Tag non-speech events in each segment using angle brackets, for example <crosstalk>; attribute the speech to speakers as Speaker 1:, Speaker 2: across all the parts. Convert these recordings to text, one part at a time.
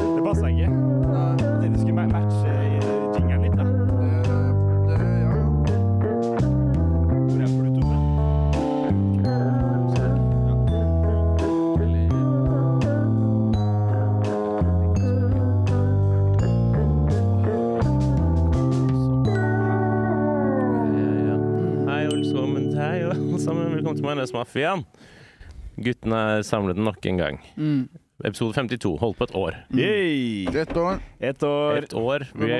Speaker 1: Det passer ikke. Det skulle ma- matche eh, jingeren litt, da. Hvor er Bluetooth, da?
Speaker 2: Hei, alle sammen. Hei, alle sammen. Velkommen til Majones Mafiaen. Guttene er samlet nok en gang. Episode 52. Holdt på et år.
Speaker 1: Hey.
Speaker 3: Ett år.
Speaker 1: Et år.
Speaker 2: Et år. Vi,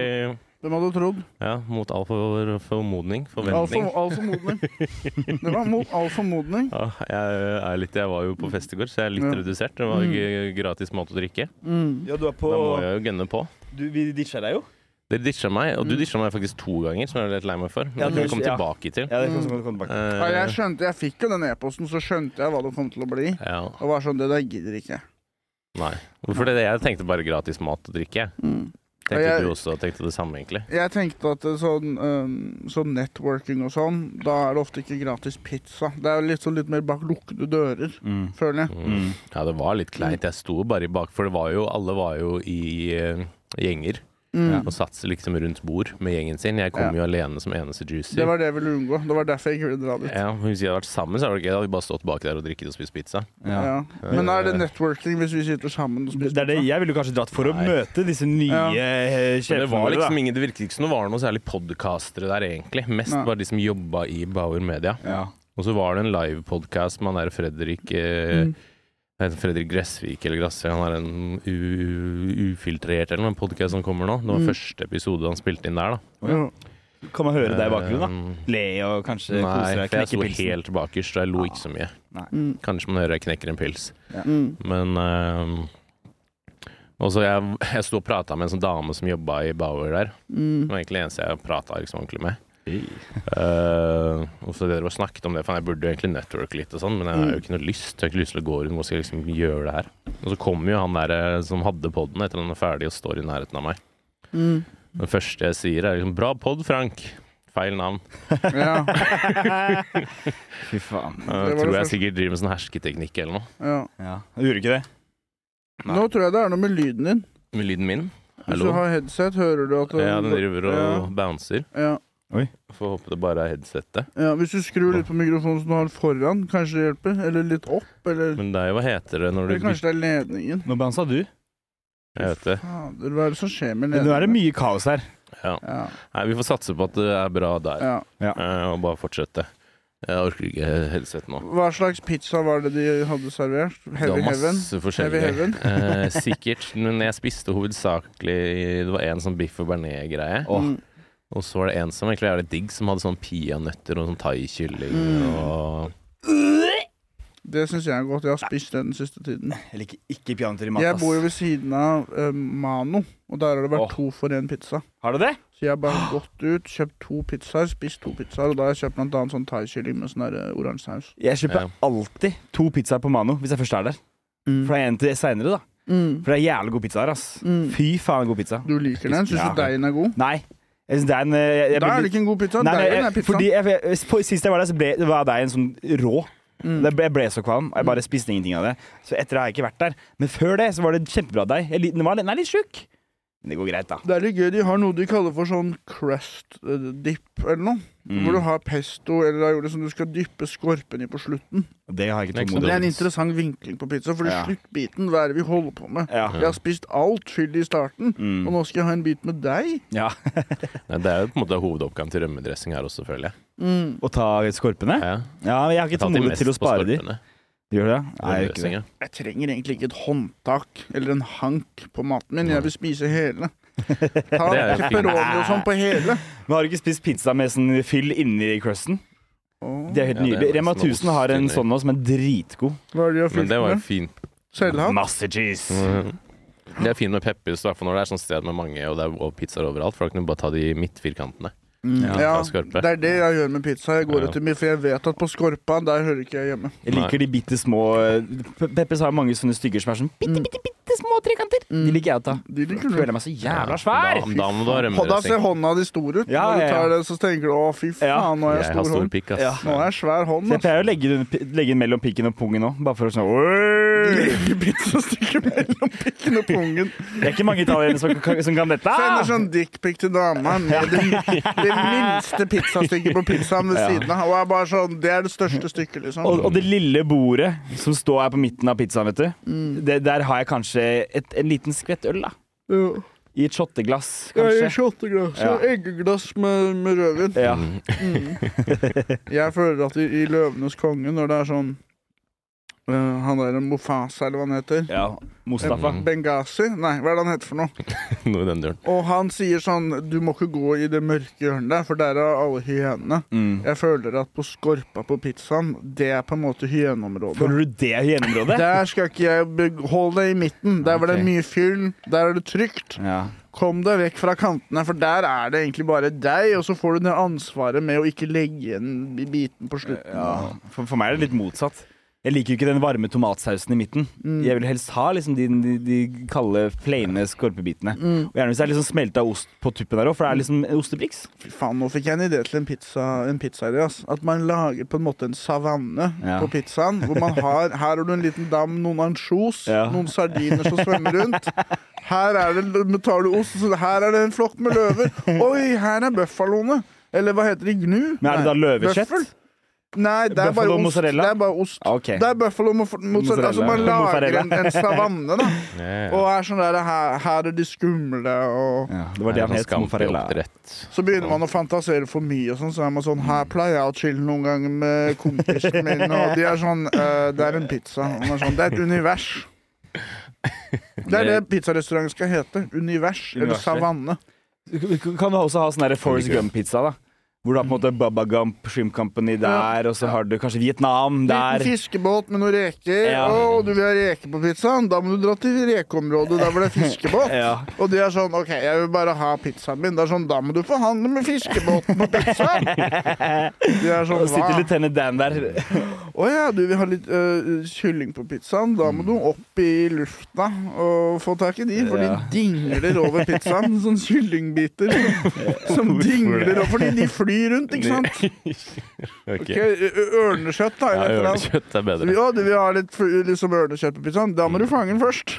Speaker 3: Hvem hadde trodd?
Speaker 2: ja, mot all for, formodning.
Speaker 3: All
Speaker 2: Forventning.
Speaker 3: for- all formodning. Det var mot all formodning.
Speaker 2: Ja, jeg, er litt, jeg var jo på fest i går, så jeg er litt
Speaker 3: Ja.
Speaker 2: redusert. Det var ikke gratis mat og drikke.
Speaker 3: Mm.
Speaker 1: Ja, du er på
Speaker 2: Da må jeg jo gønne på.
Speaker 1: du, Vi ditcha deg jo.
Speaker 2: Dere ditcha meg, og du ditcha meg faktisk to ganger, som jeg er litt lei meg for. Men
Speaker 1: Ja,
Speaker 2: det kan vi
Speaker 1: du-
Speaker 2: komme
Speaker 1: ja.
Speaker 2: tilbake til.
Speaker 1: Ja, det
Speaker 3: Mm.
Speaker 1: kan vi komme tilbake til.
Speaker 3: Ja, jeg
Speaker 2: Eh,
Speaker 3: skjønte, jeg fikk jo den e-posten, så skjønte jeg hva det kom til å bli.
Speaker 2: ja.
Speaker 3: Og var sånn, det der gidder ikke.
Speaker 2: Nei. Hvorfor det? Jeg tenkte bare gratis mat og drikke. jeg.
Speaker 3: Mm.
Speaker 2: Tenkte
Speaker 3: Jeg-
Speaker 2: du også tenkte det samme, egentlig?
Speaker 3: Jeg tenkte at det sånn, øhm, sånn networking og sånn, da er det ofte ikke gratis pizza. Det er jo litt sånn litt mer bak lukkede dører, føler jeg.
Speaker 2: Mm. Ja, det var litt kleint. Jeg sto bare i bak, for det var jo, alle var jo i eh, gjenger.
Speaker 3: Mm.
Speaker 2: Og satt liksom rundt bord med gjengen sin. Jeg kom jo alene som eneste
Speaker 3: Det
Speaker 2: juicer.
Speaker 3: var det jeg ville unngå. Det var derfor jeg ikke ville dra dit.
Speaker 2: Ja, men Hvis vi hadde vært sammen, så hadde vi ikke hadde vi bare stått bak der og drikket og spist pizza.
Speaker 3: Ja. Men er det networking hvis vi sitter sammen og
Speaker 1: Det
Speaker 3: spiser
Speaker 1: er det jeg ville kanskje dratt for å
Speaker 2: Nei.
Speaker 1: møte disse nye eh,
Speaker 3: Ja.
Speaker 2: Men
Speaker 1: sjefene.
Speaker 2: det, var
Speaker 1: våre, da.
Speaker 2: liksom ingen, det virket ikke som det var noe særlig podkastere der, egentlig. Mest
Speaker 3: Nei.
Speaker 2: bare de som jobba i Bauer Media.
Speaker 1: ja.
Speaker 2: Og så var det en livepodkast med han der Fredrik eh,
Speaker 3: Mm.
Speaker 2: jeg heter Fredrik Gressvik eller Grasse. Han har en u- ufiltrert eller noen podkast som kommer nå. Det var første episode han spilte inn der, da.
Speaker 3: pizza?
Speaker 1: Kan man høre deg i bakgrunnen,
Speaker 2: Eh,
Speaker 1: da? Le og kanskje kose
Speaker 2: Nei,
Speaker 1: deg,
Speaker 2: for jeg
Speaker 1: knekke
Speaker 2: sto
Speaker 1: pilsen.
Speaker 2: helt bakerst, og jeg lo ikke så mye.
Speaker 1: Nei.
Speaker 3: Mm.
Speaker 2: Kanskje man hører jeg knekker en pils.
Speaker 3: Ja. Mm.
Speaker 2: Men ehm, Og så jeg, jeg sto og prata med en sånn dame som jobba i Bauer der. Det
Speaker 3: Mm.
Speaker 2: var egentlig det eneste jeg prata liksom ordentlig med.
Speaker 1: <laughs>
Speaker 2: Eh, og så dere var snakket om det, for jeg burde jo egentlig network litt og sånn, men jeg har jo ikke noe lyst. Jeg har ikke lyst til å gå rundt og skal liksom gjøre det her. Og så kom jo han der eh, som hadde poden etter at han er ferdig og står i nærheten av meg.
Speaker 3: Mm.
Speaker 2: Det første jeg sier er liksom 'bra pod, Frank'. Feil navn.
Speaker 3: Ja,
Speaker 1: Fy faen.
Speaker 2: Eh,
Speaker 3: det
Speaker 2: tror jeg
Speaker 3: første.
Speaker 2: sikkert driver med sånn hersketeknikk eller noe.
Speaker 3: ja.
Speaker 1: Ja. Gjorde ikke det? Nei.
Speaker 3: Nå tror jeg det er noe med lyden din.
Speaker 2: Med lyden min.
Speaker 3: Hvis
Speaker 2: Hallo?
Speaker 3: du har headset, hører du at
Speaker 2: Ja, den driver og bouncer.
Speaker 3: ja,
Speaker 2: Får håpe det bare er headsetet.
Speaker 3: ja. Hvis du skrur litt på mikrofonen som du har foran, kanskje det hjelper? Eller litt opp? Eller,
Speaker 2: Men det er jo hva heter det når du
Speaker 3: eller kanskje det er ledningen?
Speaker 1: Nå bansa du.
Speaker 2: Jeg vet det.
Speaker 3: Fader, hva er det som skjer med
Speaker 1: Nå er det
Speaker 3: ledningen?
Speaker 1: mye kaos her.
Speaker 2: Ja.
Speaker 3: Ja,
Speaker 2: Nei, vi får satse på at det er bra der,
Speaker 3: ja.
Speaker 2: Eh, og bare fortsette. Jeg orker ikke headset nå.
Speaker 3: Hva slags pizza var det de hadde servert?
Speaker 2: det
Speaker 3: Heavy
Speaker 2: var
Speaker 3: Heaven?
Speaker 2: masse
Speaker 3: Heavy
Speaker 2: forskjellige.
Speaker 3: Heaven?
Speaker 2: Eh, sikkert. Men jeg spiste hovedsakelig Det var en sånn biff og bearnés-greie.
Speaker 3: Mm.
Speaker 2: Og så var det en som egentlig er litt digg, som hadde sånn peanøtter og sånn thaikylling
Speaker 3: Mm.
Speaker 2: og
Speaker 3: Det syns jeg er godt. Jeg har spist det den siste tiden.
Speaker 1: Jeg liker ikke peanøtter i mat.
Speaker 3: Jeg
Speaker 1: ass.
Speaker 3: bor jo ved siden av eh, Mano, og der har det vært
Speaker 1: Åh.
Speaker 3: to for én pizza.
Speaker 1: Har du det?
Speaker 3: Så jeg har bare gått ut, kjøpt to pizzaer, spist to pizzaer, og da har jeg kjøpt blant annet sånn thaikylling med sånn der, eh, oransje saus.
Speaker 1: Jeg kjøper
Speaker 2: Ja.
Speaker 1: alltid to pizzaer på Mano hvis jeg først er der. For det er en til seinere, da.
Speaker 3: Mm.
Speaker 1: For det er jævlig gode pizzaer, ass.
Speaker 3: Mm.
Speaker 1: Fy faen, god pizza.
Speaker 3: Du liker den? Syns
Speaker 1: Ja.
Speaker 3: du deigen er god?
Speaker 1: Nei. Jeg synes det er en eh, jeg, jeg,
Speaker 3: Da er det ikke en god
Speaker 1: Nei,
Speaker 3: pizza.
Speaker 1: nei,
Speaker 3: deigen er
Speaker 1: jeg,
Speaker 3: pizzaen.
Speaker 1: fordi jeg, jeg, på- Sist jeg var der, så ble, var deigen sånn rå.
Speaker 3: Mm.
Speaker 1: Det ble, jeg ble så kvalm. og Jeg bare spiste ingenting av det. Så etter det har jeg ikke vært der. Men før det så var det kjempebra deig. Jeg lik- Den, var- den er litt tjukk. Men det går greit, da.
Speaker 3: Det er litt gøy. De har noe de kaller for sånn crust eh, dip eller noe.
Speaker 1: Mm.
Speaker 3: Hvor du har pesto eller da gjorde det som du skal dyppe skorpen i på slutten.
Speaker 1: Mm. Det har jeg ikke tålmodighet
Speaker 3: Og det
Speaker 2: Ikke sant.
Speaker 3: er en
Speaker 2: Modellens.
Speaker 3: interessant vinkling på pizza, Fordi
Speaker 1: Ja.
Speaker 3: sluttbiten, hva er det vi holder på med?
Speaker 1: Ja.
Speaker 3: Jeg har spist alt fyll i starten,
Speaker 1: Mm.
Speaker 3: og nå skal jeg ha en bit med deg.
Speaker 1: ja.
Speaker 2: Nei, Det er jo på en måte hovedoppgaven til rømmedressing her også, føler jeg.
Speaker 1: Å ta skorpene?
Speaker 2: Ja.
Speaker 1: Ja, men jeg har
Speaker 2: Jeg
Speaker 1: ikke
Speaker 2: tar alltid
Speaker 1: tålmodighet
Speaker 2: mest
Speaker 1: til å
Speaker 2: på
Speaker 1: spare de.
Speaker 2: skorpene.
Speaker 1: Gjør du det? Nei, jeg gjør ikke det.
Speaker 2: Rømmedressing, ja.
Speaker 3: Jeg trenger egentlig ikke et håndtak eller en hank på maten min. Jeg vil spise hele. Ta
Speaker 2: Det er jo fint.
Speaker 3: pepperoni og sånn på hele.
Speaker 1: Men har du ikke spist pizza med sånn fyll inni crusten?
Speaker 3: Åh.
Speaker 1: Det er helt
Speaker 2: Ja, det er
Speaker 1: nydelig. Rema
Speaker 2: nesten
Speaker 1: 1000 har en
Speaker 2: ost inni.
Speaker 1: sånn nå som er dritgod.
Speaker 3: Hva er det de har
Speaker 2: Men
Speaker 3: fylt
Speaker 2: det var jo
Speaker 3: med?
Speaker 2: fint.
Speaker 3: Selvhatt?
Speaker 1: Masse cheese.
Speaker 2: Mm, Det er fint med peppers, i hvert fall når det er sånn sted med mange og det er og pizzaer overalt. For da kan du bare ta de midtfirkantene.
Speaker 3: Mm,
Speaker 1: Ja,
Speaker 3: ja,
Speaker 2: fra Skorpe.
Speaker 3: det er det jeg gjør med pizza. Jeg går
Speaker 2: Ja.
Speaker 3: etter mye, for jeg vet at på Skorpa, der hører ikke jeg hjemme.
Speaker 1: Jeg liker de bitte små Pe- Peppes har mange sånne stygger som er sånn bitte, bitte, bitte små trekanter. De liker jeg å ta.
Speaker 3: De liker
Speaker 1: Føler
Speaker 3: Mm. du.
Speaker 1: jeg meg så jævla svær!
Speaker 2: Da, da må du ha
Speaker 3: Og da ser
Speaker 2: rømmerøsing.
Speaker 3: hånda di stor ut.
Speaker 1: Ja,
Speaker 3: Når
Speaker 1: ja,
Speaker 3: du
Speaker 1: ja.
Speaker 3: tar det, så tenker du å, fy
Speaker 1: Ja.
Speaker 3: faen, nå har jeg
Speaker 2: Jeg har
Speaker 3: stor
Speaker 2: stor
Speaker 3: hånd.
Speaker 2: pikk, ass.
Speaker 1: Ja.
Speaker 3: Nå har jeg svær hånd.
Speaker 1: Så jeg
Speaker 3: ass.
Speaker 1: pleier å legge den, legge den mellom pikken og pungen òg, bare for å sånn «Oi!»
Speaker 3: Legger pizzastykker mellom pikken og pungen.
Speaker 1: Det er ikke mange italienere som, kan- som kan dette.
Speaker 3: Sender sånn dickpic til dama med det, det minste pizzastykket på pizzaen ved
Speaker 1: Ja.
Speaker 3: siden av. Og er bare sånn, Det er det største stykket, liksom.
Speaker 1: Og, og det lille bordet som står her på midten av pizzaen, vet du.
Speaker 3: Mm.
Speaker 1: Det, der har jeg kanskje et, en liten skvett øl, da.
Speaker 3: Ja.
Speaker 1: I et shotteglass,
Speaker 3: Jeg gir
Speaker 1: kanskje.
Speaker 3: shotteglass og eggeglass med, med rødvin. Mm.
Speaker 1: Ja. <laughs>
Speaker 2: Mm.
Speaker 3: Jeg føler at i, i Løvenes konge, når det er sånn øh, Han der Mofasa, eller hva han heter
Speaker 1: ja. Mustafa.
Speaker 2: Mm.
Speaker 3: Benghazi? Nei, hva er det han heter for noe?
Speaker 2: <laughs> Noe i den duren.
Speaker 3: Og han sier sånn Du må ikke gå i det mørke hjørnet der, for der er alle hyenene.
Speaker 1: Mm.
Speaker 3: Jeg føler at på Skorpa på pizzaen, det er på en måte hyeneområdet.
Speaker 1: Føler du det i gjennområdet?
Speaker 3: Der skal ikke jeg beg- Hold deg i midten. Der var det
Speaker 1: Ok.
Speaker 3: mye fyll. Der er det trygt.
Speaker 1: Ja.
Speaker 3: Kom deg vekk fra kantene, for der er det egentlig bare deg, og så får du det ansvaret med å ikke legge igjen biten på slutten.
Speaker 1: Ja, for, for meg er det litt motsatt. Jeg liker jo ikke den varme tomatsausen i midten. Jeg vil helst ha liksom de, de, de kalde, plaine skorpebitene. Og gjerne hvis det er liksom smelta ost på tuppen der òg, for det er liksom en ostebriks.
Speaker 3: Fy faen, nå fikk jeg en idé til en pizza, en pizzaidé. ass. At man lager på en måte en savanne
Speaker 1: Ja.
Speaker 3: på pizzaen. Hvor man har Her har du en liten dam, noen ansjos,
Speaker 1: Ja.
Speaker 3: noen sardiner som svømmer rundt. Her er det, men tar du ost, så her er det en flokk med løver. Oi, her er bøffaloene. Eller hva heter de? Gnu?
Speaker 1: Men er det da
Speaker 3: Nei,
Speaker 1: løvekjøtt?
Speaker 3: bøffel. Nei, det er bare
Speaker 1: Buffalo
Speaker 3: ost.
Speaker 1: mozzarella?
Speaker 3: Det er bare ost.
Speaker 1: Ok.
Speaker 3: Det er buffalo mo- mozzarella. Altså, man
Speaker 1: Mozzarella.
Speaker 3: lager en, en savanne,
Speaker 1: <laughs>
Speaker 3: da.
Speaker 2: Ja, ja, ja.
Speaker 3: Og er sånn der, her, her er de skumle og
Speaker 1: Ja, det var det
Speaker 2: Det
Speaker 1: han
Speaker 2: er
Speaker 1: het.
Speaker 2: sånn
Speaker 1: Mozzarella.
Speaker 2: skampeoppdrett.
Speaker 3: Så begynner man å fantasere for mye, og sånn, så er man sånn Her pleier jeg å chille noen ganger med kompisen min, og de er sånn «Eh, Det er en pizza. Og man er sånn, det er et univers. Det er det pizzarestauranten skal hete. Univers. Eller
Speaker 1: Universet.
Speaker 3: savanne.
Speaker 1: Kan du også ha sånn der Forest Gump-pizza, da? Hvor du har på en måte Bubba Gump Shrimp Company der, og så har du kanskje Vietnam der.
Speaker 3: Liten fiskebåt med noen reker.
Speaker 1: Ja.
Speaker 3: Å, du vil ha reker på pizzaen? Da må du dra til rekeområdet der hvor det er fiskebåt.
Speaker 1: <laughs> Ja.
Speaker 3: Og de er sånn OK, jeg vil bare ha pizzaen min. Det er sånn, Da må du forhandle med fiskebåten på
Speaker 1: <laughs>
Speaker 3: pizzaen! De er sånn,
Speaker 1: Og
Speaker 3: hva?
Speaker 1: sitter lieutenant Dan der.
Speaker 3: Å ja, du vil ha litt øh, kylling på pizzaen. Da må du opp i lufta og få tak i de, for de
Speaker 1: Ja.
Speaker 3: dingler over pizzaen. Sånn kyllingbiter som dingler over fordi de flyr rundt, ikke sant?
Speaker 2: Ok.
Speaker 3: Ok, ø- ø- Ørnekjøtt, da.
Speaker 2: Ja,
Speaker 3: Eller et eller annet.
Speaker 2: Ørnekjøtt er bedre.
Speaker 3: Ja, du vil ha litt fl- liksom ørnekjøtt på pizzaen? Da må du fange den først.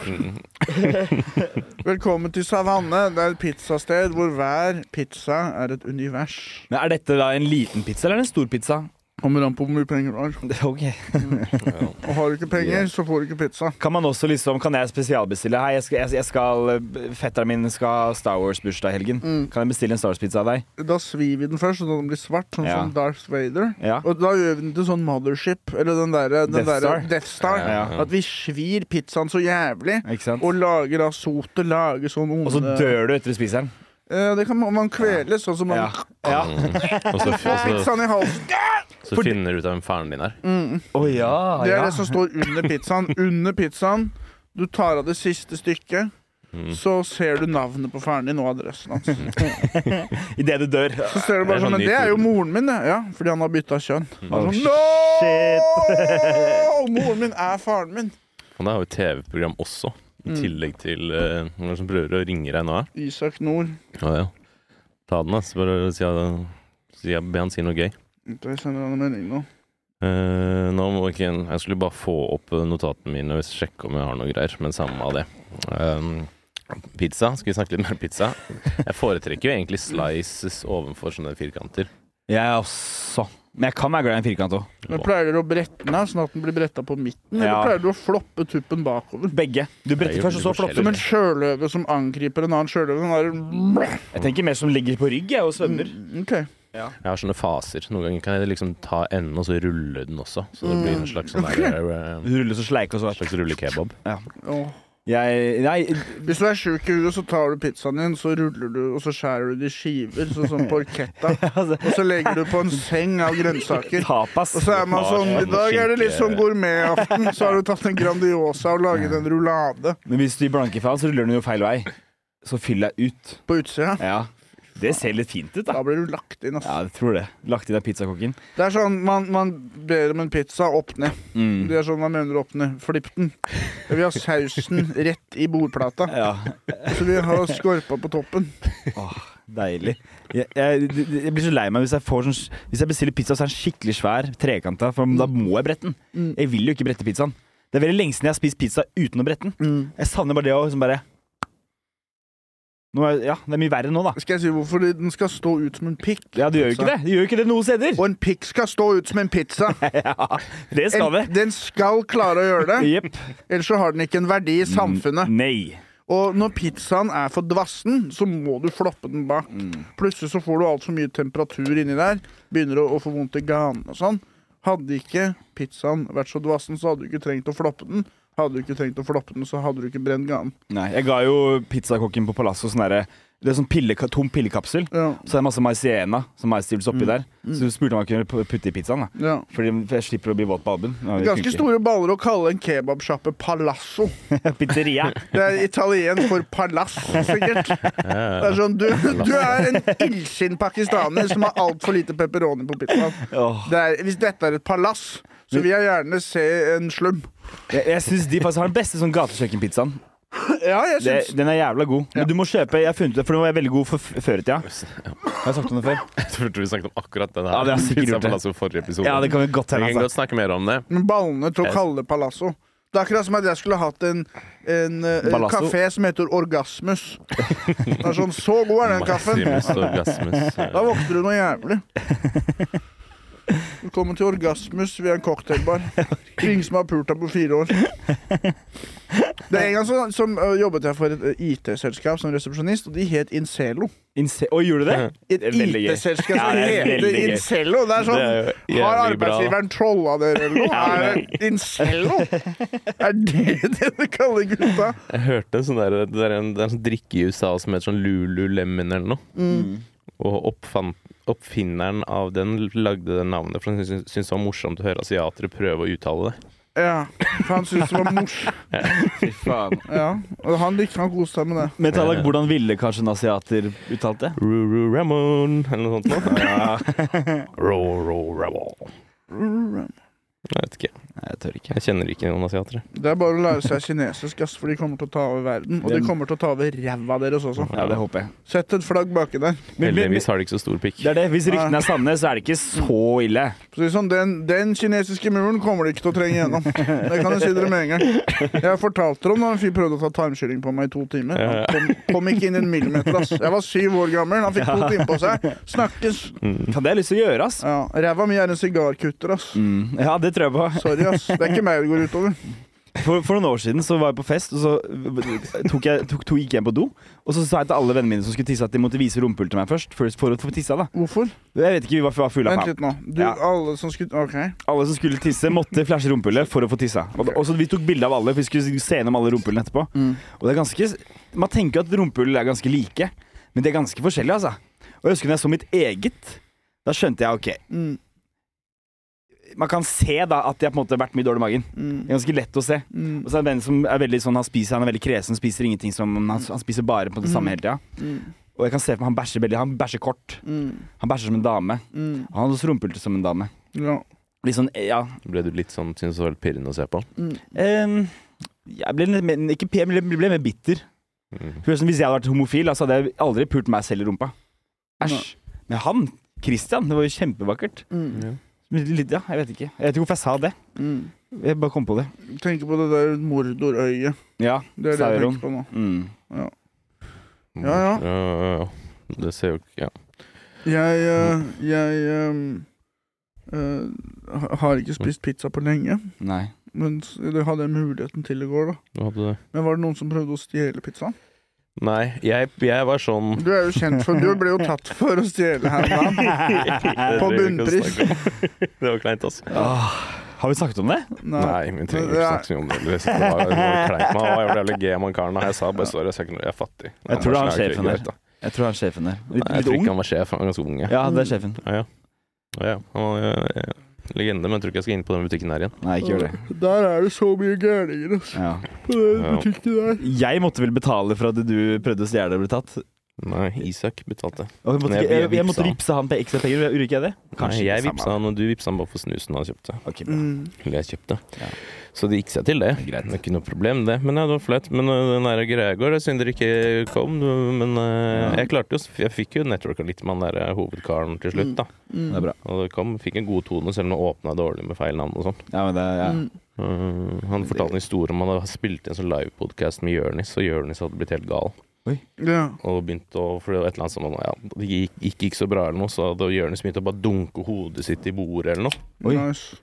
Speaker 3: <laughs> Velkommen til Savanne. Det er et pizzasted hvor hver pizza er et univers.
Speaker 1: Men er dette da en liten pizza eller en stor pizza?
Speaker 3: Kommer an på hvor mye penger du har.
Speaker 1: Ok
Speaker 3: Og har du ikke penger, så får du ikke pizza.
Speaker 1: Kan man også liksom, kan jeg spesialbestille? Hei, jeg skal, jeg, jeg skal eh, Fetteren min skal ha Star Wars-bursdag i helgen. Kan jeg bestille en Star Wars-pizza av deg?
Speaker 3: Da svir vi den først, sånn at den blir svart, sånn
Speaker 1: Ja.
Speaker 3: som Darth Vader.
Speaker 1: Ja.
Speaker 3: Og da gjør vi den til sånn mothership, eller den derre den
Speaker 1: Death
Speaker 3: derre
Speaker 1: Star.
Speaker 3: Death Star.
Speaker 1: Ja, ja.
Speaker 3: At vi svir pizzaen så jævlig.
Speaker 1: Ikke sant?
Speaker 3: Og lager av sotet, lager sånn onde
Speaker 1: Og så dør du etter du spiser den.
Speaker 3: Eh, Det kan man, man kveles, sånn som man
Speaker 1: Ja. ja.
Speaker 2: Og så, og så,
Speaker 3: Pizzaen i halsen!
Speaker 2: så finner du ut hvem faren din er.
Speaker 1: Å ja,
Speaker 3: Det er
Speaker 1: ja.
Speaker 3: det som står under pizzaen. Under pizzaen du tar av det siste stykket,
Speaker 2: Mm.
Speaker 3: så ser du navnet på faren din og adressen hans.
Speaker 1: Idet du dør.
Speaker 3: Så ser du bare sånn,
Speaker 2: Det er sånn
Speaker 3: men
Speaker 2: nytt
Speaker 3: det er jo
Speaker 2: ord.
Speaker 3: moren min, det. Ja, fordi han har bytta kjønn.
Speaker 1: Oh,
Speaker 3: Han er sånn,
Speaker 1: shit. <laughs>
Speaker 3: «Nå! Moren min er faren min.
Speaker 2: Han har jo TV-program også,
Speaker 3: Mm.
Speaker 2: i tillegg til eh, noen som prøver å ringe deg nå. ja.
Speaker 3: Isak Nord.
Speaker 2: Ja, ja. Ta den, ass. Bare si, at- si, at- be han si noe gøy.
Speaker 3: Jeg sender han en melding nå.
Speaker 2: Eh, nå må ikke Jeg skulle bare få opp notatene mine og sjekke om jeg har noe greier, men samme av det. Um, pizza. Skal vi snakke litt mer pizza? Jeg foretrekker jo egentlig slices ovenfor sånne firkanter.
Speaker 1: Jeg også. Men jeg kan være glad i en firkant òg.
Speaker 3: Men Pleier dere å brette den her, sånn at den blir bretta på midten?
Speaker 1: Ja.
Speaker 3: Eller pleier dere å floppe tuppen bakover?
Speaker 1: Begge. Du
Speaker 2: Det
Speaker 1: bretter
Speaker 2: er jo
Speaker 1: først, og så flopper
Speaker 2: forskjellig.
Speaker 3: Som en sjøløve som angriper en annen sjøløve. Den der
Speaker 1: Jeg tenker mer som ligger på rygg jeg, og svømmer.
Speaker 3: OK.
Speaker 2: Jeg har sånne faser. Noen ganger kan jeg liksom ta enden og så rulle den også. Så det blir en
Speaker 1: Mm.
Speaker 2: slags sånn der, eh,
Speaker 1: Rulle så sleik og så <laughs>
Speaker 2: slags rullekebab.
Speaker 3: Åh.
Speaker 1: Jeg Nei,
Speaker 3: Hvis du er sjuk i huet, så tar du pizzaen din, så ruller du, og så skjærer du det i skiver, sånn som
Speaker 1: <laughs>
Speaker 3: porchetta.
Speaker 1: altså,
Speaker 3: Og så legger du på en seng av
Speaker 1: <laughs>
Speaker 3: grønnsaker.
Speaker 1: tapas.
Speaker 3: Og så er man sånn I dag er det litt sånn gourmetaften, så har du tatt en Grandiosa og laget en rullade
Speaker 1: Men hvis du gir blanke faen, så ruller den jo feil vei. Så fyll deg ut.
Speaker 3: på utsida.
Speaker 1: Ja. Det ser litt fint ut, da.
Speaker 3: Da blir du lagt inn,
Speaker 1: Ja,
Speaker 3: ass.
Speaker 1: jeg tror det. Lagt inn av pizzakokken.
Speaker 3: Det er sånn, man, man ber om en pizza opp ned.
Speaker 1: Mm.
Speaker 3: Det er sånn man mener opp ned. Flipp den. Jeg vil ha sausen rett i bordplata.
Speaker 1: Ja,
Speaker 3: Så vi har skorpa på toppen.
Speaker 1: Deilig. Jeg, jeg, jeg blir så lei meg hvis jeg, får sånn, hvis jeg bestiller pizza, så er den skikkelig svær, trekanta, for da må jeg brette den. Jeg vil jo ikke brette pizzaen. Det er veldig lenge siden jeg har spist pizza uten å brette den.
Speaker 3: Mm.
Speaker 1: Jeg savner bare det å liksom bare nå er, Ja, det er mye verre nå, da.
Speaker 3: Skal jeg si hvorfor den skal stå ut som en pikk?
Speaker 1: Ja, det gjør jo ikke det. Det gjør jo ikke det noen steder.
Speaker 3: Og en pikk skal stå ut som en pizza.
Speaker 1: <laughs> Ja, <laughs> det skal det.
Speaker 3: En, den skal klare å gjøre det,
Speaker 1: Jepp.
Speaker 3: ellers så har den ikke en verdi
Speaker 1: Mm.
Speaker 3: i samfunnet.
Speaker 1: Nei.
Speaker 3: Og når pizzaen er for dvassen, så må du floppe den bak.
Speaker 1: Mm.
Speaker 3: Plutselig så får du altfor mye temperatur inni der, begynner å, å få vondt i ganen og sånn. Hadde ikke pizzaen vært så dvassen, så hadde du ikke trengt å floppe den. Hadde du ikke trengt å floppe den, så hadde du ikke brent ganen.
Speaker 1: Nei. Jeg ga jo pizzakokken på Palazzo sånn derre Det er sånn pille, tom pillekapsel.
Speaker 3: Ja, Mm.
Speaker 1: Så er det masse maisiena, som maisstivelse oppi der. Så spurte om jeg kunne pu- putte i pizzaen. da
Speaker 3: ja.
Speaker 1: Fordi jeg slipper å bli våt på albuen. Ja, det
Speaker 3: Ganske
Speaker 1: funker.
Speaker 3: store baller å kalle en kebabsjappe palazzo.
Speaker 1: <laughs> Pizzeria.
Speaker 3: Det er italiensk for palass, sikkert. Det er sånn, du, du er en illsint pakistaner som har altfor lite pepperoni på pizzaen.
Speaker 1: Åh.
Speaker 3: Det er, hvis dette er et palass, så vil jeg gjerne se en slum.
Speaker 1: Jeg, jeg syns de faktisk har den beste sånn gatekjøkkenpizzaen.
Speaker 3: Ja, jeg
Speaker 1: Det,
Speaker 3: syns
Speaker 1: den er jævla god. Men du må kjøpe Jeg har funnet ut det, for den var veldig god for f- før i tida. Har jeg sagt om det før?
Speaker 2: Jeg tror vi snakket om akkurat den her.
Speaker 1: Ja, det har sikkert
Speaker 2: Pizza
Speaker 1: gjort det.
Speaker 2: Palazzo forrige episode.
Speaker 1: Ja, det kan vi godt
Speaker 2: vi
Speaker 1: hende.
Speaker 2: kan
Speaker 1: Altså.
Speaker 2: godt snakke mer om det.
Speaker 3: Men ballene til å kalle det palazzo. Det er akkurat som at jeg skulle hatt en, en, eh,
Speaker 1: Palazzo.
Speaker 3: kafé som heter Orgasmus. Det er sånn, Så god er den kaffen.
Speaker 2: Maximus
Speaker 1: <laughs>
Speaker 2: orgasmus.
Speaker 3: Da våkner du noe jævlig. Velkommen til Orgasmus ved en cocktailbar. Ingen som har pult deg på fire år. Det er En gang så, som, ø, jobbet jeg for et ø, IT-selskap som resepsjonist, og de het Incelo.
Speaker 1: Inse Oi, gjorde du det?
Speaker 3: Et
Speaker 1: Veldig gøy.
Speaker 3: IT-selskap
Speaker 1: Ja, det
Speaker 3: som
Speaker 1: er
Speaker 3: heter
Speaker 1: veldig gøy.
Speaker 3: Incelo! Det er sånn
Speaker 2: Det er jo
Speaker 3: Har
Speaker 2: jævlig bra.
Speaker 3: arbeidsgiveren trolla dere, eller
Speaker 1: <laughs>
Speaker 3: noe?
Speaker 1: Ja,
Speaker 3: Er det Incelo? Er det det du kaller gutta?
Speaker 2: Jeg hørte en sånn der, det er en, det er en sånn drikke i USA som heter sånn Lululemon eller noe.
Speaker 1: Mm.
Speaker 2: Og oppfant, oppfinneren av den lagde det navnet, for han syntes syntes det var morsomt å høre asiatere prøve å uttale det.
Speaker 3: Ja. For han syntes det var morsomt.
Speaker 1: <laughs> Fy faen.
Speaker 3: Ja. Og han likte han koste seg med det.
Speaker 1: Men Tallak, hvordan ville kanskje en asiater uttalt det?
Speaker 2: Ruru Ramon, eller noe sånt. noe. <laughs> Roro Ramon. Jeg vet ikke.
Speaker 1: Nei, jeg tør ikke.
Speaker 2: Jeg kjenner ikke noen asiatere.
Speaker 3: Det er bare å lære seg kinesisk, ass, for de kommer til å ta over verden. Og de kommer til å ta over ræva deres også.
Speaker 1: Ja, det håper jeg.
Speaker 3: Sett et flagg baki der.
Speaker 1: Men- men-
Speaker 2: Heldigvis har de ikke så stor pikk.
Speaker 1: Det er det. Hvis ryktene er sanne, så er det ikke så ille.
Speaker 3: Så det er sånn, den, den kinesiske muren kommer de ikke til å trenge gjennom. Det kan jeg si dere med en gang. Jeg fortalte dere om da en fyr prøvde å ta tarmskylling på meg i to timer. Han kom, kom ikke inn en millimeter, ass. Jeg var syv år gammel, han fikk to timer på seg. Snakkes.
Speaker 2: Mm.
Speaker 1: Kan det ha lyst til å gjøre, ass.
Speaker 3: Ja, Ræva mi er en sigarkutter, ass.
Speaker 1: Mm. Ja, det tror jeg på.
Speaker 3: Sorry, ass. Det er ikke meg det går utover.
Speaker 1: For, for noen år siden så var jeg på fest, og så tok jeg, tok, tok, gikk jeg på do. Og så sa jeg til alle vennene mine som skulle tisse, at de måtte vise rumpehull til meg først. For, for å få tissa, da.
Speaker 3: Hvorfor?
Speaker 1: Jeg vet ikke, vi var, var fulle av
Speaker 3: Vent
Speaker 1: faen.
Speaker 3: litt nå. Du,
Speaker 1: Ja.
Speaker 3: alle som skulle OK.
Speaker 1: Alle som skulle tisse, måtte flashe rumpehullet for å få tissa. Og, og så Vi tok bilde av alle, for vi skulle se gjennom alle rumpehullene etterpå. Og det er ganske, Man tenker jo at rumpehull er ganske like, men de er ganske forskjellige, altså. Og jeg husker når jeg så mitt eget, da skjønte jeg OK.
Speaker 3: Mm,
Speaker 1: Man kan se da at jeg på en måte har vært mye dårlig i magen.
Speaker 3: mm,
Speaker 1: Det er ganske lett å se.
Speaker 3: mm,
Speaker 1: Og så er det en som er veldig sånn, han spiser, han er veldig kresen, spiser ingenting som Han, han spiser bare på det samme hele tida.
Speaker 3: mm,
Speaker 1: Og jeg kan se for meg han bæsjer veldig. Han bæsjer kort.
Speaker 3: mm,
Speaker 1: Han bæsjer som en dame.
Speaker 3: mm.
Speaker 1: Og Han har også rumpehull som en dame.
Speaker 3: Ja.
Speaker 1: Litt sånn, ja
Speaker 2: Ble du litt sånn, syntes det var litt pirrende å se på?
Speaker 3: Mm,
Speaker 1: Ehm, Jeg ble litt mer, ikke pen, men jeg ble, ble mer bitter.
Speaker 2: Mm.
Speaker 1: For det er sånn, Hvis jeg hadde vært homofil, altså, hadde jeg aldri pult meg selv i rumpa. Æsj. Men han, Christian, det var jo kjempevakkert.
Speaker 3: Mm.
Speaker 1: Litt, ja, jeg vet ikke. Jeg vet ikke hvorfor jeg sa det.
Speaker 3: Mm.
Speaker 1: Jeg bare kom på det.
Speaker 3: Tenker på det der mordorøyet.
Speaker 1: Ja,
Speaker 3: Det er det jeg
Speaker 1: Sauron.
Speaker 3: tenker på nå.
Speaker 1: Mm.
Speaker 3: Ja, ja.
Speaker 2: Mm. ja, ja. Det ser jo ikke ja.
Speaker 3: Jeg, eh, jeg eh, eh, ha- har ikke spist pizza på lenge,
Speaker 1: Nei.
Speaker 3: men s- det hadde jeg muligheten til i går. da.
Speaker 2: Hva hadde du?
Speaker 3: Men var det noen som prøvde å stjele pizzaen?
Speaker 2: Nei, jeg, jeg var sånn
Speaker 3: Du er jo kjent for Du ble jo tatt for å stjele her om dagen. På bunnpris.
Speaker 2: Det var kleint, altså.
Speaker 1: <laughs> Åh, har vi snakket om det?
Speaker 3: Nei.
Speaker 2: Nei, vi trenger ikke snakke så mye om det. eller, så Det var, det var kleint. Man var jævlig gay, man karen. da. Jeg sa bare sorry, jeg, sa ikke noe, jeg er fattig.
Speaker 1: Jeg tror det er han
Speaker 2: sånn, ja, ok,
Speaker 1: sjefen der.
Speaker 2: greit, da.
Speaker 1: Jeg tror han er sjefen der. Litt,
Speaker 2: Nei, jeg
Speaker 1: litt
Speaker 2: tror ikke
Speaker 1: ung?
Speaker 2: han var sjef, han var ganske ung. Jeg.
Speaker 1: Ja, det er sjefen.
Speaker 2: Ja, ja. Han var eh, legende, men jeg tror ikke jeg skal inn på den butikken der igjen.
Speaker 1: Nei, ikke gjør det.
Speaker 3: Der er det så mye gærninger, altså.
Speaker 1: Ja.
Speaker 3: På den butikken der.
Speaker 1: Jeg måtte vel betale for at du prøvde å stjele det ble tatt.
Speaker 2: Nei, Isak betalte.
Speaker 1: Og jeg, måtte,
Speaker 2: Nei,
Speaker 1: jeg,
Speaker 2: jeg- jeg
Speaker 1: jeg, måtte
Speaker 2: vipsa han.
Speaker 1: vipse han på ekstra penger. Gjorde ikke jeg det?
Speaker 2: Nei, jeg
Speaker 1: ikke
Speaker 2: vipsa han, og du vipsa han bare for snusen han kjøpte.
Speaker 1: Ok, bra.
Speaker 3: Mm.
Speaker 2: Eller jeg kjøpte.
Speaker 1: Ja.
Speaker 2: Så det gikk seg til, det.
Speaker 1: Greit.
Speaker 2: Det er ikke noe problem, det. Men ja, det var flaut. Men uh, den der greia går, det er synd dere ikke kom. Men uh, jeg klarte jo Jeg fikk jo networka litt med han der uh, hovedkaren til slutt, da.
Speaker 3: Mm.
Speaker 1: Det er bra.
Speaker 2: Og det kom, fikk en god tone, selv om det åpna dårlig med feil navn og sånn.
Speaker 1: Ja, men det, ja.
Speaker 3: Mm.
Speaker 2: Uh, han fortalte en historie om han hadde spilt en sånn livepodkast med Jørnis, og Jørnis hadde blitt helt gal.
Speaker 3: Ja.
Speaker 2: Og begynte å For det var et eller annet sånn ja, Det gikk, gikk ikke så bra eller noe, så da Jørnis begynte å bare dunke hodet sitt i bordet eller noe.
Speaker 1: Oi.
Speaker 3: Nice.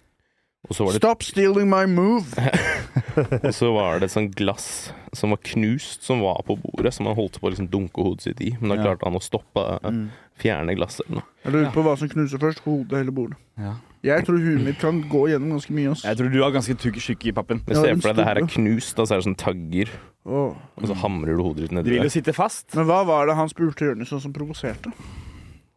Speaker 2: Og så var det
Speaker 3: Stop stealing my move!
Speaker 2: Og så var det et sånt glass som var knust, som var på bordet, som han holdt på å liksom dunke hodet sitt i. Men da
Speaker 1: Ja.
Speaker 2: klarte han å stoppe, eh,
Speaker 1: Mm.
Speaker 2: fjerne glasset eller noe.
Speaker 3: Jeg lurer på hva som knuser først. Hodet eller bordet?
Speaker 1: Ja.
Speaker 3: Jeg tror huet mitt kan gå gjennom ganske mye. ass.
Speaker 1: Jeg tror du har ganske tykk tjukk i pappen.
Speaker 2: Men
Speaker 3: Ja,
Speaker 2: se
Speaker 3: den
Speaker 2: for deg det her er
Speaker 3: store.
Speaker 2: knust, da, så er det sånn tagger,
Speaker 3: Åh.
Speaker 2: og så hamrer du hodet ditt
Speaker 1: Du
Speaker 2: nedi
Speaker 1: vil jo
Speaker 2: der.
Speaker 1: sitte fast.
Speaker 3: Men hva var det han spurte Jonis om som provoserte?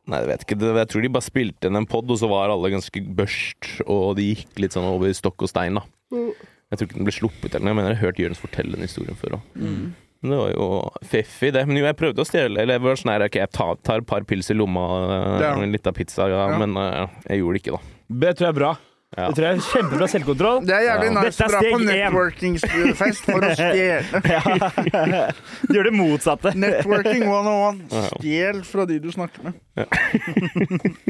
Speaker 2: Nei, jeg vet ikke, det- jeg tror de bare spilte inn en pod, og så var alle ganske børst, og de gikk litt sånn over stokk og stein, da. Jeg tror ikke den ble sluppet eller noe, jeg mener jeg har hørt Jørgens fortelle den historien før òg. Det var jo feffig, det. Men jo, jeg prøvde å stjele Eller jeg var sånn her, ok, jeg tar, tar et par pils i lomma
Speaker 3: Ja.
Speaker 2: og en liten pizza, ja,
Speaker 3: Ja.
Speaker 2: men eh, jeg gjorde det ikke, da.
Speaker 1: Det tror jeg er bra.
Speaker 2: Ja.
Speaker 1: Det tror jeg er Kjempebra selvkontroll.
Speaker 3: Det er jævlig
Speaker 1: Ja.
Speaker 3: nice
Speaker 1: Dette er
Speaker 3: å dra på
Speaker 1: steg én.
Speaker 3: networkingsfest for å
Speaker 2: <laughs>
Speaker 3: stjele.
Speaker 1: Du gjør det motsatte.
Speaker 3: Networking 101. Stjel fra de du snakker med. <laughs>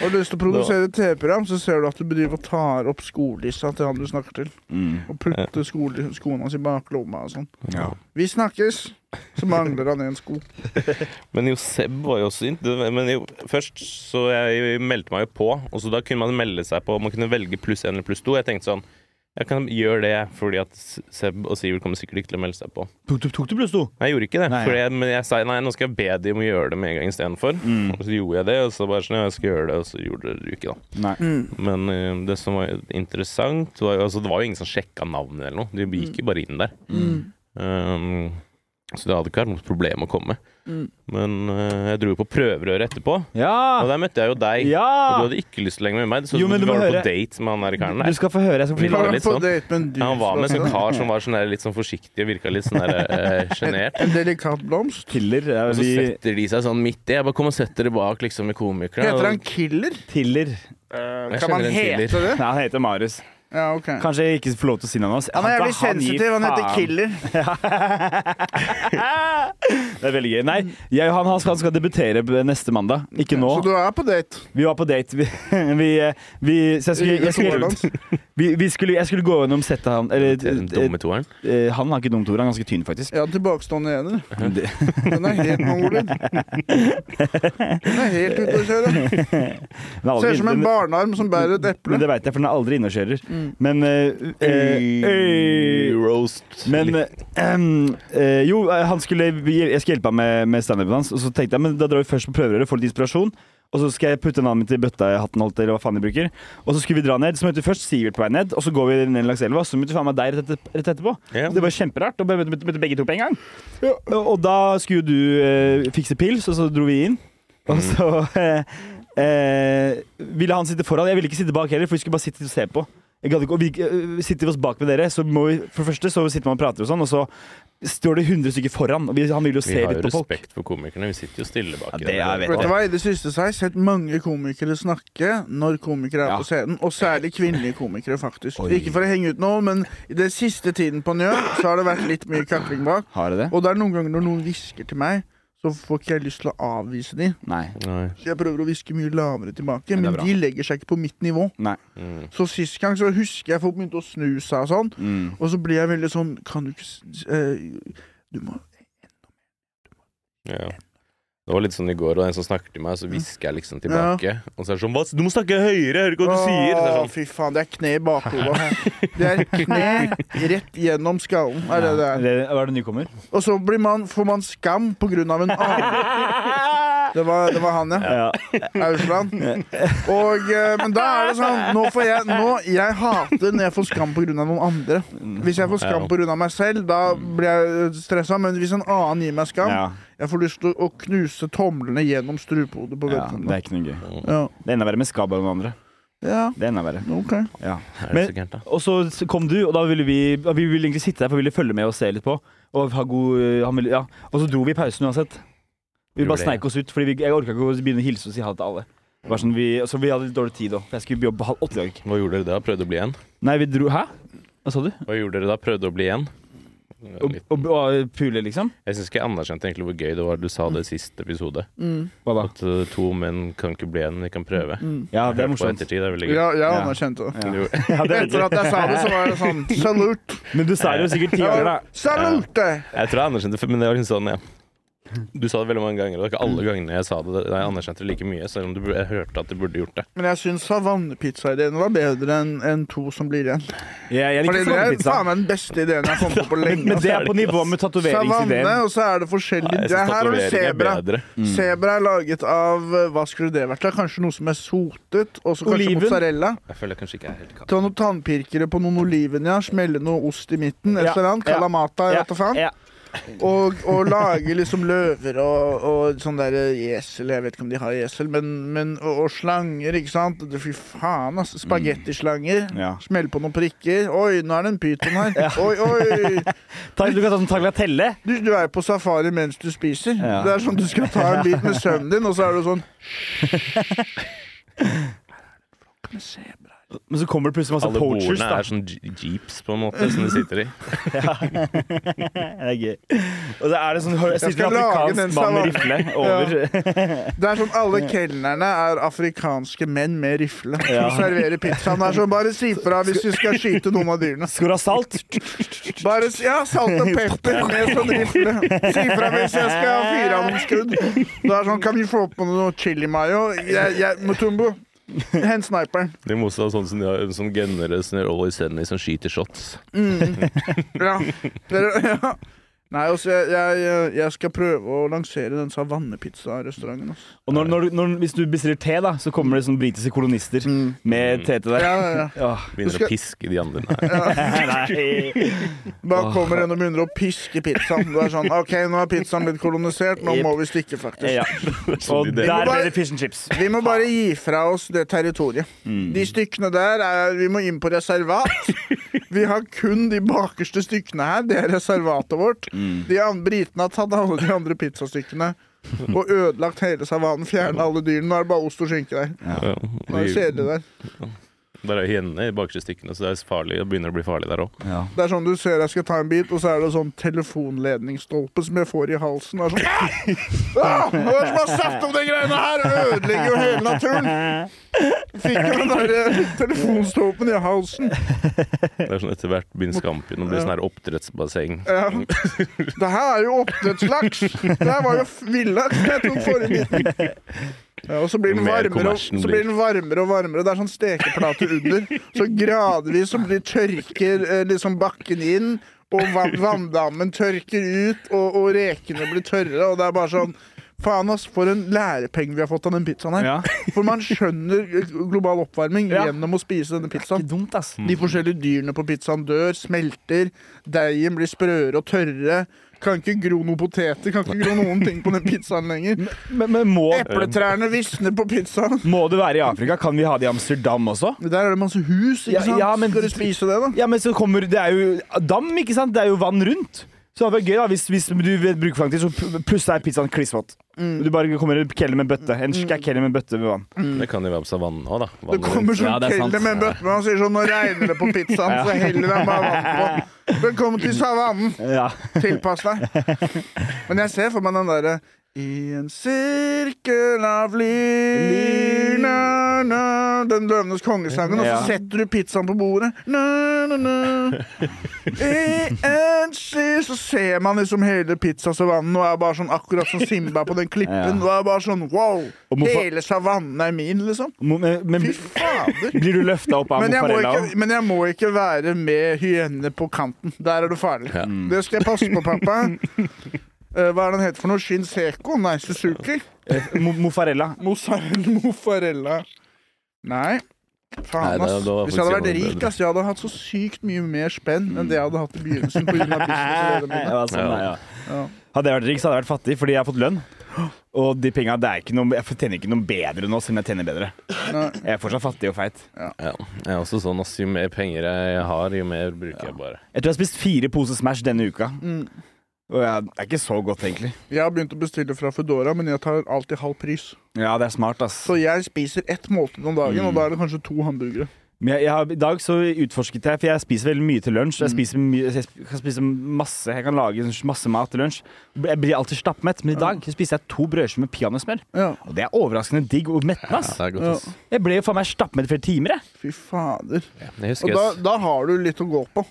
Speaker 3: Har du lyst til å produsere et TV-program, så ser du at du bedriver og tar opp skolissa til han du snakker til.
Speaker 1: Mm.
Speaker 3: Og putter skole, skoene hans i baklomma og sånn.
Speaker 1: Ja.
Speaker 3: Vi snakkes! Så mangler han en sko.
Speaker 2: Men jo, Seb var jo også inn. det- Men jo, først så jeg meldte meg jo på, og så da kunne man melde seg på. Man kunne velge pluss én eller pluss to. Jeg tenkte sånn Jeg kan gjøre det, fordi at Seb og Sivert kommer sikkert ikke til å melde seg på.
Speaker 1: Tok, du- tok du pluss to?
Speaker 2: Nei, jeg gjorde ikke det,
Speaker 1: Nei,
Speaker 2: for
Speaker 1: ja.
Speaker 2: jeg, men jeg sa nei, nå skal jeg be de om å gjøre det med en gang istedenfor. Og Så gjorde jeg det, og så bare sånn Ja, jeg skal gjøre det, og så gjorde dere det ikke, da.
Speaker 1: Nei.
Speaker 2: Men eh, det som var interessant, var jo altså, Det var jo ingen som sjekka navnet eller noe. De gikk jo bare inn der.
Speaker 3: Mm.
Speaker 2: Um, så det hadde ikke vært noe problem å komme.
Speaker 1: Mm.
Speaker 2: Men eh, jeg dro jo på prøverøret etterpå, og
Speaker 1: Ja!
Speaker 2: der møtte jeg jo deg. Og du
Speaker 1: Ah. Ja!
Speaker 2: hadde ikke lyst til å henge med meg. Det så ut
Speaker 1: Jo,
Speaker 2: som
Speaker 1: men
Speaker 2: du
Speaker 1: du må
Speaker 2: var
Speaker 1: høre.
Speaker 2: på date med han der karen
Speaker 1: Du
Speaker 2: der.
Speaker 1: skal få høre. Jeg skal
Speaker 2: Vil du
Speaker 1: fortelle.
Speaker 2: ha litt sånn?
Speaker 3: date med en dyr
Speaker 2: Ja, han var med en
Speaker 1: <laughs>
Speaker 3: slåsskamp.
Speaker 2: sånn kar som var sånn der, litt sånn forsiktig og virka litt sånn der, eh, sjenert.
Speaker 3: En delikat blomst.
Speaker 1: Tiller. Ja,
Speaker 2: og så
Speaker 1: vi
Speaker 2: setter de seg sånn midt i. Jeg bare kom og setter dere bak liksom med komikerne.
Speaker 3: Heter han
Speaker 2: og- Eh,
Speaker 3: Killer?
Speaker 1: Tiller.
Speaker 2: Jeg
Speaker 3: Kan man
Speaker 2: kjenner en
Speaker 3: hete
Speaker 2: killer.
Speaker 3: det?
Speaker 1: Nei, han heter Marius.
Speaker 3: Ja, ok.
Speaker 1: Kanskje jeg ikke får lov til å si navnet hans.
Speaker 3: Han er jævlig sensitiv. Han heter Killer.
Speaker 1: Det er veldig gøy. Nei, jeg og han, han, skal, han skal debutere b- neste mandag. Ikke nå.
Speaker 3: Så du er på date?
Speaker 1: Vi var på date. Vi, <laughs> vi, eh, vi, så jeg skulle, jeg skulle,
Speaker 3: Tordans.
Speaker 1: vi, vi skulle, jeg skulle gå gjennom settet han Eller
Speaker 2: Den dumme toeren.
Speaker 1: eh, han har ikke dumt ord, han er ganske tynn, faktisk.
Speaker 3: Ja, tilbakestående
Speaker 1: <laughs>
Speaker 3: ener. Den er helt mongolid. Den er helt ute å
Speaker 1: <laughs>
Speaker 3: kjøre.
Speaker 1: Den er aldri
Speaker 3: Ser ut som
Speaker 1: inn-
Speaker 3: en
Speaker 1: den-
Speaker 3: barnearm som bærer et eple.
Speaker 1: Men det veit jeg, for den er aldri inne og kjører. Men eh, eh, eh,
Speaker 2: Roast.
Speaker 1: Men eh, ehm, eh, Jo, eh, han skulle jeg skulle hjelpe ham med, med standupen hans. Og så tenkte jeg, men da drar vi først på prøverøret, får litt inspirasjon. Og så skal jeg putte navnet mitt i bøtta jeg hatten holdt, eller hva faen jeg bruker. Og så skulle vi dra ned. Så møter vi først Sivert på vei ned, og så går vi ned langs elva. Og så møter vi faen meg deg rett, etter, rett etterpå.
Speaker 2: Ja.
Speaker 1: Det var kjemperart. Og møtte, møtte, møtte begge to på en gang. Og, og da skulle jo du eh, fikse pils, og så dro vi inn. Og
Speaker 2: Mhm.
Speaker 1: så eh, eh, ville han sitte foran. Jeg ville ikke sitte bak heller, for vi skulle bare sitte og se på. Jeg gadd ikke, og vi, eh, sitter vi oss bak med dere, så må vi, for det første så sitter man og prater og sånn, og så står det 100 stykker foran, og vi, han vil jo se
Speaker 2: Vi har jo
Speaker 1: litt på folk.
Speaker 2: respekt for komikerne. Vi sitter jo stille bak.
Speaker 1: Ja,
Speaker 2: i
Speaker 1: det er-
Speaker 2: der.
Speaker 1: vet
Speaker 3: Vet du hva, I det siste så har jeg sett mange komikere snakke når komikere er
Speaker 1: Ja.
Speaker 3: på scenen. Og særlig kvinnelige komikere, faktisk.
Speaker 1: Oi.
Speaker 3: Ikke for å henge ut noen, men i den siste tiden på Njø så har det vært litt mye kakling bak.
Speaker 1: Har jeg det?
Speaker 3: Og det er noen ganger når noen hvisker til meg, så får ikke jeg lyst til å avvise de.
Speaker 1: Nei.
Speaker 2: Nei.
Speaker 3: Så jeg prøver å hviske mye lavere
Speaker 1: Men
Speaker 3: tilbake,
Speaker 1: det er
Speaker 3: men
Speaker 1: bra.
Speaker 3: de legger seg ikke på mitt nivå.
Speaker 1: Nei.
Speaker 2: Mm.
Speaker 3: Så sist gang så husker jeg folk begynte å snu seg og sånn.
Speaker 1: Mm.
Speaker 3: Og så blir jeg veldig sånn Kan du ikke s- s- eh, Du må
Speaker 2: Ja. Det var litt sånn i går, og en som snakker til meg, så hvisker jeg liksom tilbake. Og så er det sånn Mats, du må snakke høyere, jeg hører ikke hva du sier! Så er det
Speaker 3: Å,
Speaker 2: sånn,
Speaker 3: fy faen. Det er kne i
Speaker 2: <laughs>
Speaker 3: bakhodet. Det er kne rett gjennom skallen. Er det det er.
Speaker 1: Eller, Hva er det
Speaker 3: <laughs>
Speaker 1: nykommer?
Speaker 3: Og så blir man, får man skam på grunn av en annen. Det var, det var han, ja.
Speaker 1: Ja.
Speaker 3: Ausland. Og, eh, men da er det sånn Nå får jeg nå, Jeg hater når jeg får skam pga. noen andre. Hvis jeg får skam
Speaker 2: Ja.
Speaker 3: pga. meg selv, da blir jeg stressa. Men hvis en annen gir meg skam,
Speaker 1: ja.
Speaker 3: jeg får lyst til å knuse tomlene gjennom strupehodet på
Speaker 1: ja. Det
Speaker 3: vedkommende.
Speaker 1: er ikke noe gøy.
Speaker 3: Ja.
Speaker 1: Det er enda verre med skabb enn andre.
Speaker 3: Ja,
Speaker 1: Det er enda verre.
Speaker 3: OK.
Speaker 1: Ja.
Speaker 2: Er det
Speaker 1: Men-
Speaker 2: så gærent, da?
Speaker 1: Og så s- kom du, og da ville vi Vi ville egentlig sitte der, for vi ville følge med og se litt på. Og ha god øh, han ville, ja. Og så dro vi i pausen uansett. Vi
Speaker 2: Gjorde
Speaker 1: bare
Speaker 2: det.
Speaker 1: sneik oss ut, Fordi vi, jeg orka ikke å begynne å hilse og si ha det til alle. Det var Sånn, vi, så vi hadde litt dårlig tid òg, for jeg skulle jobbe halv åtte i dag.
Speaker 2: Hva gjorde dere da? Prøvde å bli igjen?
Speaker 1: Nei, vi dro Hæ? Hva sa du?
Speaker 2: Hva gjorde dere da? Prøvde å bli igjen?
Speaker 1: Å
Speaker 2: Litt.
Speaker 1: å- å pule, liksom?
Speaker 2: Jeg syns ikke jeg anerkjente egentlig hvor gøy det var du sa det i siste episode.
Speaker 3: Mm.
Speaker 1: Hva da?
Speaker 2: At uh, to menn kan ikke bli igjen, de kan prøve.
Speaker 3: Mm.
Speaker 1: Ja,
Speaker 2: Jeg
Speaker 1: det
Speaker 2: hørte
Speaker 1: er
Speaker 2: på
Speaker 1: morsomt.
Speaker 2: Ettertid, det er veldig gøy.
Speaker 3: Ja, jeg
Speaker 1: Ja.
Speaker 3: anerkjente det.
Speaker 1: Ja.
Speaker 2: Du-
Speaker 1: Ja, det er
Speaker 3: Etter
Speaker 1: veldig-
Speaker 3: at jeg sa det, så var det
Speaker 1: <laughs>
Speaker 3: sånn Salute!
Speaker 1: Men du sa det jo sikkert tidligere, da.
Speaker 3: Salute!
Speaker 2: Jeg tror jeg anerkjente det, men det var liksom sånn, ja. Du sa det veldig mange ganger, og det var ikke alle gangene jeg sa det. Jeg anerkjente det like mye, selv om du, bur- jeg hørte at du burde gjort det.
Speaker 3: Men jeg syns savannepizza-ideen var bedre enn enn to som blir igjen.
Speaker 1: Ja, jeg
Speaker 3: Fordi
Speaker 1: liker
Speaker 3: det er
Speaker 1: savannepizza.
Speaker 3: faen meg den beste ideen jeg har kommet på på
Speaker 1: <laughs> Men,
Speaker 3: lenge. altså.
Speaker 1: men det er på nivå med
Speaker 3: Savanne,
Speaker 1: tatoveringsideen.
Speaker 3: og så er det forskjellig
Speaker 2: Nei, jeg
Speaker 3: Det
Speaker 2: synes
Speaker 3: Her har du
Speaker 2: tatovering er
Speaker 3: sebra.
Speaker 2: bedre.
Speaker 1: Mm.
Speaker 3: Sebra er laget av eh, Hva skulle det vært? da? Kanskje noe som er sotet? Og så kanskje
Speaker 1: Oliven.
Speaker 3: mozzarella?
Speaker 2: Jeg føler jeg kanskje ikke er helt katt.
Speaker 3: Ta noen tannpirkere på noen oliven, ja. Smelle noe ost i midten. Et
Speaker 1: Ja,
Speaker 3: eller annet.
Speaker 1: ja,
Speaker 3: Kalamata, jeg
Speaker 1: Ja,
Speaker 3: vet da faen.
Speaker 1: ja.
Speaker 3: Og, og lage liksom løver og, og sånn der esel Jeg vet ikke om de har esel, men, men og, og slanger, ikke sant? Det- Fy faen, altså. Spagettislanger.
Speaker 1: Mm. Ja.
Speaker 3: Smell på noen prikker. Oi, nå er det en
Speaker 1: <laughs>
Speaker 3: pyton her. Oi, oi!
Speaker 1: Ta- Du kan ta sånn tagliatelle.
Speaker 3: Du, du er på safari mens du spiser.
Speaker 1: Ja.
Speaker 3: Det er sånn Du skal ta en bit med søvnen din, og så er du sånn
Speaker 1: Men så kommer det plutselig masse
Speaker 2: Alle
Speaker 1: poachers.
Speaker 2: bordene
Speaker 1: Altså, da
Speaker 2: er sånn je- jeeps, på en måte, som de sitter i.
Speaker 1: Det er gøy. Og så er det sånn hø-
Speaker 3: skal
Speaker 1: sitter en
Speaker 3: lage den
Speaker 1: afrikansk mann med rifle
Speaker 3: savannen.
Speaker 1: over. <laughs>
Speaker 3: Det er sånn alle kelnerne er afrikanske menn med rifle.
Speaker 1: Ja.
Speaker 3: Som serverer pizzaen. Det er sånn, bare si fra hvis du skal skyte noen av dyrene.
Speaker 1: Skal du ha salt?
Speaker 3: Bare si, Ja, salt og pepper med sånn rifle. Si fra hvis jeg skal ha fire av noen skudd. Det er sånn, Kan vi få på noe chili mayo? Jeg, jeg, Mutumbo, hent sniperen.
Speaker 2: De må også ha sånn som de har, sånn gunnere som gjør always enemy, som skyter shots.
Speaker 3: Mm. Ja. Dere, ja. Nei, altså, jeg, jeg, jeg skal prøve å lansere den savannepizza-restauranten. Altså.
Speaker 1: Og når, når, når, hvis du bestiller te, da, så kommer det sånne britiske kolonister med te til deg.
Speaker 3: Ja, Mm. ja, ja.
Speaker 1: Åh,
Speaker 2: Begynner
Speaker 3: skal-
Speaker 2: å piske de andre. Nei.
Speaker 1: nei.
Speaker 3: Da kommer en og begynner å piske pizzaen. Du er sånn, ok, Nå er pizzaen blitt kolonisert, nå må vi stikke, faktisk.
Speaker 1: Ja. Og
Speaker 2: de
Speaker 1: der
Speaker 2: deler.
Speaker 1: ble det fish and chips.
Speaker 3: Vi må bare gi fra oss det territoriet. De stykkene der er, Vi må inn på reservat. Vi har kun de bakerste stykkene her. Det er reservatet vårt. De an- Britene har tatt alle de andre pizzastykkene og ødelagt hele savannen. Fjerna alle dyrene. Nå er det bare ost og skinke der.
Speaker 2: Ja,
Speaker 3: Nå er det
Speaker 2: de-
Speaker 3: kjedelig der.
Speaker 2: Der er hyenene i bakste stykkene, så det er farlig. Det begynner å bli farlig der òg.
Speaker 1: Ja.
Speaker 3: Det er sånn du ser jeg skal ta en bit, og så er det sånn telefonledningsstolpe som jeg får i halsen. Og er sånn, <laughs> ah! Ah! Hva er det som har sagt om de greiene her? Ødelegger jo hele naturen. Fikk jo den der eh, telefonstolpen i halsen.
Speaker 2: Det er sånn etter hvert begynner skampen å bli sånn her oppdrettsbasseng.
Speaker 3: Ja. Det her er jo oppdrettslaks! Det her var jo f- villaks jeg tok forrige biten. Ja, og så blir, den
Speaker 2: Jo mer
Speaker 3: varmere, og,
Speaker 2: kommersen
Speaker 3: så blir den varmere og varmere. Det er sånn stekeplate under. Så gradvis så blir tørker eh, liksom bakken inn, og vann, vanndammen tørker ut, og, og rekene blir tørre, og det er bare sånn Faen, ass, for en lærepenge vi har fått av den pizzaen her.
Speaker 1: Ja.
Speaker 3: For man skjønner eh, global oppvarming
Speaker 1: Ja.
Speaker 3: gjennom å spise denne pizzaen.
Speaker 1: Ikke dumt, ass.
Speaker 3: De forskjellige dyrene på pizzaen dør, smelter, deigen blir sprøere og tørrere. Kan ikke gro noen poteter, kan ikke gro noen ting på den pizzaen lenger.
Speaker 1: <laughs> Men, men må,
Speaker 3: Epletrærne visner på pizzaen.
Speaker 1: må det være i Afrika? Kan vi ha det i Amsterdam også?
Speaker 3: Der er det masse hus, ikke
Speaker 1: Ja,
Speaker 3: sant?
Speaker 1: ja, men-
Speaker 3: Skal du spise det, da?
Speaker 1: Ja, men så kommer Det er jo dam, ikke sant? Det er jo vann rundt. Så det hadde vært gøy da, hvis, hvis du vet bruker for lang tid, så pl- plutselig er pizzaen klissvåt.
Speaker 3: Mm.
Speaker 1: Du bare kommer i kelle med en bøtte. En skæ kelle med en bøtte med vann.
Speaker 2: Det kan jo være på savannen òg, da.
Speaker 3: Det
Speaker 2: Vannet
Speaker 3: kommer
Speaker 2: rundt.
Speaker 3: sånn
Speaker 1: Ja, det er sant.
Speaker 3: keller med en bøtte, men han sier sånn 'nå regner det på pizzaen', så heller han bare
Speaker 1: <laughs>
Speaker 3: vann på. Velkommen til savannen.
Speaker 1: Ja.
Speaker 3: Tilpass deg. Men jeg ser for meg den derre I en sirkel av lyn na, na, Den Løvenes kongesangen, og så
Speaker 1: Ja.
Speaker 3: setter du pizzaen på bordet. Na, na, na. I en sir Så ser man liksom hele pizzasavannen og er bare sånn akkurat som Simba på den klippen. Og er bare sånn wow!
Speaker 1: Og hvorfor-
Speaker 3: Hele savannen er min, liksom.
Speaker 1: Mo- Men, men
Speaker 3: Fy fader.
Speaker 1: blir du løfta opp av
Speaker 3: Men jeg, må
Speaker 1: mozzarella?
Speaker 3: ikke, men jeg må ikke være med hyene på kanten. Der er du farlig.
Speaker 2: Mm.
Speaker 3: Det skal jeg passe på, pappa. Eh, Hva er den het for noe? Shinseko? Nei, Suzuki?
Speaker 1: Mo mozzarella.
Speaker 3: Mozzarella? Mozzarella. Nei.
Speaker 2: Nei,
Speaker 3: Faen,
Speaker 2: det-
Speaker 3: ass.
Speaker 2: det var
Speaker 3: Hvis jeg hadde
Speaker 2: faktisk
Speaker 3: vært
Speaker 2: noe
Speaker 3: rik,
Speaker 2: bedre.
Speaker 3: ass, jeg hadde hatt så sykt mye mer spenn enn det jeg hadde hatt i begynnelsen. På grunn av businesslederne mine.
Speaker 1: Ja, sånn,
Speaker 2: Ja.
Speaker 1: ja.
Speaker 3: Ja.
Speaker 1: Hadde jeg vært rik, så hadde jeg vært fattig fordi jeg har fått lønn. Og de penga det er ikke noe Jeg tjener ikke noe bedre nå, selv om jeg tjener bedre.
Speaker 3: Nei.
Speaker 1: Jeg er fortsatt fattig og feit.
Speaker 2: Ja. Jeg er også sånn ass, jo mer penger jeg har, jo mer bruker jeg bare.
Speaker 1: Jeg tror jeg har spist fire poser Smash denne uka.
Speaker 3: Mm.
Speaker 1: Og jeg det er ikke så godt, egentlig.
Speaker 3: Jeg har begynt å bestille fra Foodora, men jeg tar alltid halv pris.
Speaker 1: Ja, det er smart, ass.
Speaker 3: Så jeg spiser ett måltid om dagen, og da er det kanskje to hamburgere.
Speaker 1: Men jeg, jeg har, I dag så utforsket jeg, for jeg spiser veldig mye til lunsj. Jeg spiser mye, jeg sp- kan spise masse, jeg kan lage sånn masse mat til lunsj. Jeg blir alltid stappmett, men i dag spiste jeg to brødskiver med peanøttsmør.
Speaker 3: Ja,
Speaker 1: Og det er overraskende digg og mettende, ass.
Speaker 2: Det er godt, ass.
Speaker 1: Jeg ble jo faen meg stappmett i flere timer, jeg.
Speaker 3: fy fader.
Speaker 2: Jeg
Speaker 3: Og
Speaker 2: husker
Speaker 3: da,
Speaker 2: jeg
Speaker 3: da har du litt å gå på.
Speaker 2: s-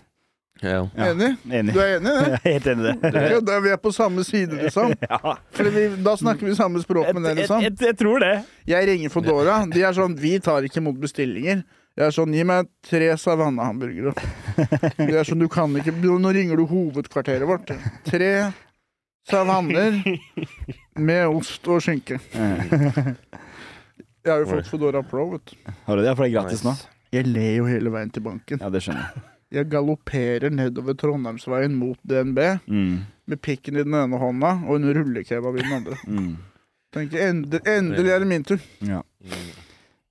Speaker 2: ja.
Speaker 3: Enig?
Speaker 1: Enig. <laughs>
Speaker 3: Du er enig i det?
Speaker 1: Jeg er helt enig i det.
Speaker 3: Ja, da er vi er på samme side, liksom.
Speaker 1: Ja.
Speaker 3: Fordi vi, da snakker vi samme språk
Speaker 1: Jeg,
Speaker 3: med det,
Speaker 1: jeg,
Speaker 3: liksom.
Speaker 1: jeg, jeg tror det.
Speaker 3: Jeg ringer Foodora. De er sånn Vi tar ikke imot bestillinger. Jeg er sånn Gi meg tre Savanna-hamburgere. De er sånn Du kan ikke Nå ringer du hovedkvarteret vårt. Tre savanner med ost og skinke. Jeg har jo fått Foodora Pro, vet du.
Speaker 1: Har du det? Jeg får det gratis nå.
Speaker 2: Nice.
Speaker 3: Jeg ler jo hele veien til banken.
Speaker 1: Ja, det skjønner <laughs> jeg.
Speaker 3: Jeg galopperer nedover Trondheimsveien mot DNB
Speaker 1: Mm.
Speaker 3: med pikken i den ene hånda og en rullekebab i den andre.
Speaker 1: Mm.
Speaker 3: Tenker, ende, endelig er det min tur.
Speaker 1: Ja.
Speaker 2: Mm.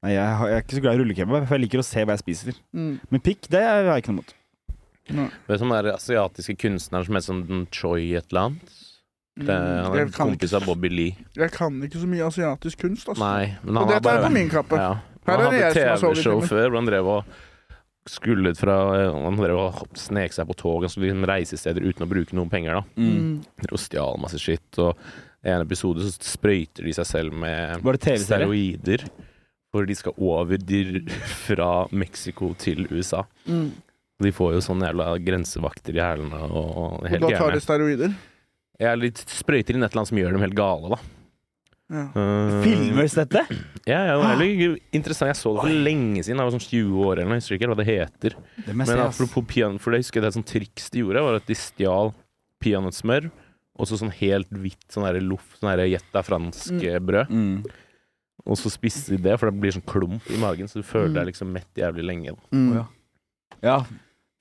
Speaker 1: Nei, jeg, har- jeg er ikke så glad i rullekebab, for jeg liker å se hva jeg spiser.
Speaker 3: Mm.
Speaker 1: Men pikk, det har jeg ikke noe mot.
Speaker 2: Vet du om den sånn asiatiske kunstneren som heter sånn den Choi et eller annet? Det, han
Speaker 3: Jeg,
Speaker 2: er en
Speaker 3: Mm. kan
Speaker 2: kompis
Speaker 3: ikke,
Speaker 2: av Bobby Lee.
Speaker 3: jeg kan ikke så mye asiatisk kunst, altså.
Speaker 2: Nei, men
Speaker 3: Og
Speaker 2: han
Speaker 3: det
Speaker 2: har
Speaker 3: tar jeg
Speaker 2: bare
Speaker 3: på min kappe. Her
Speaker 2: Ja. Han
Speaker 3: er det
Speaker 2: hadde
Speaker 3: jeg som har sovet i
Speaker 2: TV-show
Speaker 3: timen.
Speaker 2: før hvor han drev og skulle ut fra eh, Han drev og snek seg på tog og skulle liksom reisesteder uten å bruke noen penger, da.
Speaker 3: Mm.
Speaker 2: Og stjal masse skitt. Og i en episode så sprøyter de seg selv med
Speaker 1: Var det TV-serie?
Speaker 2: steroider. Hvor de skal over de, fra Mexico til USA.
Speaker 3: Mm.
Speaker 2: De får jo sånne jævla grensevakter i hælene og og
Speaker 3: Og
Speaker 2: helt
Speaker 3: da tar
Speaker 2: gærne.
Speaker 3: de steroider?
Speaker 2: Jeg er litt sprøyter inn et eller annet som gjør dem helt gale, da.
Speaker 3: Ja.
Speaker 2: Eh,
Speaker 1: Filmes dette?
Speaker 2: Ja, ja,
Speaker 3: Ah.
Speaker 2: det er veldig interessant. Jeg så det for lenge siden. Jeg var sånn 20 år eller noe. Jeg husker ikke hva det heter.
Speaker 1: Det må jeg
Speaker 2: Men
Speaker 1: se, ass.
Speaker 2: apropos peanøtt, for jeg husker det et sånt triks de gjorde, var at de stjal peanøttsmør og så sånn helt hvitt sånn der loff, sånn der gjett er fransk eh, brød.
Speaker 1: Mm.
Speaker 2: Og så spiste de det, for det blir sånn klump i magen, så du føler
Speaker 3: Mm.
Speaker 2: deg liksom mett jævlig lenge. da.
Speaker 3: Mm.
Speaker 1: Å, ja. Ja.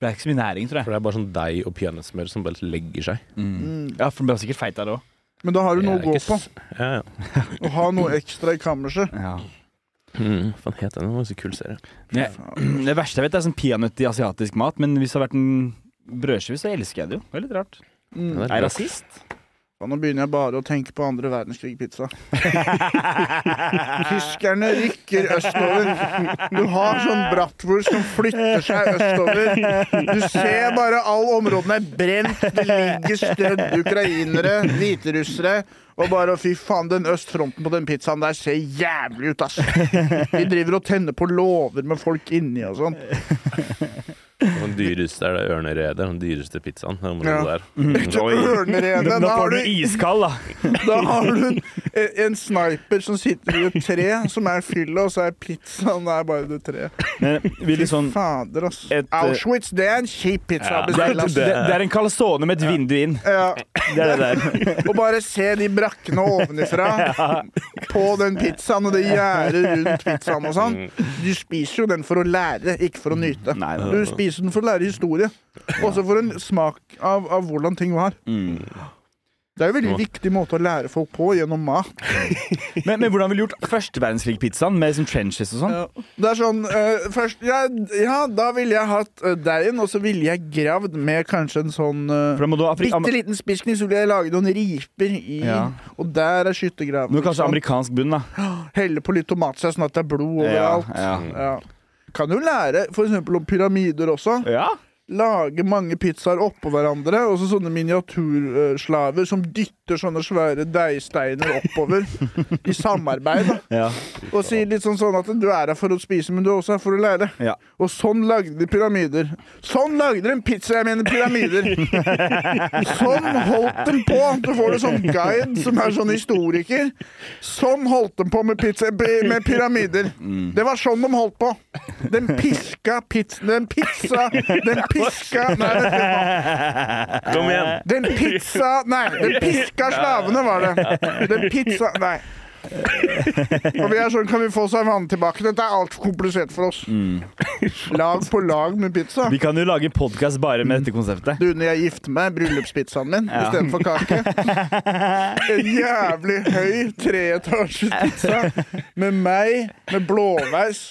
Speaker 1: Det er ikke så mye næring, tror jeg.
Speaker 2: For det er bare sånn deig og peanøttsmør som bare legger seg.
Speaker 3: Mm.
Speaker 1: Ja, for den ble sikkert feit av det òg.
Speaker 3: Men da har du noe å
Speaker 2: Jeg er
Speaker 3: gå
Speaker 2: ikke
Speaker 3: på.
Speaker 2: s- Ja, ja.
Speaker 3: Og ha noe ekstra i kammerset.
Speaker 1: Ja.
Speaker 2: Mm, hva faen het den? Det var en så kul serie.
Speaker 1: Det verste jeg vet, er sånn peanøtt i asiatisk mat, men hvis det har vært en brødskive, så elsker jeg det jo. Det er litt rart.
Speaker 3: Mm.
Speaker 2: Den
Speaker 1: Er jeg
Speaker 2: <laughs>
Speaker 1: rasist?
Speaker 3: Ja, Nå begynner jeg bare å tenke på andre verdenskrig-pizza.
Speaker 1: Fysj.
Speaker 3: Tyskerne rykker østover. Du har sånn bratwurst som flytter seg østover. Du ser bare alle områdene er brent. Det ligger strødd ukrainere, hviterussere. Og bare fy faen, den østfronten på den pizzaen der ser jævlig ut, ass. De driver og tenner på låver med folk inni og sånn.
Speaker 2: Og Den dyreste er det Ørneredet, den dyreste pizzaen. Det området
Speaker 3: Ja. Mm.
Speaker 2: der.
Speaker 3: Ørnerede.
Speaker 1: Nå
Speaker 3: Da har
Speaker 1: får du
Speaker 3: du
Speaker 1: iskald, da.
Speaker 3: Da har du en, en sniper som sitter i et tre, som er fylla, og så er pizzaen der bare det treet.
Speaker 1: <laughs> Men vil du sånn
Speaker 3: Fader, ass.
Speaker 1: Et, eh,
Speaker 3: Auschwitz, det er en kjip pizza å
Speaker 1: <laughs> det er,
Speaker 3: bestille, ass.
Speaker 1: det, det er en calzone med et vindu inn.
Speaker 3: Ja,
Speaker 1: <laughs> Det er det der.
Speaker 3: og bare se de brakkene
Speaker 1: <laughs>
Speaker 3: ovenifra på den pizzaen og det gjerdet rundt pizzaen og sånn. Du spiser jo den for å lære, ikke for å nyte.
Speaker 1: Mm. Nei, nei,
Speaker 3: Du spiser den for å lære historie, også for en smak av, av hvordan ting var.
Speaker 1: Mm.
Speaker 3: Det er jo en veldig viktig måte å lære folk på gjennom mat.
Speaker 1: Men, men hvordan ville du gjort første verdenskrig-pizzaen med sånn trenches og sånn?
Speaker 3: Det er sånn eh, Først ja, ja, da ville jeg hatt eh, deigen, og så ville jeg gravd med kanskje en sånn
Speaker 1: For
Speaker 3: uh,
Speaker 1: da må du ha afri- am-
Speaker 3: bitte liten spisskniv, så ville jeg lage noen riper i
Speaker 1: Ja.
Speaker 3: Og der er skyttergraven.
Speaker 1: Men kanskje
Speaker 3: ikke sant?
Speaker 1: amerikansk bunn, da.
Speaker 3: <gasps> Helle på litt tomatsaus sånn at det er
Speaker 1: Ja,
Speaker 3: blod overalt.
Speaker 1: ja.
Speaker 3: Ja. Kan jo lære f.eks. om pyramider også.
Speaker 1: Ja.
Speaker 3: Lage mange pizzaer oppå hverandre, og så sånne miniatyrslaver som dytter sånne svære deigsteiner
Speaker 1: <laughs>
Speaker 3: oppover i samarbeid. da.
Speaker 1: ja.
Speaker 3: Og sier litt sånn, sånn at du er her for å spise, men du er også her for å lære.
Speaker 1: Ja.
Speaker 3: Og sånn lagde de pyramider. Sånn lagde de en pizza, jeg mener pyramider! sånn holdt de på! Du får det som guide som er sånn historiker. Sånn holdt de på med, pizza, med pyramider. Det var sånn de holdt på. Den piska pizza Den pizza Den piska Nei, vent litt nå.
Speaker 2: Kom
Speaker 1: Eh,
Speaker 2: igjen!
Speaker 1: <laughs>
Speaker 3: Den pizza Nei, den piska slavene, var det. Den pizza Nei. Og vi er sånn, kan vi få savannen tilbake? Dette er altfor komplisert for oss. Lag på lag med pizza.
Speaker 1: Mm. Vi kan jo lage podkast bare med dette konseptet.
Speaker 3: Du, når jeg gifter meg, bryllupspizzaen min
Speaker 1: Ja.
Speaker 3: istedenfor kake. <laughs> En jævlig høy treetasjes pizza med meg med blåveis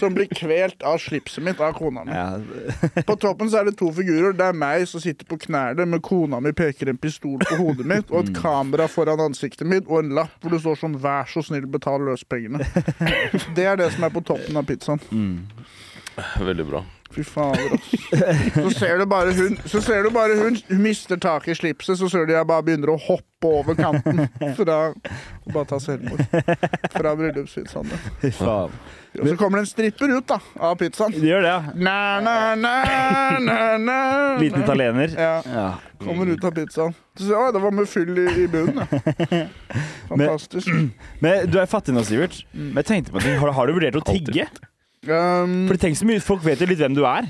Speaker 3: som blir kvelt av slipset mitt av kona mi.
Speaker 1: Ja.
Speaker 3: På toppen så er det to figurer. Det er meg som sitter på knærne med kona mi peker en pistol på hodet mitt,
Speaker 1: Mm.
Speaker 3: og et kamera foran ansiktet mitt, og en lapp hvor det står sånn 'vær så snill, betal løspengene'. <laughs> Det er det som er på toppen av pizzaen.
Speaker 2: <laughs> Veldig bra.
Speaker 3: Fy fader, ass. Så ser du bare hun Så ser du bare hun, hun mister taket i slipset, så ser du jeg bare begynner å hoppe over kanten fra og bare ta selvmord. Fra bryllupspizzaen. da.
Speaker 1: Fy faen.
Speaker 3: Og så kommer det en stripper ut da, av pizzaen.
Speaker 1: Du gjør det, ja?
Speaker 3: Na, na, na, na, na.
Speaker 1: Liten italiener.
Speaker 3: Ja.
Speaker 1: Ja.
Speaker 3: Kommer ut av pizzaen. Så sier jeg, «Oi, det var med fyll i, i
Speaker 1: <laughs>
Speaker 3: bunnen. ja.» Fantastisk.
Speaker 1: Men du er fattig nå, Sivert. Men jeg tenkte på en ting. Har, har du vurdert å tigge?
Speaker 3: Um,
Speaker 1: For tenk så mye folk vet jo litt hvem du er.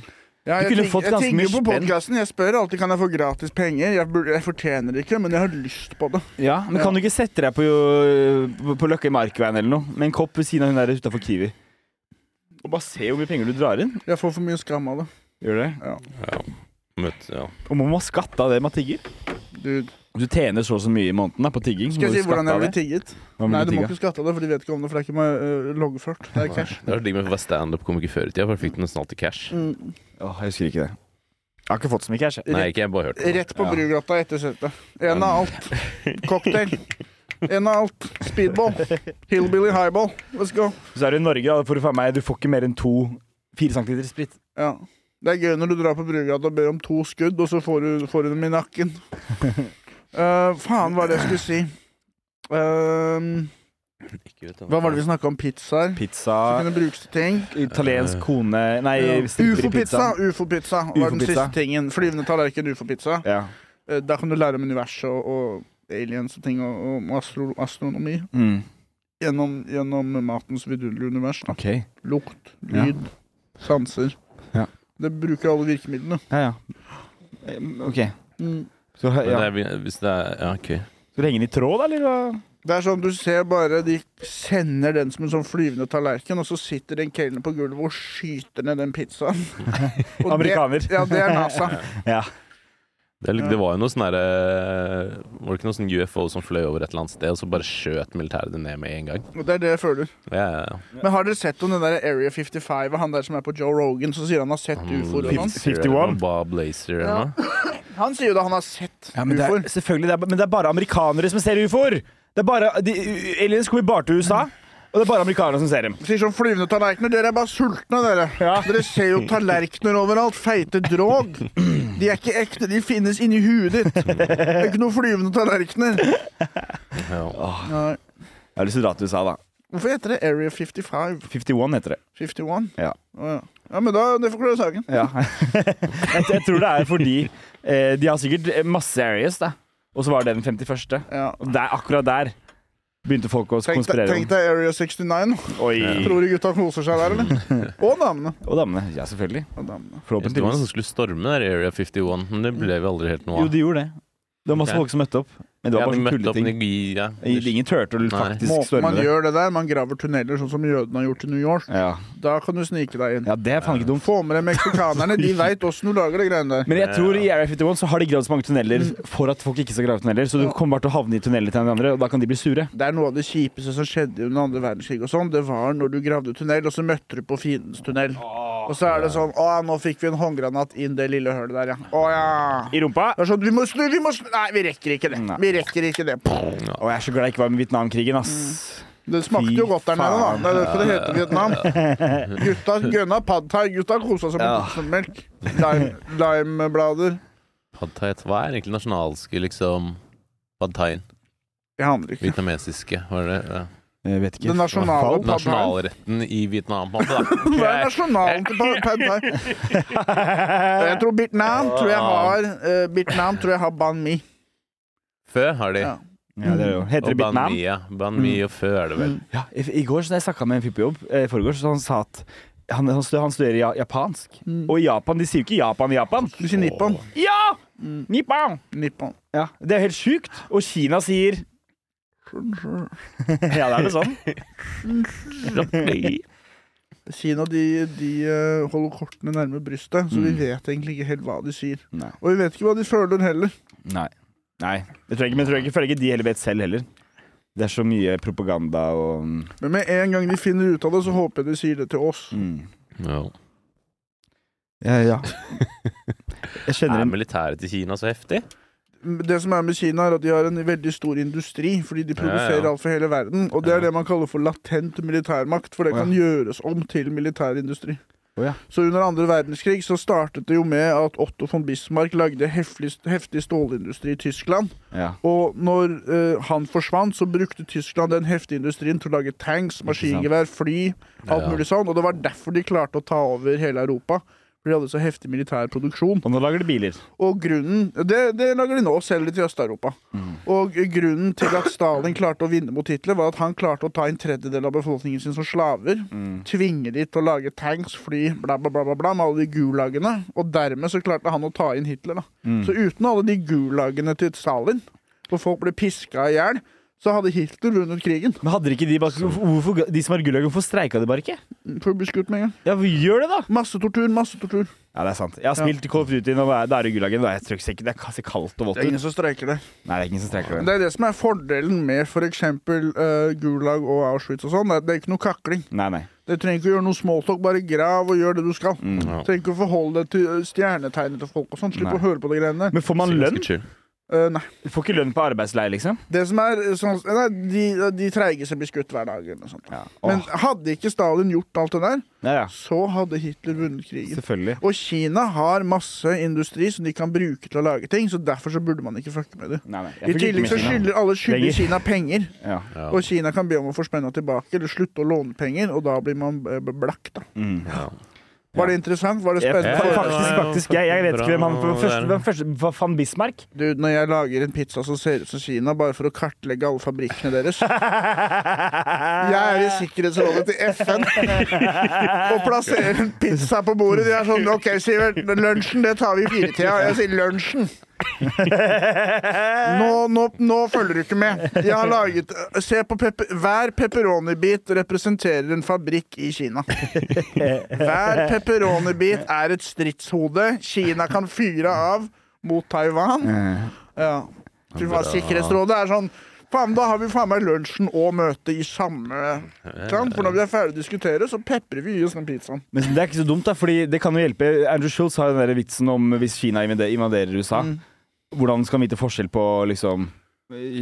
Speaker 1: du
Speaker 3: ja, jeg
Speaker 1: kunne
Speaker 3: tenk-
Speaker 1: fått ganske
Speaker 3: Jeg
Speaker 1: mye
Speaker 3: tenker på
Speaker 1: spenn.
Speaker 3: podkasten. Jeg spør alltid kan jeg få gratis penger. Jeg, burde, jeg fortjener det ikke, men jeg har lyst på det.
Speaker 1: Ja, Men kan du ikke sette deg på, på, på Løkka i Markveien eller noe med en kopp ved siden av hun der utafor Kiwi? Og bare se hvor mye penger du drar inn.
Speaker 3: Jeg får for mye skam av det.
Speaker 1: Gjør det?
Speaker 2: Møtt, ja.
Speaker 1: Og må man skatte av det man tigger?
Speaker 3: Dude.
Speaker 1: Om du tjener så og så mye i måneden da, på tigging,
Speaker 3: Skal
Speaker 1: må du
Speaker 3: jeg si
Speaker 1: skatte
Speaker 3: hvordan jeg
Speaker 1: av
Speaker 3: ble
Speaker 1: det.
Speaker 3: tigget?
Speaker 1: Hva
Speaker 3: Nei,
Speaker 1: må
Speaker 3: du
Speaker 1: du
Speaker 3: må
Speaker 1: tigge?
Speaker 3: ikke skatte av det, for de vet ikke om det, for det er ikke eh, loggført. Det er cash.
Speaker 2: Det var digg med å være standup-komiker før i tida, for da fikk du nesten alltid cash.
Speaker 3: Mm.
Speaker 1: Åh, jeg husker ikke det. Jeg har ikke fått så mye cash. jeg.
Speaker 2: Nei, ikke jeg bare hørte det.
Speaker 3: Rett på
Speaker 1: Ja.
Speaker 3: Brugata etter setet. En av alt. Cocktail. En av alt. Speedball. Hillbilly highball. Let's go.
Speaker 1: <laughs> Så er du i Norge, da får du faen meg Du får ikke mer enn to fire centiliter sprit.
Speaker 3: Ja. Det er gøy når du drar på Brugata og ber om to skudd, og så får du, får du dem i
Speaker 1: <laughs>
Speaker 3: nakken. Eh, faen, hva var det jeg skulle si? Ehm,
Speaker 2: <laughs> Ikke vet jeg.
Speaker 3: hva var det vi snakka om? Pizzaer? Som
Speaker 1: Pizza,
Speaker 3: kunne brukes til ting.
Speaker 1: italiensk kone Nei,
Speaker 3: Ja.
Speaker 1: stripper i
Speaker 3: Ufo-pizza! Ufo-pizza var den
Speaker 1: Ufo-pizza.
Speaker 3: siste tingen. Flyvende tallerken, ufo-pizza.
Speaker 1: Ja.
Speaker 3: Eh, der kan du lære om universet og, og aliens og ting, og, og astro astronomi.
Speaker 1: Mm.
Speaker 3: Gjennom, gjennom matens vidunderlige univers. Da.
Speaker 1: OK.
Speaker 3: Lukt,
Speaker 1: Ja.
Speaker 3: lyd, sanser.
Speaker 1: Ja.
Speaker 3: Det bruker alle virkemidlene.
Speaker 1: Ja, ja. Eh, OK.
Speaker 3: Mm.
Speaker 1: Så,
Speaker 2: Men
Speaker 1: ja.
Speaker 2: det er, hvis det er, ja, ok.
Speaker 1: Skal du henge den i tråd, eller? hva?
Speaker 3: Det er sånn, Du ser bare de sender den som en sånn flyvende tallerken, og så sitter den kelneren på gulvet og skyter ned den
Speaker 1: <laughs>
Speaker 3: pizzaen. Og
Speaker 1: Amerikaner.
Speaker 3: Det, ja, det er NASA.
Speaker 1: <laughs> Ja.
Speaker 2: Det, er litt- det var jo noe sånn derre Var det ikke noe sånn UFO som fløy over et eller annet sted, og så bare skjøt militæret det ned med en gang?
Speaker 3: Og det er det jeg føler.
Speaker 2: Ja, ja, ja.
Speaker 3: Men har dere sett om den der Area 55 og han der som er på Joe Rogan, som sier han har sett
Speaker 1: Mm,
Speaker 3: ufoer? og sånn?
Speaker 1: 51?
Speaker 2: Mm, Bob Lazer eller noe?
Speaker 3: Han sier jo da han har sett
Speaker 1: Ja, men, det er,
Speaker 3: ufoer.
Speaker 1: selvfølgelig, det er, men det er bare amerikanere som ser ufoer! Det er bare, de, aliens kommer bare til USA, og det er bare amerikanere som ser dem.
Speaker 3: Sier sånn flyvende tallerkener. Dere er bare sultne, dere.
Speaker 1: Ja.
Speaker 3: Dere ser jo tallerkener overalt. Feite drog. De er ikke ekte. De finnes inni huet ditt. Det er ikke noen flyvende
Speaker 1: <laughs>
Speaker 3: tallerkener. <laughs>
Speaker 2: Ja.
Speaker 3: Nei.
Speaker 1: Jeg har lyst til å dra til USA, da.
Speaker 3: Hvorfor heter det Area 55?
Speaker 1: 51 heter det.
Speaker 3: 51?
Speaker 1: Ja.
Speaker 3: Å, ja. ja, men da, det forklarer saken.
Speaker 1: Ja. <laughs> jeg, jeg tror det er fordi eh, de har sikkert masse areas, da. Og så var det den 51.
Speaker 3: Ja.
Speaker 1: Og der, akkurat der begynte folk å
Speaker 3: Tenk, deg,
Speaker 1: konspirere.
Speaker 3: tenk deg Area 69.
Speaker 1: Oi.
Speaker 3: Tror du gutta koser seg
Speaker 1: <laughs>
Speaker 3: der, eller? Og damene.
Speaker 1: Og damene. Ja, selvfølgelig.
Speaker 3: Og damene.
Speaker 2: Det var noen
Speaker 1: Forhåpentligvis.
Speaker 2: som liksom skulle storme der i Area 51, men det ble jo aldri helt noe
Speaker 1: Jo,
Speaker 2: av.
Speaker 1: de gjorde det. Det var masse
Speaker 2: Ok.
Speaker 1: folk som møtte opp. Men det
Speaker 2: Ja,
Speaker 1: var bare
Speaker 2: de
Speaker 1: sånne
Speaker 2: møtte opp,
Speaker 1: tulleting.
Speaker 2: men de- ja.
Speaker 1: Ingen turtle
Speaker 2: Nei.
Speaker 1: faktisk
Speaker 3: Måten man
Speaker 1: storme det.
Speaker 3: gjør det der, man graver tunneler, sånn som jødene har gjort i New York.
Speaker 1: Ja.
Speaker 3: Da kan du snike deg inn.
Speaker 1: ja, det er faen ikke dumt.
Speaker 3: Få med deg meksikanerne.
Speaker 1: <laughs>
Speaker 3: De veit åssen du lager de greiene der.
Speaker 1: Men jeg tror i Area 51 så har de gravd så mange tunneler for at folk ikke skal grave tunneler, så du
Speaker 3: Mm. Ja.
Speaker 1: kommer bare til å havne i tunneler til hverandre, og da kan de bli sure.
Speaker 3: Det er noe av det kjipeste som skjedde under andre verdenskrig. og sånn. Det var når du gravde tunnel, og så møtte du på fiendens tunnel. Og så er det sånn Å, nå fikk vi en håndgranat inn det lille hølet der, ja. Å ja.
Speaker 1: I rumpa.
Speaker 3: Det er sånn, vi må snu, vi må snu Nei, vi rekker ikke det.
Speaker 1: Nei.
Speaker 3: Vi rekker ikke det.
Speaker 1: Og jeg er så glad jeg ikke var med i Vietnamkrigen, ass.
Speaker 3: Det smakte jo
Speaker 1: Fy
Speaker 3: godt der nede, da.
Speaker 1: faen.
Speaker 3: Det er derfor det heter Vietnam.
Speaker 1: <laughs>
Speaker 3: Gutta gønna pad thai. Gutta kosa seg med
Speaker 1: Ja.
Speaker 3: kokosmelk. Lime- Limeblader.
Speaker 2: Pad Thai, hva er egentlig nasjonalske, liksom? Pad Thaien.
Speaker 3: Jeg aner ikke.
Speaker 2: Vietnamesiske, var det det?
Speaker 1: Jeg vet ikke.
Speaker 3: Mm. Den nasjonale pad thai.
Speaker 2: Nasjonalretten i Vietnam, på en måte.
Speaker 1: <laughs>
Speaker 2: da.
Speaker 3: Hva er nasjonalen til pa- pad thai? Jeg tror Vietnam tror jeg har eh, Vietnam tror jeg har banh mi.
Speaker 2: Fø har de.
Speaker 3: Ja.
Speaker 1: Ja, det er jo. Heter
Speaker 2: Og
Speaker 1: det
Speaker 2: Ban
Speaker 1: Vietnam? Mm.
Speaker 2: Mi, ja. Ban Mi og Fø er det vel.
Speaker 1: Ja, i, I går så når jeg snakka med en fyr på jobb, eh, i forgårs, så han sa at han, han, studerer, han studerer ja- japansk. Og i Japan, de sier jo ikke Japan i Japan.
Speaker 3: Du sier nippon.
Speaker 1: Ja! Nippon!
Speaker 3: Nippon.
Speaker 1: Ja, Det er helt sjukt. Og Kina sier <laughs> Ja, det er det sånn.
Speaker 3: Kina de, de eh, holder kortene nærme brystet, så vi vet egentlig ikke helt hva de sier.
Speaker 1: Mm. Nei.
Speaker 3: Og vi vet ikke hva de føler heller.
Speaker 1: Nei. Nei. Jeg tror ikke, men jeg tror ikke, jeg føler ikke de heller vet selv heller. Det er så mye propaganda og
Speaker 3: Men med en gang de finner ut av det, så håper jeg de sier det til oss.
Speaker 1: mm.
Speaker 2: Ja.
Speaker 1: Ja, ja. Jeg kjenner
Speaker 2: Er
Speaker 1: en
Speaker 2: militæret til Kina så heftig?
Speaker 3: Det som er med Kina, er at de har en veldig stor industri, fordi de produserer
Speaker 2: Ja, ja.
Speaker 3: alt for hele verden. Og det
Speaker 2: Ja.
Speaker 3: er det man kaller for latent militærmakt, for det
Speaker 1: Å, ja.
Speaker 3: kan gjøres om til militærindustri.
Speaker 1: Å, ja.
Speaker 3: Så under andre verdenskrig så startet det jo med at Otto von Bismarck lagde heftig, heftig stålindustri i Tyskland.
Speaker 1: ja.
Speaker 3: Og når eh, han forsvant, så brukte Tyskland den heftige industrien til å lage tanks, maskingevær, fly, alt
Speaker 2: Ja.
Speaker 3: mulig sånn. Og det var derfor de klarte å ta over hele Europa. For de hadde så heftig militær produksjon.
Speaker 1: Og nå lager de biler.
Speaker 3: Og grunnen Det, det lager de nå, selger det til Øst-Europa. Og grunnen til at Stalin klarte å vinne mot Hitler, var at han klarte å ta en tredjedel av befolkningen sin som slaver. Tvinge de til å lage tanks, fly, bla, bla, bla, bla, bla med alle de gulagene. Og dermed så klarte han å ta inn Hitler, da. Så uten alle de gulagene til Stalin, hvor folk ble piska i hjel, så hadde Hitler vunnet krigen.
Speaker 1: Men hadde ikke de bare Hvorfor ga- de som har gullagen, hvorfor streika de bare ikke?
Speaker 3: For å bli skutt med en gang.
Speaker 1: Ja, hva gjør det, da!
Speaker 3: Masse tortur, masse tortur.
Speaker 1: Ja, det er sant. Jeg har spilt Call of Duty, og da er det gullagen. Da er jeg tror ikke det er kasse kaldt og vått
Speaker 3: Det er
Speaker 1: ut.
Speaker 3: ingen som streiker det.
Speaker 1: Nei, det er ingen som streiker
Speaker 3: Det er det som er fordelen med f.eks. Uh, Gulag og Auschwitz og sånn. Det er- det er ikke noe kakling.
Speaker 1: Nei, nei.
Speaker 3: Du trenger ikke å gjøre noe smalltalk, bare grav og gjør det du skal.
Speaker 2: Ja.
Speaker 3: Trenger ikke å forholde deg til eh, stjernetegnet til folk og sånn. Slipp
Speaker 1: Mm, Nei.
Speaker 3: å høre på de greiene der.
Speaker 1: Men får man
Speaker 2: Sikkert
Speaker 1: lønn?
Speaker 2: ganske chill.
Speaker 3: Eh, nei.
Speaker 1: Du får ikke lønn på arbeidsleie, liksom?
Speaker 3: Det som er eh, sånn eh, Nei, de, de treigeste blir skutt hver dag eller noe sånt.
Speaker 1: Ja.
Speaker 3: Men hadde ikke Stalin gjort alt det der,
Speaker 1: ja, ja.
Speaker 3: så hadde Hitler vunnet krigen.
Speaker 1: Selvfølgelig.
Speaker 3: Og Kina har masse industri som de kan bruke til å lage ting, så derfor så burde man ikke fucke med det.
Speaker 1: Nei, nei.
Speaker 3: I
Speaker 1: Jeg fikk ikke
Speaker 3: tillegg så
Speaker 1: med meg.
Speaker 3: skylder alle skylder
Speaker 1: Lenger.
Speaker 3: Kina penger,
Speaker 1: Ja.
Speaker 2: Ja.
Speaker 3: og Kina kan be om å få spenna tilbake eller slutte å låne penger, og da blir man eh, blakk, da.
Speaker 1: Mm.
Speaker 3: Var det interessant? Var det
Speaker 1: Jeg,
Speaker 3: spennende?
Speaker 2: Ja, ja, ja.
Speaker 1: faktisk, faktisk, jeg, jeg vet ikke hvem han
Speaker 2: Bra,
Speaker 1: var først,
Speaker 2: det er-
Speaker 1: hvem først, hva faen <laughs> Bismarck?
Speaker 3: Du, når jeg lager en pizza som ser ut som Kina, bare for å kartlegge alle fabrikkene deres Jeg er i Sikkerhetsrådet til FN og plasserer en pizza på bordet. De er sånn OK, Sivert, lunsjen, det tar vi i firetida. Jeg sier lunsjen. Nå, nå, nå følger du ikke med. Jeg har laget Se på pepper... Hver pepperoni-bit representerer en fabrikk i Kina. Hver pepperoni-bit er et stridshode Kina kan fyre av mot Taiwan. Ja. Fy faen, Sikkerhetsrådet er sånn Faen, da har vi faen meg lunsjen og møtet i samme sant? For når vi er ferdig å diskutere, så peprer vi i oss den pizzaen.
Speaker 1: Men det er ikke så dumt, da, fordi det kan jo hjelpe. Andrew Schultz har jo den der vitsen om hvis Kina invade- invaderer USA. Hvordan skal han vite forskjell på liksom,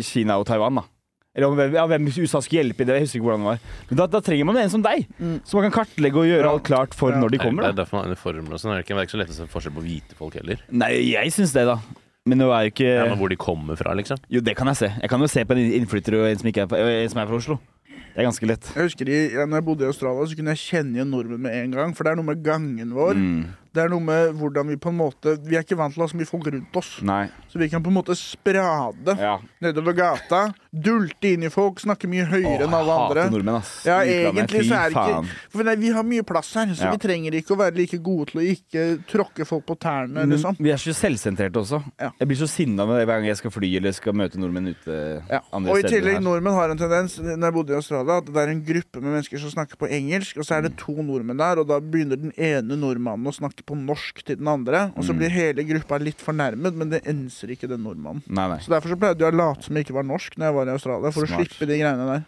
Speaker 1: Kina og Taiwan, da? Eller om hvem, ja, hvem USA skulle hjelpe i det. Jeg husker ikke hvordan det var. Men da, da trenger man en som deg, som man kan kartlegge og gjøre
Speaker 3: Ja.
Speaker 1: alt klart for
Speaker 3: Ja.
Speaker 1: når de
Speaker 2: Det
Speaker 1: kommer.
Speaker 2: er
Speaker 1: da.
Speaker 2: derfor man har uniformer og sånn. er Det ikke- det er ikke så lett å se forskjell på hvite folk heller.
Speaker 1: Nei, jeg syns det, da. Men nå er jo ikke
Speaker 2: Ja, men hvor de kommer fra, liksom.
Speaker 1: Jo, det kan jeg se. Jeg kan jo se på en innflytter og en som, ikke er, fra- en som er fra Oslo. Det er ganske lett.
Speaker 3: Jeg husker i, ja, når jeg bodde i Australia, så kunne jeg kjenne igjen nordmenn med en gang. For det er noe med gangen vår.
Speaker 1: Mm.
Speaker 3: Det er noe med hvordan vi på en måte Vi er ikke vant til å ha så mye folk rundt oss.
Speaker 1: Nei.
Speaker 3: Så vi kan på en måte sprade
Speaker 1: Ja.
Speaker 3: nedover gata. Dulte inn i folk, snakke mye høyere enn alle andre.
Speaker 1: Hater nordmenn, ass.
Speaker 3: Ja,
Speaker 1: I utlandet.
Speaker 3: egentlig så er
Speaker 1: Fy
Speaker 3: det ikke
Speaker 1: faen.
Speaker 3: For nei, vi har mye plass her, så
Speaker 1: Ja.
Speaker 3: vi trenger ikke å være like gode til å ikke tråkke folk på tærne,
Speaker 1: Mm.
Speaker 3: liksom.
Speaker 1: Vi er så selvsentrerte også.
Speaker 3: Ja.
Speaker 1: Jeg blir så sinna med det hver gang jeg skal fly eller skal møte nordmenn ute
Speaker 3: Ja.
Speaker 1: andre
Speaker 3: Og i
Speaker 1: steder.
Speaker 3: tillegg,
Speaker 1: her.
Speaker 3: nordmenn har en tendens Når jeg bodde i Australia, at det er en gruppe med mennesker som snakker på engelsk, og så
Speaker 1: Mm.
Speaker 3: er det to nordmenn der, og da begynner den ene nordmannen å snakke på norsk til den andre, og
Speaker 1: Mm.
Speaker 3: så blir hele gruppa litt fornærmet, men det enser ikke den nordmannen.
Speaker 1: Nei, nei.
Speaker 3: Så derfor så pleide jeg å late som jeg ikke var norsk når jeg var i Australia, for å
Speaker 1: Smart.
Speaker 3: slippe de greiene der.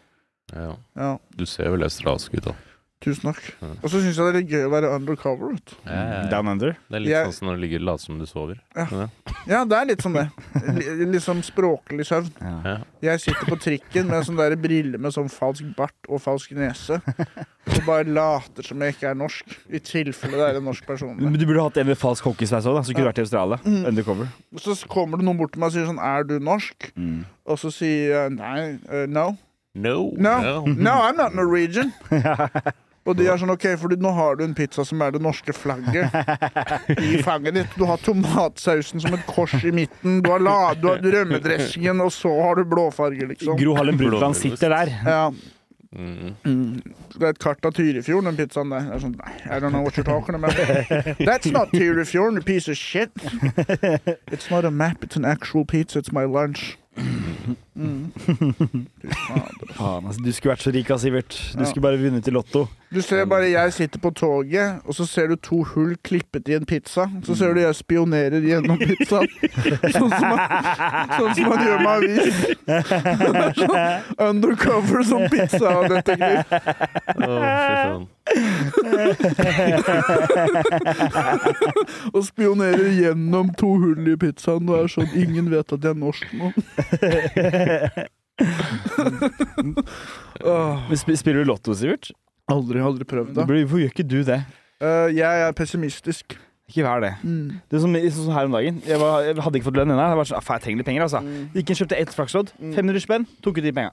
Speaker 2: Ja.
Speaker 3: Ja,
Speaker 2: Du ser vel australsk ut, da.
Speaker 3: tusen takk. Og så syns jeg det er litt gøy å være undercover. Vet. du.
Speaker 1: Down under.
Speaker 2: Det er litt
Speaker 3: Jeg-
Speaker 2: sånn som når du ligger og later som du sover.
Speaker 3: Ja, det er litt som det. Li- Litt som språklig søvn.
Speaker 2: Ja.
Speaker 3: Jeg sitter på trikken med sånn der brille med sånn falsk bart og falsk nese. Og bare later som jeg ikke er norsk, i tilfelle det er en norsk person der.
Speaker 1: Men du burde hatt en med falsk hockeysveis òg, så kunne du vært i Australia.
Speaker 3: Mm.
Speaker 1: Undercover.
Speaker 3: Og Så kommer det noen bort til meg og sier sånn Er du norsk? Og så sier jeg nei. eh, no.
Speaker 2: No.
Speaker 3: No. No, I'm not Norwegian. Og de er sånn OK, for nå har du en pizza som er det norske flagget i fanget ditt. Du har tomatsausen som et kors i midten. Du har, la, du har rømmedressingen, og så har du blåfarge, liksom.
Speaker 1: Gro Harlem Brundtland sitter der.
Speaker 3: Ja,
Speaker 2: Mm.
Speaker 3: Det er et kart av Tyrifjorden, den pizzaen der. Jeg er sånn, nei, I don't know what you're talking about. That's not Tyrifjorden, you piece of shit. It's not a map, it's an actual pizza, it's my lunch. Mm. Fy fader.
Speaker 1: Faen, altså, du skulle vært så rik, ass, Sivert. Du
Speaker 3: Ja.
Speaker 1: skulle bare vunnet i Lotto.
Speaker 3: Du ser bare jeg sitter på toget, og så ser du to hull klippet i en pizza. Så ser du jeg spionerer gjennom pizzaen. Sånn som man, sånn som man gjør med avis. Det er sånn Undercover som pizzadetektiv. Og spionerer gjennom to hull i pizzaen. Det er sånn ingen vet at jeg er norsk nå. Åh,
Speaker 1: Men sp spiller du Lotto, Sivert?
Speaker 3: aldri, aldri prøvd det.
Speaker 1: Blir- Hvorfor gjør ikke du det?
Speaker 3: Eh, jeg er pessimistisk.
Speaker 1: Ikke vær det.
Speaker 3: Mm.
Speaker 1: Det er som, sånn som her om dagen. Jeg, var, jeg hadde ikke fått lønn ennå. Jeg var sånn, "Ah, faen, jeg trenger litt penger, altså. Gikk inn, kjøpte ett flakslodd. 500 spenn. Tok ut de penga.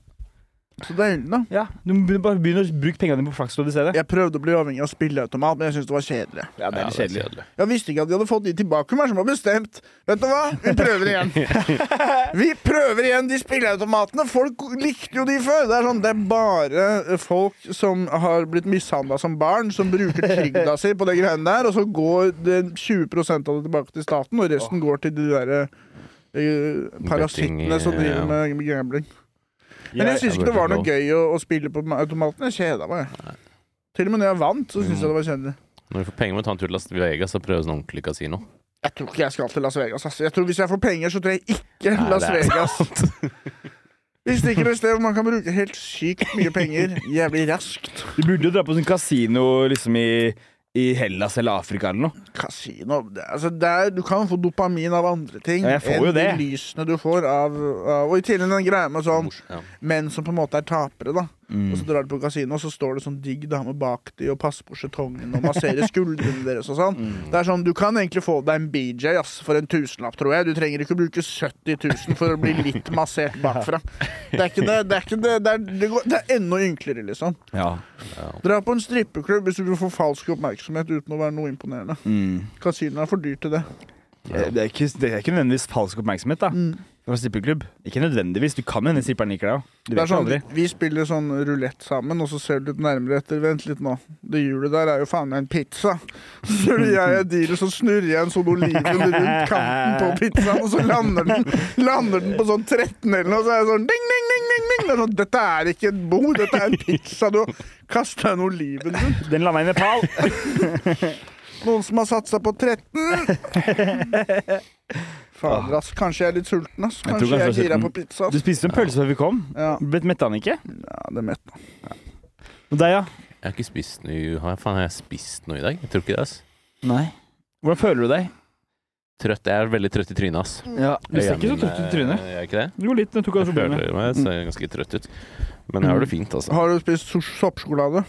Speaker 3: Så deilig, da.
Speaker 1: Mm. Ja, du må begynne- bare begynne å bruke pengene dine på flakslodd i stedet.
Speaker 3: Jeg prøvde å bli avhengig av spilleautomat, men jeg syntes det var kjedelig.
Speaker 1: Ja, <laughs> det er litt kjedelig.
Speaker 3: Jeg visste ikke at de hadde fått de tilbake, men som var bestemt. Vet du hva? Vi prøver <laughs> igjen. Vi prøver igjen de spilleautomatene. Folk likte jo de før. Det er, sånn, det er bare eh, folk som har blitt mishandla som barn, som bruker trygda si på de greiene der, og så går det 20 av det tilbake til staten, og resten går til de derre parasittene som
Speaker 2: Betting,
Speaker 3: driver
Speaker 2: ja.
Speaker 3: med gambling. Men jeg syns ikke det var noe gøy å, å spille på automaten. Jeg kjeda meg. Til og med når jeg vant, så syntes jeg det var kjedelig.
Speaker 2: Når vi får penger, må vi ta en tur til Las Vegas og prøve sånn ordentlig kasino.
Speaker 3: Jeg tror ikke jeg skal til Las Vegas. Ass. Jeg tror Hvis jeg får penger, så tror jeg ikke
Speaker 2: Nei,
Speaker 3: Las
Speaker 2: det er
Speaker 3: Vegas. Vi stikker et sted hvor man kan bruke helt sykt mye
Speaker 2: <laughs>
Speaker 3: penger jævlig raskt.
Speaker 1: Du burde jo dra på sånn kasino liksom i, i Hellas eller Afrika eller noe.
Speaker 3: Kasino det- altså der, Du kan få dopamin av andre ting
Speaker 1: Ja, jeg får
Speaker 3: enn
Speaker 1: jo
Speaker 3: de
Speaker 1: det.
Speaker 3: lysene du får av, av Og i tillegg den greia med sånn
Speaker 2: Ja.
Speaker 3: menn som på en måte er tapere, da. Og
Speaker 1: Mm.
Speaker 3: så drar du på kasino, og så står det sånn digg dame bak de og passer på skjetongen og masserer skuldrene deres og sånn.
Speaker 1: Mm.
Speaker 3: Det er sånn, Du kan egentlig få deg en BJ ass, for en tusenlapp, tror jeg. Du trenger ikke bruke 70 000 for å bli litt massert bakfra. Det er ikke det. Det er, ikke det, det er, det går, det er enda ynklere, liksom.
Speaker 1: Ja.
Speaker 3: Dra på en strippeklubb hvis du vil få falsk oppmerksomhet uten å være noe imponerende.
Speaker 1: Mm.
Speaker 3: Kasino er for dyrt til det.
Speaker 1: Eh, Det er, ikke, det er ikke nødvendigvis falsk oppmerksomhet, da.
Speaker 3: Mm.
Speaker 1: Fra strippeklubb. Ikke nødvendigvis. Du kan hende stripperen liker deg òg. Du
Speaker 3: Det
Speaker 1: vet
Speaker 3: er
Speaker 1: jo
Speaker 3: sånn,
Speaker 1: aldri.
Speaker 3: vi spiller sånn rulett sammen, og så ser du litt nærmere etter. Vent litt nå. Det hjulet der er jo faen meg en pizza. <laughs> Så ser du jeg er dealer, så snurrer jeg en sånn oliven rundt kanten på pizzaen, og så lander den, lander den på sånn 13 eller noe, og så er jeg sånn ding, ding, ding, ding, ding. Det er sånn, dette er ikke et bord, dette er en pizza. Du har kasta en oliven rundt.
Speaker 1: Den landa i
Speaker 3: <laughs>
Speaker 1: Nepal.
Speaker 3: Noen som har satsa på
Speaker 1: <laughs>
Speaker 3: 13. Fader, ass. Kanskje jeg er litt sulten, ass.
Speaker 1: Jeg tror
Speaker 3: Kanskje jeg
Speaker 1: kanskje
Speaker 3: er
Speaker 1: jeg er
Speaker 3: gira
Speaker 1: sulten.
Speaker 3: på pizza.
Speaker 1: Du
Speaker 3: ass.
Speaker 1: spiste en pølse før vi kom.
Speaker 3: Ja,
Speaker 1: Ble metta han ikke?
Speaker 3: ja, det er mett.
Speaker 1: Og deg, ja?
Speaker 2: Jeg har ikke spist noe Har jeg, faen, har jeg spist noe i dag? Jeg tror ikke det. ass
Speaker 1: Nei. Hvordan føler du deg?
Speaker 2: Trøtt. Jeg er veldig trøtt i trynet, ass.
Speaker 1: Ja, Du ser ikke så trøtt ut i trynet.
Speaker 2: Jeg er ikke det?
Speaker 1: Jo, litt. Jeg tok av
Speaker 2: Jeg
Speaker 1: problemet.
Speaker 3: <laughs>
Speaker 2: føler meg ser ganske trøtt ut. Men jeg har det fint,
Speaker 1: Mm.
Speaker 2: altså.
Speaker 3: Har du spist so- soppsjokolade?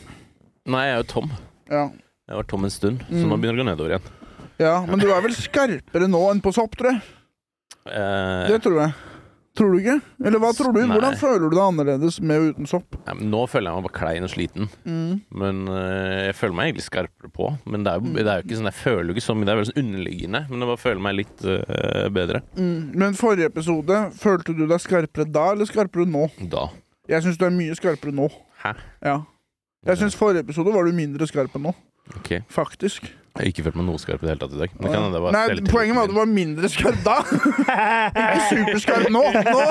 Speaker 2: Nei, jeg er jo tom.
Speaker 3: Ja.
Speaker 2: Jeg var tom en stund, så
Speaker 3: Mm.
Speaker 2: nå begynner det å gå nedover igjen.
Speaker 3: Ja, men du er vel skarpere nå enn på sopp, tror jeg.
Speaker 2: Eh,
Speaker 3: Det tror jeg. Tror du ikke? Eller hva tror du?
Speaker 2: Nei.
Speaker 3: Hvordan føler du deg annerledes med og uten sopp?
Speaker 2: ja, men nå føler jeg meg bare klein og sliten, men eh, jeg føler meg egentlig skarpere på. Men det er,
Speaker 1: Mm.
Speaker 2: jo, det er jo ikke sånn, jeg føler jo ikke så mye, det er veldig sånn underliggende, men jeg bare føler meg litt eh, bedre
Speaker 3: Mm. Men forrige episode, følte du deg skarpere da, eller skarpere nå?
Speaker 2: da.
Speaker 3: Jeg syns du er mye skarpere nå.
Speaker 2: Hæ?
Speaker 3: Ja. Jeg syns forrige episode var du mindre skarp enn nå.
Speaker 2: Ok.
Speaker 3: Faktisk.
Speaker 2: Jeg har ikke følt meg noe skarp i det hele tatt i dag. Men det kan hende det var
Speaker 3: Nei, poenget var at du var mindre skarp da! Ikke superskarp nå! Nå!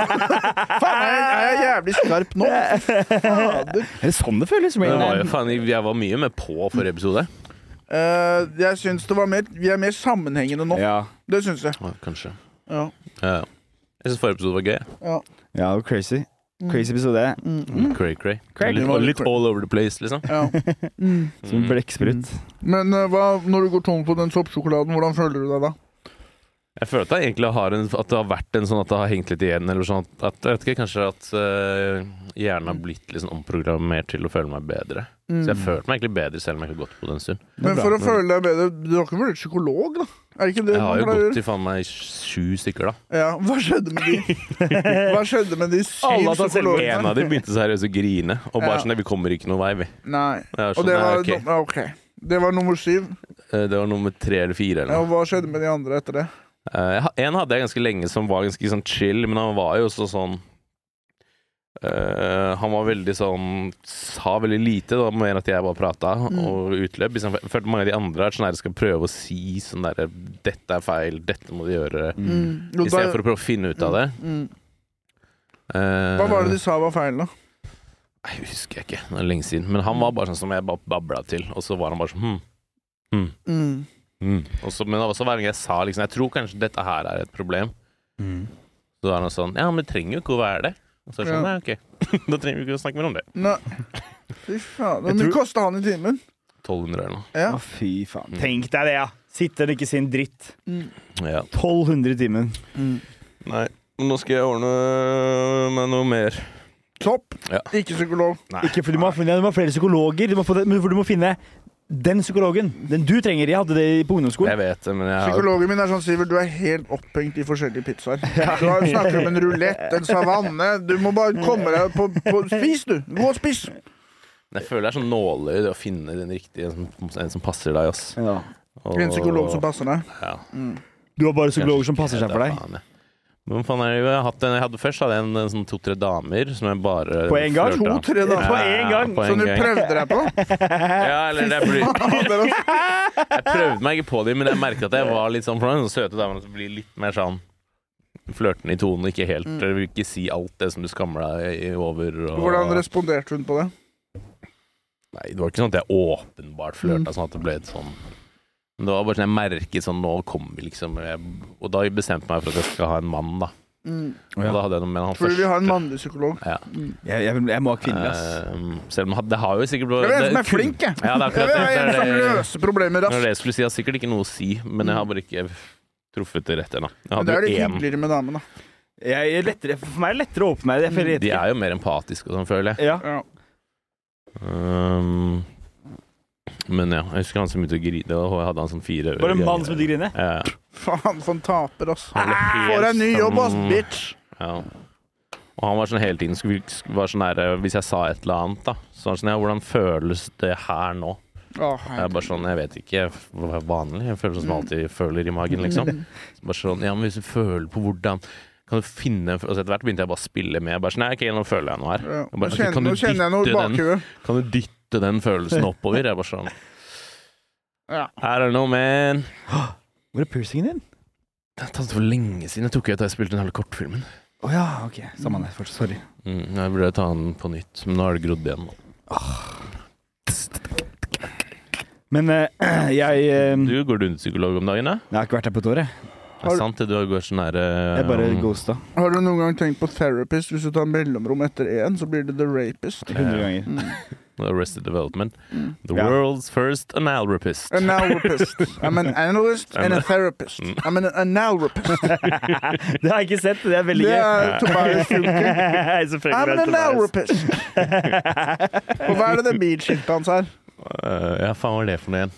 Speaker 3: Faen, jeg er jeg jævlig skarp nå. Fader.
Speaker 1: <laughs> Er det sånn det føles?
Speaker 2: Men det var jo
Speaker 1: Brain?
Speaker 2: faen, jeg var mye med på forrige episode.
Speaker 3: Eh, jeg syns det var mer Vi er mer sammenhengende nå.
Speaker 1: Ja.
Speaker 3: Det syns jeg.
Speaker 2: Ja, kanskje.
Speaker 3: Ja.
Speaker 2: Ja, ja. Jeg syns forrige episode var gøy. jeg.
Speaker 3: ja. Mm.
Speaker 1: ja, det var crazy. Crazy episode.
Speaker 2: Mm. Cray-cray.
Speaker 1: Cray-cray.
Speaker 2: Litt,
Speaker 3: var litt
Speaker 2: litt all over the place, liksom. <laughs> Mm.
Speaker 3: Ja. Mm.
Speaker 1: Som en blekksprut.
Speaker 3: Men eh, hva, når du går tom for den soppsjokoladen, hvordan føler du deg da?
Speaker 2: Jeg føler at det egentlig har en, at det har vært en sånn at det har hengt litt igjen, eller sånn at, at jeg vet ikke, kanskje at eh, hjernen har blitt litt sånn omprogrammert til å føle meg bedre.
Speaker 3: Mm.
Speaker 2: Så jeg følte meg egentlig bedre selv om jeg ikke har gått på det en stund.
Speaker 3: Men for å føle deg bedre, du har ikke vært psykolog, da? Er det ikke det
Speaker 2: Jeg har
Speaker 3: man
Speaker 2: jo
Speaker 3: pleier å
Speaker 2: gått
Speaker 3: gjøre?
Speaker 2: i faen meg sju stykker, da.
Speaker 3: Ja, hva skjedde med de?
Speaker 1: <laughs>
Speaker 3: Hva skjedde med de syv
Speaker 1: Alle har tatt
Speaker 2: En
Speaker 3: psykologene?
Speaker 2: av dem begynte seriøst å grine, og bare
Speaker 3: Ja.
Speaker 2: sånn "Nei, Vi kommer ikke noen vei, vi.
Speaker 3: Nei.
Speaker 2: Jeg er
Speaker 3: Og
Speaker 2: sånn,
Speaker 3: det
Speaker 2: nei,
Speaker 3: var,
Speaker 2: ok.
Speaker 3: ja, ok. Det var nummer syv.
Speaker 2: Eh, Det var nummer tre eller fire. Eller
Speaker 3: Ja,
Speaker 2: noe.
Speaker 3: og hva skjedde med de andre etter det?
Speaker 2: Eh, jeg ha- en hadde jeg ganske lenge som var ganske sånn chill, men han var jo også sånn eh, Han var veldig sånn Sa veldig lite, det var mer at jeg bare prata
Speaker 3: Mm.
Speaker 2: og utløp. Liksom, jeg følte mange av de andre er sånn her skal prøve å si sånn derre 'Dette er feil, dette må du gjøre',
Speaker 3: Mm. Jo, da-
Speaker 2: istedenfor å prøve å finne ut av det. Eh,
Speaker 3: Mm. Hva var det de sa var feil, da?
Speaker 2: Nei, Jeg husker jeg ikke, det er lenge siden. Men han var bare sånn som jeg bare babla til, og så var han bare sånn hm. hm,
Speaker 3: Mm.
Speaker 2: hm. Og så- men det var også hver gang jeg sa liksom Jeg tror kanskje dette her er et problem,
Speaker 1: Mm.
Speaker 2: så var han sånn Ja, men det trenger jo ikke å være det. Og så er det sånn,
Speaker 3: Ja.
Speaker 2: nei, ok. <laughs> da trenger vi ikke å snakke mer om det.
Speaker 3: Nei. Fy faen.
Speaker 1: Jeg
Speaker 3: Hvor mye
Speaker 1: tror-
Speaker 3: kosta han i timen?
Speaker 2: 1200 eller noe.
Speaker 3: Ja.
Speaker 1: Å, fy faen. Mm. Tenk deg det, ja! Sitter og ikke sier en dritt.
Speaker 3: Mm.
Speaker 2: Ja.
Speaker 1: 1200 i timen.
Speaker 2: Nei, men nå skal jeg ordne med noe mer.
Speaker 3: Topp.
Speaker 2: Ja.
Speaker 3: Ikke psykolog.
Speaker 2: Nei.
Speaker 1: Ikke, for du, må, ha- du må ha flere psykologer, du må, få det, men for du må finne den psykologen. Den du trenger. Jeg hadde det på ungdomsskolen.
Speaker 2: Jeg vet det, men jeg har
Speaker 3: Psykologen min er sånn, Sivert, du er helt opphengt i forskjellige pizzaer. Du har- snakker om en rulett, en savanne Du må bare
Speaker 2: Mm.
Speaker 3: komme deg på, på Spis, du! Gå og spis!
Speaker 2: Men Jeg føler det er sånn nåløy det å finne den riktige, en som, en som passer deg, ass.
Speaker 1: Ja.
Speaker 2: Og-
Speaker 3: En psykolog som passer deg.
Speaker 2: Ja.
Speaker 1: Du har bare psykologer som passer seg for deg.
Speaker 2: Faen, ja. Men faen er det jo, jeg har hatt en, jeg hadde først hadde jeg en, en sånn to-tre damer som jeg bare
Speaker 1: På en gang?
Speaker 2: flørta.
Speaker 3: To-tre damer?
Speaker 2: Ja,
Speaker 1: På
Speaker 2: ja, ja,
Speaker 1: en gang? Sånn
Speaker 2: På en
Speaker 3: Som du
Speaker 2: gang.
Speaker 3: prøvde deg
Speaker 2: <laughs>
Speaker 3: på.
Speaker 2: Ja, eller det blir,
Speaker 3: Og dere har
Speaker 2: jeg prøvde meg ikke på dem, men jeg merket at jeg var litt sånn For noen søte damer som blir litt mer sånn flørtende i tonen, ikke helt mm. Vil ikke si alt det som du skammer deg i- over. Og,
Speaker 3: Hvordan responderte hun på det?
Speaker 2: Nei, det var ikke sånn at jeg åpenbart
Speaker 3: Mm.
Speaker 2: flørta sånn at det ble et sånn Men det var bare sånn jeg merket sånn Nå kommer vi, liksom. Jeg, og da bestemte jeg meg for at jeg skal ha en mann, da. Og da hadde jeg noe med han
Speaker 3: Fordi Mm. vi har en
Speaker 2: første.
Speaker 3: mannlig psykolog. Mm.
Speaker 2: Ja.
Speaker 1: <laughs> Jeg, jeg, jeg må ha kvinner, ass.
Speaker 2: Ehm, selv om han- det har jo sikkert
Speaker 3: Jeg er en som er
Speaker 2: det-
Speaker 3: flink, jeg.
Speaker 2: Ja, det er
Speaker 3: Jeg
Speaker 2: akkurat
Speaker 3: er
Speaker 2: det.
Speaker 3: en
Speaker 2: Det
Speaker 3: som
Speaker 2: er det.
Speaker 3: løser problemer
Speaker 2: Det var
Speaker 3: raskt.
Speaker 2: det jeg skulle si. Jeg har sikkert ikke noe å si, men jeg har bare ikke truffet det rett ennå. Jeg
Speaker 3: Men det er
Speaker 2: hadde
Speaker 3: litt
Speaker 2: jo én.
Speaker 3: hyggeligere med damene.
Speaker 1: Jeg, jeg er lettere, for meg er det lettere å åpne meg. Jeg føler jeg
Speaker 2: De
Speaker 1: vet
Speaker 2: er jo mer empatiske og sånn, føler jeg.
Speaker 1: ikke- Ja.
Speaker 3: Ja.
Speaker 2: Ehm, men ja, jeg husker han som begynte å grine, og jeg hadde han sånn fire
Speaker 1: Var det en mann som begynte å grine?
Speaker 2: Ja.
Speaker 3: Faen, for en taper, ass.
Speaker 2: Han ble helt
Speaker 3: Får deg ny jobb, ass,
Speaker 2: sånn-
Speaker 3: bitch!
Speaker 2: Ja. Og han var sånn hele tiden skulle, var sånn der, Hvis jeg sa et eller annet, da Så var han sånn Ja, hvordan føles det her nå?
Speaker 3: Å,
Speaker 2: Jeg er
Speaker 3: herregud.
Speaker 2: bare sånn Jeg vet ikke. Jeg f- var vanlig. Jeg føler sånn som jeg alltid føler i magen,
Speaker 1: <laughs>
Speaker 2: liksom. Så Bare sånn Ja, men hvis du føler på hvordan kan du finne altså Etter hvert begynte jeg bare å spille med. Jeg bare sånn Nei, ok, nå føler jeg noe her.
Speaker 3: Ja.
Speaker 2: Jeg
Speaker 3: Nå
Speaker 2: bare, ok,
Speaker 3: kjenner,
Speaker 2: kan, du
Speaker 3: nå kjenner jeg noe i
Speaker 2: dytte den,
Speaker 3: bakhuet.
Speaker 2: kan du dytte den følelsen oppover? Jeg bare sånn
Speaker 3: Ja.
Speaker 2: I don't know, man.
Speaker 1: <gasps> Hvor er piercingen din?
Speaker 2: Det har tatt for lenge siden. Jeg tok jo ut da jeg spilte den hele kortfilmen.
Speaker 1: Å ja, ok. Samme det. fortsatt. Sorry.
Speaker 2: Mm, jeg burde ta den på nytt, men nå har det grodd igjen.
Speaker 1: Men eh, <clears throat> jeg eh,
Speaker 2: Du går du under psykolog om dagen, da?
Speaker 1: Jeg har ikke vært her på et år, jeg.
Speaker 2: Det er sant det, du sånn går så nære
Speaker 1: Jeg bare
Speaker 2: um,
Speaker 1: ghosta.
Speaker 3: Har du noen gang tenkt på therapist? Hvis du tar mellomrom etter én, så blir det the rapist. Mm.
Speaker 1: 100 ganger.
Speaker 2: Arrested Development. The
Speaker 1: Ja.
Speaker 2: world's first analropist.
Speaker 1: <laughs>
Speaker 3: An alropist. I'm an analyst and a therapist.
Speaker 2: Mm.
Speaker 3: I'm an analropist.
Speaker 1: Det har jeg ikke sett. Det er veldig
Speaker 3: Det
Speaker 1: gøy.
Speaker 3: er Tobias
Speaker 1: <laughs>
Speaker 2: <laughs>
Speaker 3: Junker.
Speaker 1: Selvfølgelig er
Speaker 3: I'm an
Speaker 1: det Tobias.
Speaker 3: analropist. Og hva er det det bilskiltet hans er?
Speaker 2: Eh, <laughs> ja, faen, hva er det for noe
Speaker 1: <coughs>
Speaker 2: igjen?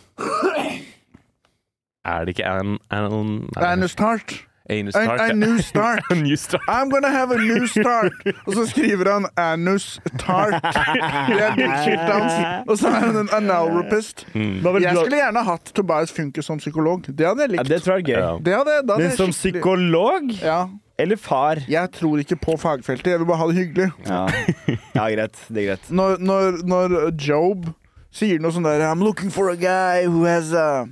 Speaker 2: er det ikke an... an,
Speaker 3: Det er en start.
Speaker 2: Anus
Speaker 3: A,
Speaker 2: Stark?
Speaker 3: a
Speaker 2: ja.
Speaker 3: new start.
Speaker 2: <laughs> A new start.
Speaker 3: I'm gonna have a new start. Og så skriver han anus tart. Det
Speaker 1: <laughs>
Speaker 3: er bilskiltet hans. Og så er han en analropist.
Speaker 1: Hva vil du
Speaker 3: Jeg
Speaker 1: ha-
Speaker 3: skulle gjerne hatt Tobias Funke som psykolog. Det hadde
Speaker 1: Ja,
Speaker 3: jeg likt.
Speaker 1: det tror jeg er gøy.
Speaker 2: Ja.
Speaker 3: Det hadde, da hadde
Speaker 1: Men
Speaker 3: jeg
Speaker 1: som
Speaker 3: skikkelig-
Speaker 1: psykolog
Speaker 3: Ja.
Speaker 1: eller far?
Speaker 3: Jeg tror ikke på fagfeltet, jeg vil bare ha det hyggelig.
Speaker 1: Ja. <laughs> ja, greit. Det er greit.
Speaker 3: Når, når, når Job sier noe sånn der I'm looking for a guy who has a,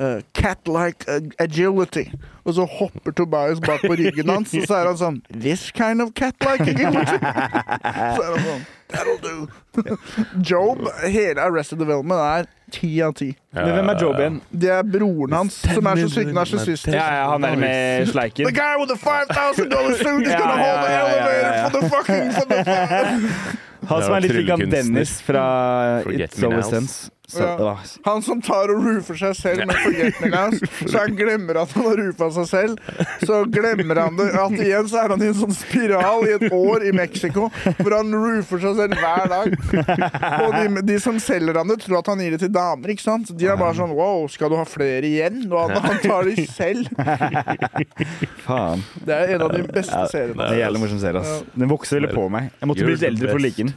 Speaker 3: a cat-like ag- agility. Og så hopper Tobias bak på ryggen hans, og så er han sånn This kind of cat-like
Speaker 1: <laughs>
Speaker 3: agility. Så er han sånn That'll do. <laughs> Job, hele Arrested Development, er ti av ti.
Speaker 1: Men hvem er Job igjen?
Speaker 3: Det er broren hans som er så sykt narsissistisk.
Speaker 1: Ja, ja, han der med
Speaker 3: The
Speaker 1: sleiken.
Speaker 3: guy with the $5,000 suit
Speaker 1: <laughs>
Speaker 3: is
Speaker 1: Ja,
Speaker 3: gonna hold the
Speaker 1: ja, ja, ja,
Speaker 3: elevator
Speaker 1: ja, ja.
Speaker 3: for the fucking for the
Speaker 1: Han som er litt lik han
Speaker 2: Tryllekunstner.
Speaker 1: Dennis fra
Speaker 2: Forget
Speaker 1: It's
Speaker 2: Me
Speaker 1: Always
Speaker 2: Nows.
Speaker 1: Sense. Så,
Speaker 3: Ja.
Speaker 1: ja.
Speaker 3: Han som tar og roofer seg selv med Forget Me Nows, så han glemmer at han har roofa seg selv. Så glemmer han det at igjen så er han i en sånn spiral i et år i Mexico hvor han roofer seg selv hver dag. Og de, de som selger han det, tror at han gir det til damer, ikke sant? De er bare sånn Wow, skal du ha flere igjen? Og han, han tar de selv.
Speaker 1: Faen.
Speaker 3: Det er en av de beste
Speaker 1: Det
Speaker 3: seriene.
Speaker 1: er jævlig morsom serie, ass. Den vokser veldig på meg. Jeg måtte bli litt eldre for å like den.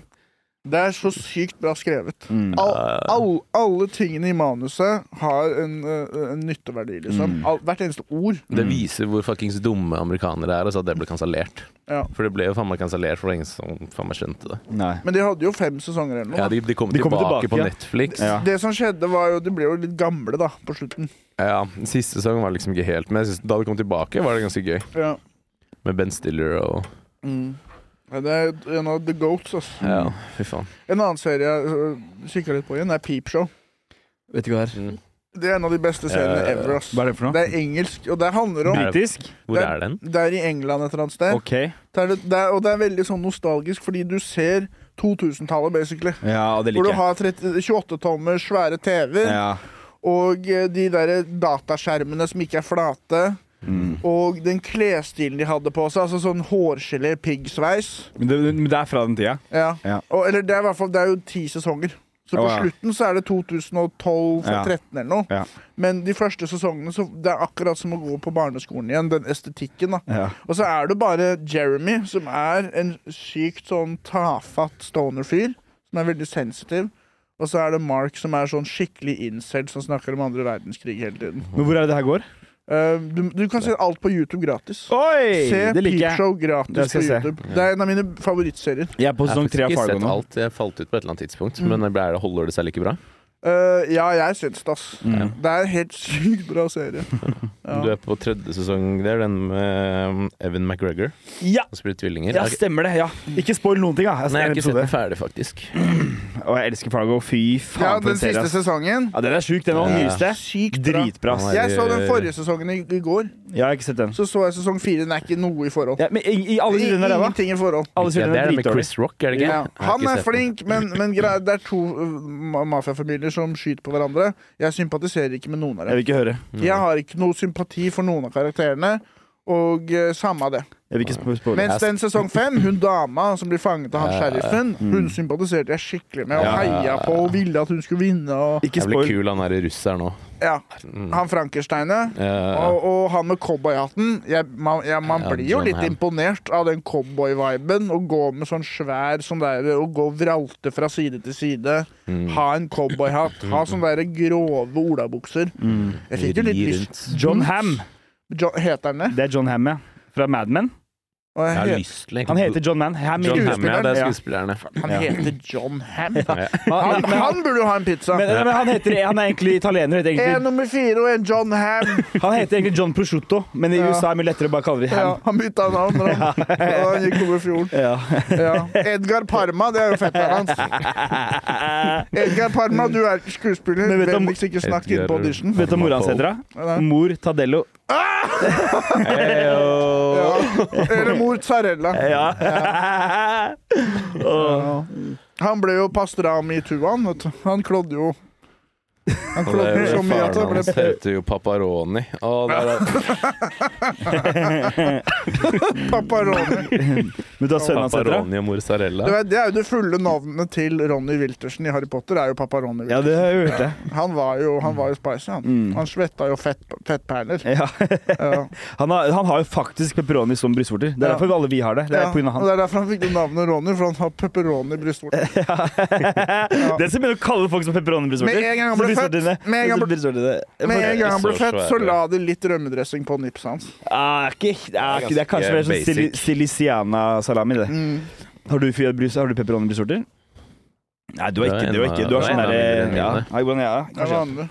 Speaker 3: Det er så sykt bra skrevet.
Speaker 1: Mm.
Speaker 3: All, all, alle tingene i manuset har en, eh, en nytteverdi, liksom.
Speaker 1: Mm.
Speaker 3: All, hvert eneste ord.
Speaker 2: Det viser hvor fuckings dumme amerikanere er, altså at det ble kansellert.
Speaker 3: Ja.
Speaker 2: For det ble jo faen meg kansellert for lenge siden faen meg skjønte det.
Speaker 1: Nei.
Speaker 3: Men de hadde jo fem sesonger eller noe.
Speaker 2: Ja, de, de kom
Speaker 1: De kommer
Speaker 2: tilbake,
Speaker 1: tilbake,
Speaker 2: på
Speaker 1: ja.
Speaker 2: Netflix.
Speaker 1: Ja.
Speaker 2: Ja.
Speaker 3: Det som skjedde, var jo De ble jo litt gamle, da, på slutten.
Speaker 2: den Siste sesong var liksom ikke helt med. Jeg synes, da de kom tilbake, var det ganske gøy.
Speaker 3: Ja.
Speaker 2: Med Ben Stiller og
Speaker 3: Mm. Ja, Det er en av the goats, ass.
Speaker 2: Ja, fy faen.
Speaker 3: En annen serie jeg kikka litt på igjen, er Peep Show.
Speaker 1: Vet ikke hva det er.
Speaker 2: Mm.
Speaker 3: Det er en av de beste seriene
Speaker 2: Eh,
Speaker 3: ever, ass.
Speaker 1: Hva er det for
Speaker 3: Det
Speaker 1: noe?
Speaker 3: er engelsk, og det handler om
Speaker 2: Nei.
Speaker 1: Britisk?
Speaker 2: Hvor
Speaker 3: Det-
Speaker 2: er den?
Speaker 3: Det er i England et eller annet sted.
Speaker 1: OK.
Speaker 3: Det er, det er, og det er veldig sånn nostalgisk, fordi du ser 2000-tallet, basically.
Speaker 1: Ja, det liker
Speaker 3: Hvor du
Speaker 1: jeg.
Speaker 3: har 30 28-tommer svære TV-er,
Speaker 1: Ja.
Speaker 3: og eh, de der dataskjermene som ikke er flate,
Speaker 1: Mm.
Speaker 3: og den klesstilen de hadde på seg, altså sånn hårgelé piggsveis.
Speaker 1: Men, det, men det er fra den tida?
Speaker 3: Ja.
Speaker 1: Ja.
Speaker 3: Og, eller det er i hvert fall Det er jo ti sesonger. Så på
Speaker 1: Å, ja.
Speaker 3: slutten så er det 2012-2013
Speaker 1: Ja.
Speaker 3: eller noe.
Speaker 1: Ja.
Speaker 3: Men de første sesongene så det er akkurat som å gå på barneskolen igjen. Den estetikken. da
Speaker 1: Ja.
Speaker 3: Og så er det bare Jeremy, som er en sykt sånn tafatt stoner-fyr. Som er veldig sensitiv. Og så er det Mark, som er sånn skikkelig incel, som snakker om andre verdenskrig hele tiden.
Speaker 1: Men hvor er det det her går?
Speaker 3: Eh, du, du kan se alt på YouTube gratis.
Speaker 1: Oi!
Speaker 3: Se
Speaker 1: det liker
Speaker 3: Peep
Speaker 1: jeg.
Speaker 3: Show gratis
Speaker 1: Det skal
Speaker 3: på
Speaker 1: jeg se.
Speaker 3: YouTube. Det er en av mine favorittserier.
Speaker 1: Jeg er på
Speaker 2: Jeg har
Speaker 1: sesong tre
Speaker 2: faktisk
Speaker 1: av Fargo
Speaker 2: ikke sett
Speaker 1: nå. Mm.
Speaker 2: alt. Jeg falt ut på et eller annet tidspunkt. Men ble det, holder det seg like bra?
Speaker 3: Eh, ja, jeg syns det, ass.
Speaker 1: Mm.
Speaker 3: Det er en helt sykt bra
Speaker 1: <laughs>
Speaker 3: serie.
Speaker 2: Du er på tredje sesong der, den med um, Evan McGregor.
Speaker 1: Ja,
Speaker 2: Han spiller tvillinger.
Speaker 1: ja,
Speaker 2: Jeg-
Speaker 1: stemmer det. ja Ikke spoil noen ting, da. Jeg,
Speaker 2: Nei, jeg har
Speaker 1: jeg, Mm.
Speaker 2: ikke sett den ferdig, faktisk.
Speaker 1: Og jeg elsker Fargo. Fy faen,
Speaker 3: Ja,
Speaker 1: for
Speaker 3: den
Speaker 1: en serie.
Speaker 3: siste
Speaker 1: ass.
Speaker 3: sesongen.
Speaker 1: Ja, den er sjuk, den òg.
Speaker 2: Ja.
Speaker 1: Nyeste.
Speaker 3: Sykt bra.
Speaker 1: Dritbra. ass.
Speaker 2: Ja.
Speaker 3: Jeg så den forrige sesongen i, i går.
Speaker 1: Jeg har ikke sett den.
Speaker 3: Så så jeg sesong fire. Den er ikke noe i forhold.
Speaker 1: Ja, men i, i alle sider den er ræva.
Speaker 3: Ingenting i forhold.
Speaker 1: Alle
Speaker 2: Ja,
Speaker 1: sider
Speaker 2: det
Speaker 1: den
Speaker 2: er
Speaker 1: er
Speaker 2: det med
Speaker 1: dritdårlig.
Speaker 2: Chris Rock, er det ikke?
Speaker 3: Ja.
Speaker 2: Jeg har
Speaker 3: Han
Speaker 2: ikke
Speaker 3: er
Speaker 2: sett den.
Speaker 3: flink, men, men greia- det er to øh, ma- mafiafamilier som skyter på hverandre. Jeg sympatiserer ikke med noen av
Speaker 1: Jeg
Speaker 3: dem.
Speaker 1: vil ikke høre.
Speaker 3: Jeg har ikke noe sympati for noen av karakterene. Og eh, samme av det.
Speaker 1: Jeg vil ikke spo- spoile.
Speaker 3: Mens den sesong fem, hun dama som blir fanget av han sheriffen,
Speaker 2: Mm.
Speaker 3: hun sympatiserte jeg skikkelig med og heia på og ville at hun skulle vinne. Og,
Speaker 1: Ikke
Speaker 2: Jeg blir
Speaker 1: spoil.
Speaker 2: kul, han der russer nå.
Speaker 3: ja.
Speaker 2: Mm.
Speaker 3: Han Frankensteinet
Speaker 2: Eh,
Speaker 3: og, og han med cowboyhatten. Jeg- Man, ja, man
Speaker 2: Ja,
Speaker 3: blir jo
Speaker 2: John
Speaker 3: litt
Speaker 2: Hamm.
Speaker 3: imponert av den cowboy-viben. Å gå med sånn svær sånn der, Å gå og vralte fra side til side.
Speaker 2: Mm.
Speaker 3: Ha en cowboyhatt. Ha sånne der grove olabukser. Jeg fikk jo litt
Speaker 2: rir
Speaker 3: lyst
Speaker 2: rundt.
Speaker 1: Mm. John Ham.
Speaker 3: Jo, Heter han det?
Speaker 1: Det er John Ham, ja. Fra Mad Men.
Speaker 3: Og
Speaker 2: Jeg
Speaker 3: jeg
Speaker 2: har
Speaker 3: het-
Speaker 2: lyst til egentlig.
Speaker 1: Han heter John Man. Ham
Speaker 2: John
Speaker 1: i-
Speaker 2: Hamm, ja. Det er
Speaker 1: Ja.
Speaker 2: skuespillerne.
Speaker 3: Han
Speaker 1: Ja.
Speaker 3: heter John Ham.
Speaker 2: Ja.
Speaker 1: Han,
Speaker 3: Han,
Speaker 1: men, han,
Speaker 3: han burde jo ha en pizza.
Speaker 1: men, men han, heter, han er egentlig italiener. Heter
Speaker 3: En
Speaker 1: egentlig,
Speaker 3: nummer fire og en John Ham.
Speaker 1: <laughs> han heter egentlig John Prosciutto, men i
Speaker 3: Ja.
Speaker 1: USA er det mye lettere å bare kalle det
Speaker 3: Ja,
Speaker 1: Ham.
Speaker 3: han bytta navn da han, da han gikk over fjorden.
Speaker 1: Ja.
Speaker 3: Ja. Edgar Parma, det er jo fetteren hans.
Speaker 2: Eh,
Speaker 3: Edgar Parma, du er skuespiller.
Speaker 1: Men vet du om-
Speaker 3: Vennligst ikke snakk inn på audition.
Speaker 1: Vet du hva mora hans heter? da? Mor Tadello.
Speaker 3: Ah! Ja. Eller mozzarella.
Speaker 1: Ja. Åh.
Speaker 3: Han ble jo pastrami i tuaen, vet du. Han klådde jo Han
Speaker 2: Og det
Speaker 3: klådde
Speaker 2: er
Speaker 3: jo
Speaker 2: jo
Speaker 3: så mye at han
Speaker 2: Faren
Speaker 3: ble
Speaker 2: hans heter jo Paparoni. Å, det er
Speaker 1: <laughs>
Speaker 3: paparoni.
Speaker 1: Men du har sønnen hans heter da?
Speaker 2: Paparoni og mozzarella.
Speaker 3: Du vet, det er jo det fulle navnet til Ronny Wiltersen i Harry Potter. er jo paparoni.
Speaker 1: Ja, Mm. det har jeg jo hørt. det.
Speaker 3: Han var jo, han var jo spicy, han. Han svetta jo fett,
Speaker 1: <laughs>
Speaker 3: fettperler.
Speaker 1: Ja.
Speaker 3: Ja.
Speaker 1: Han, har, han har jo faktisk pepperoni som brystvorter. Det er
Speaker 3: Ja.
Speaker 1: derfor alle vi har det. Det er
Speaker 3: Ja,
Speaker 1: på grunn av
Speaker 3: Og
Speaker 1: han. Eh,
Speaker 3: det er derfor han fikk det navnet Ronny, for han har pepperoni i brystvorten.
Speaker 1: <laughs>
Speaker 3: Ja.
Speaker 1: Det som begynner å kalle folk som pepperoni-brystvorter.
Speaker 3: Med en gang han ble født. Med en gang han ble- Med en gang han ble
Speaker 2: Så
Speaker 3: født, så
Speaker 2: svære.
Speaker 3: la de litt rømmedressing på nipset hans.
Speaker 1: Ah, ikke, ah, ikke, det er kanskje mer sånn
Speaker 2: Basic.
Speaker 1: sili- silisiana-salami, Eh, det.
Speaker 3: Mm.
Speaker 1: Har du, fyr- brys- har du pepperoni-brystvorter? Nei, du har
Speaker 2: Det er
Speaker 1: ikke
Speaker 2: en
Speaker 1: du har
Speaker 2: av-
Speaker 1: ikke, du har
Speaker 2: det er
Speaker 1: sånn
Speaker 2: en av
Speaker 1: derre
Speaker 2: mine
Speaker 1: ja.
Speaker 2: mine.
Speaker 1: Nei, hvordan er det?
Speaker 3: Det er
Speaker 1: Kanskje.
Speaker 3: vanlig.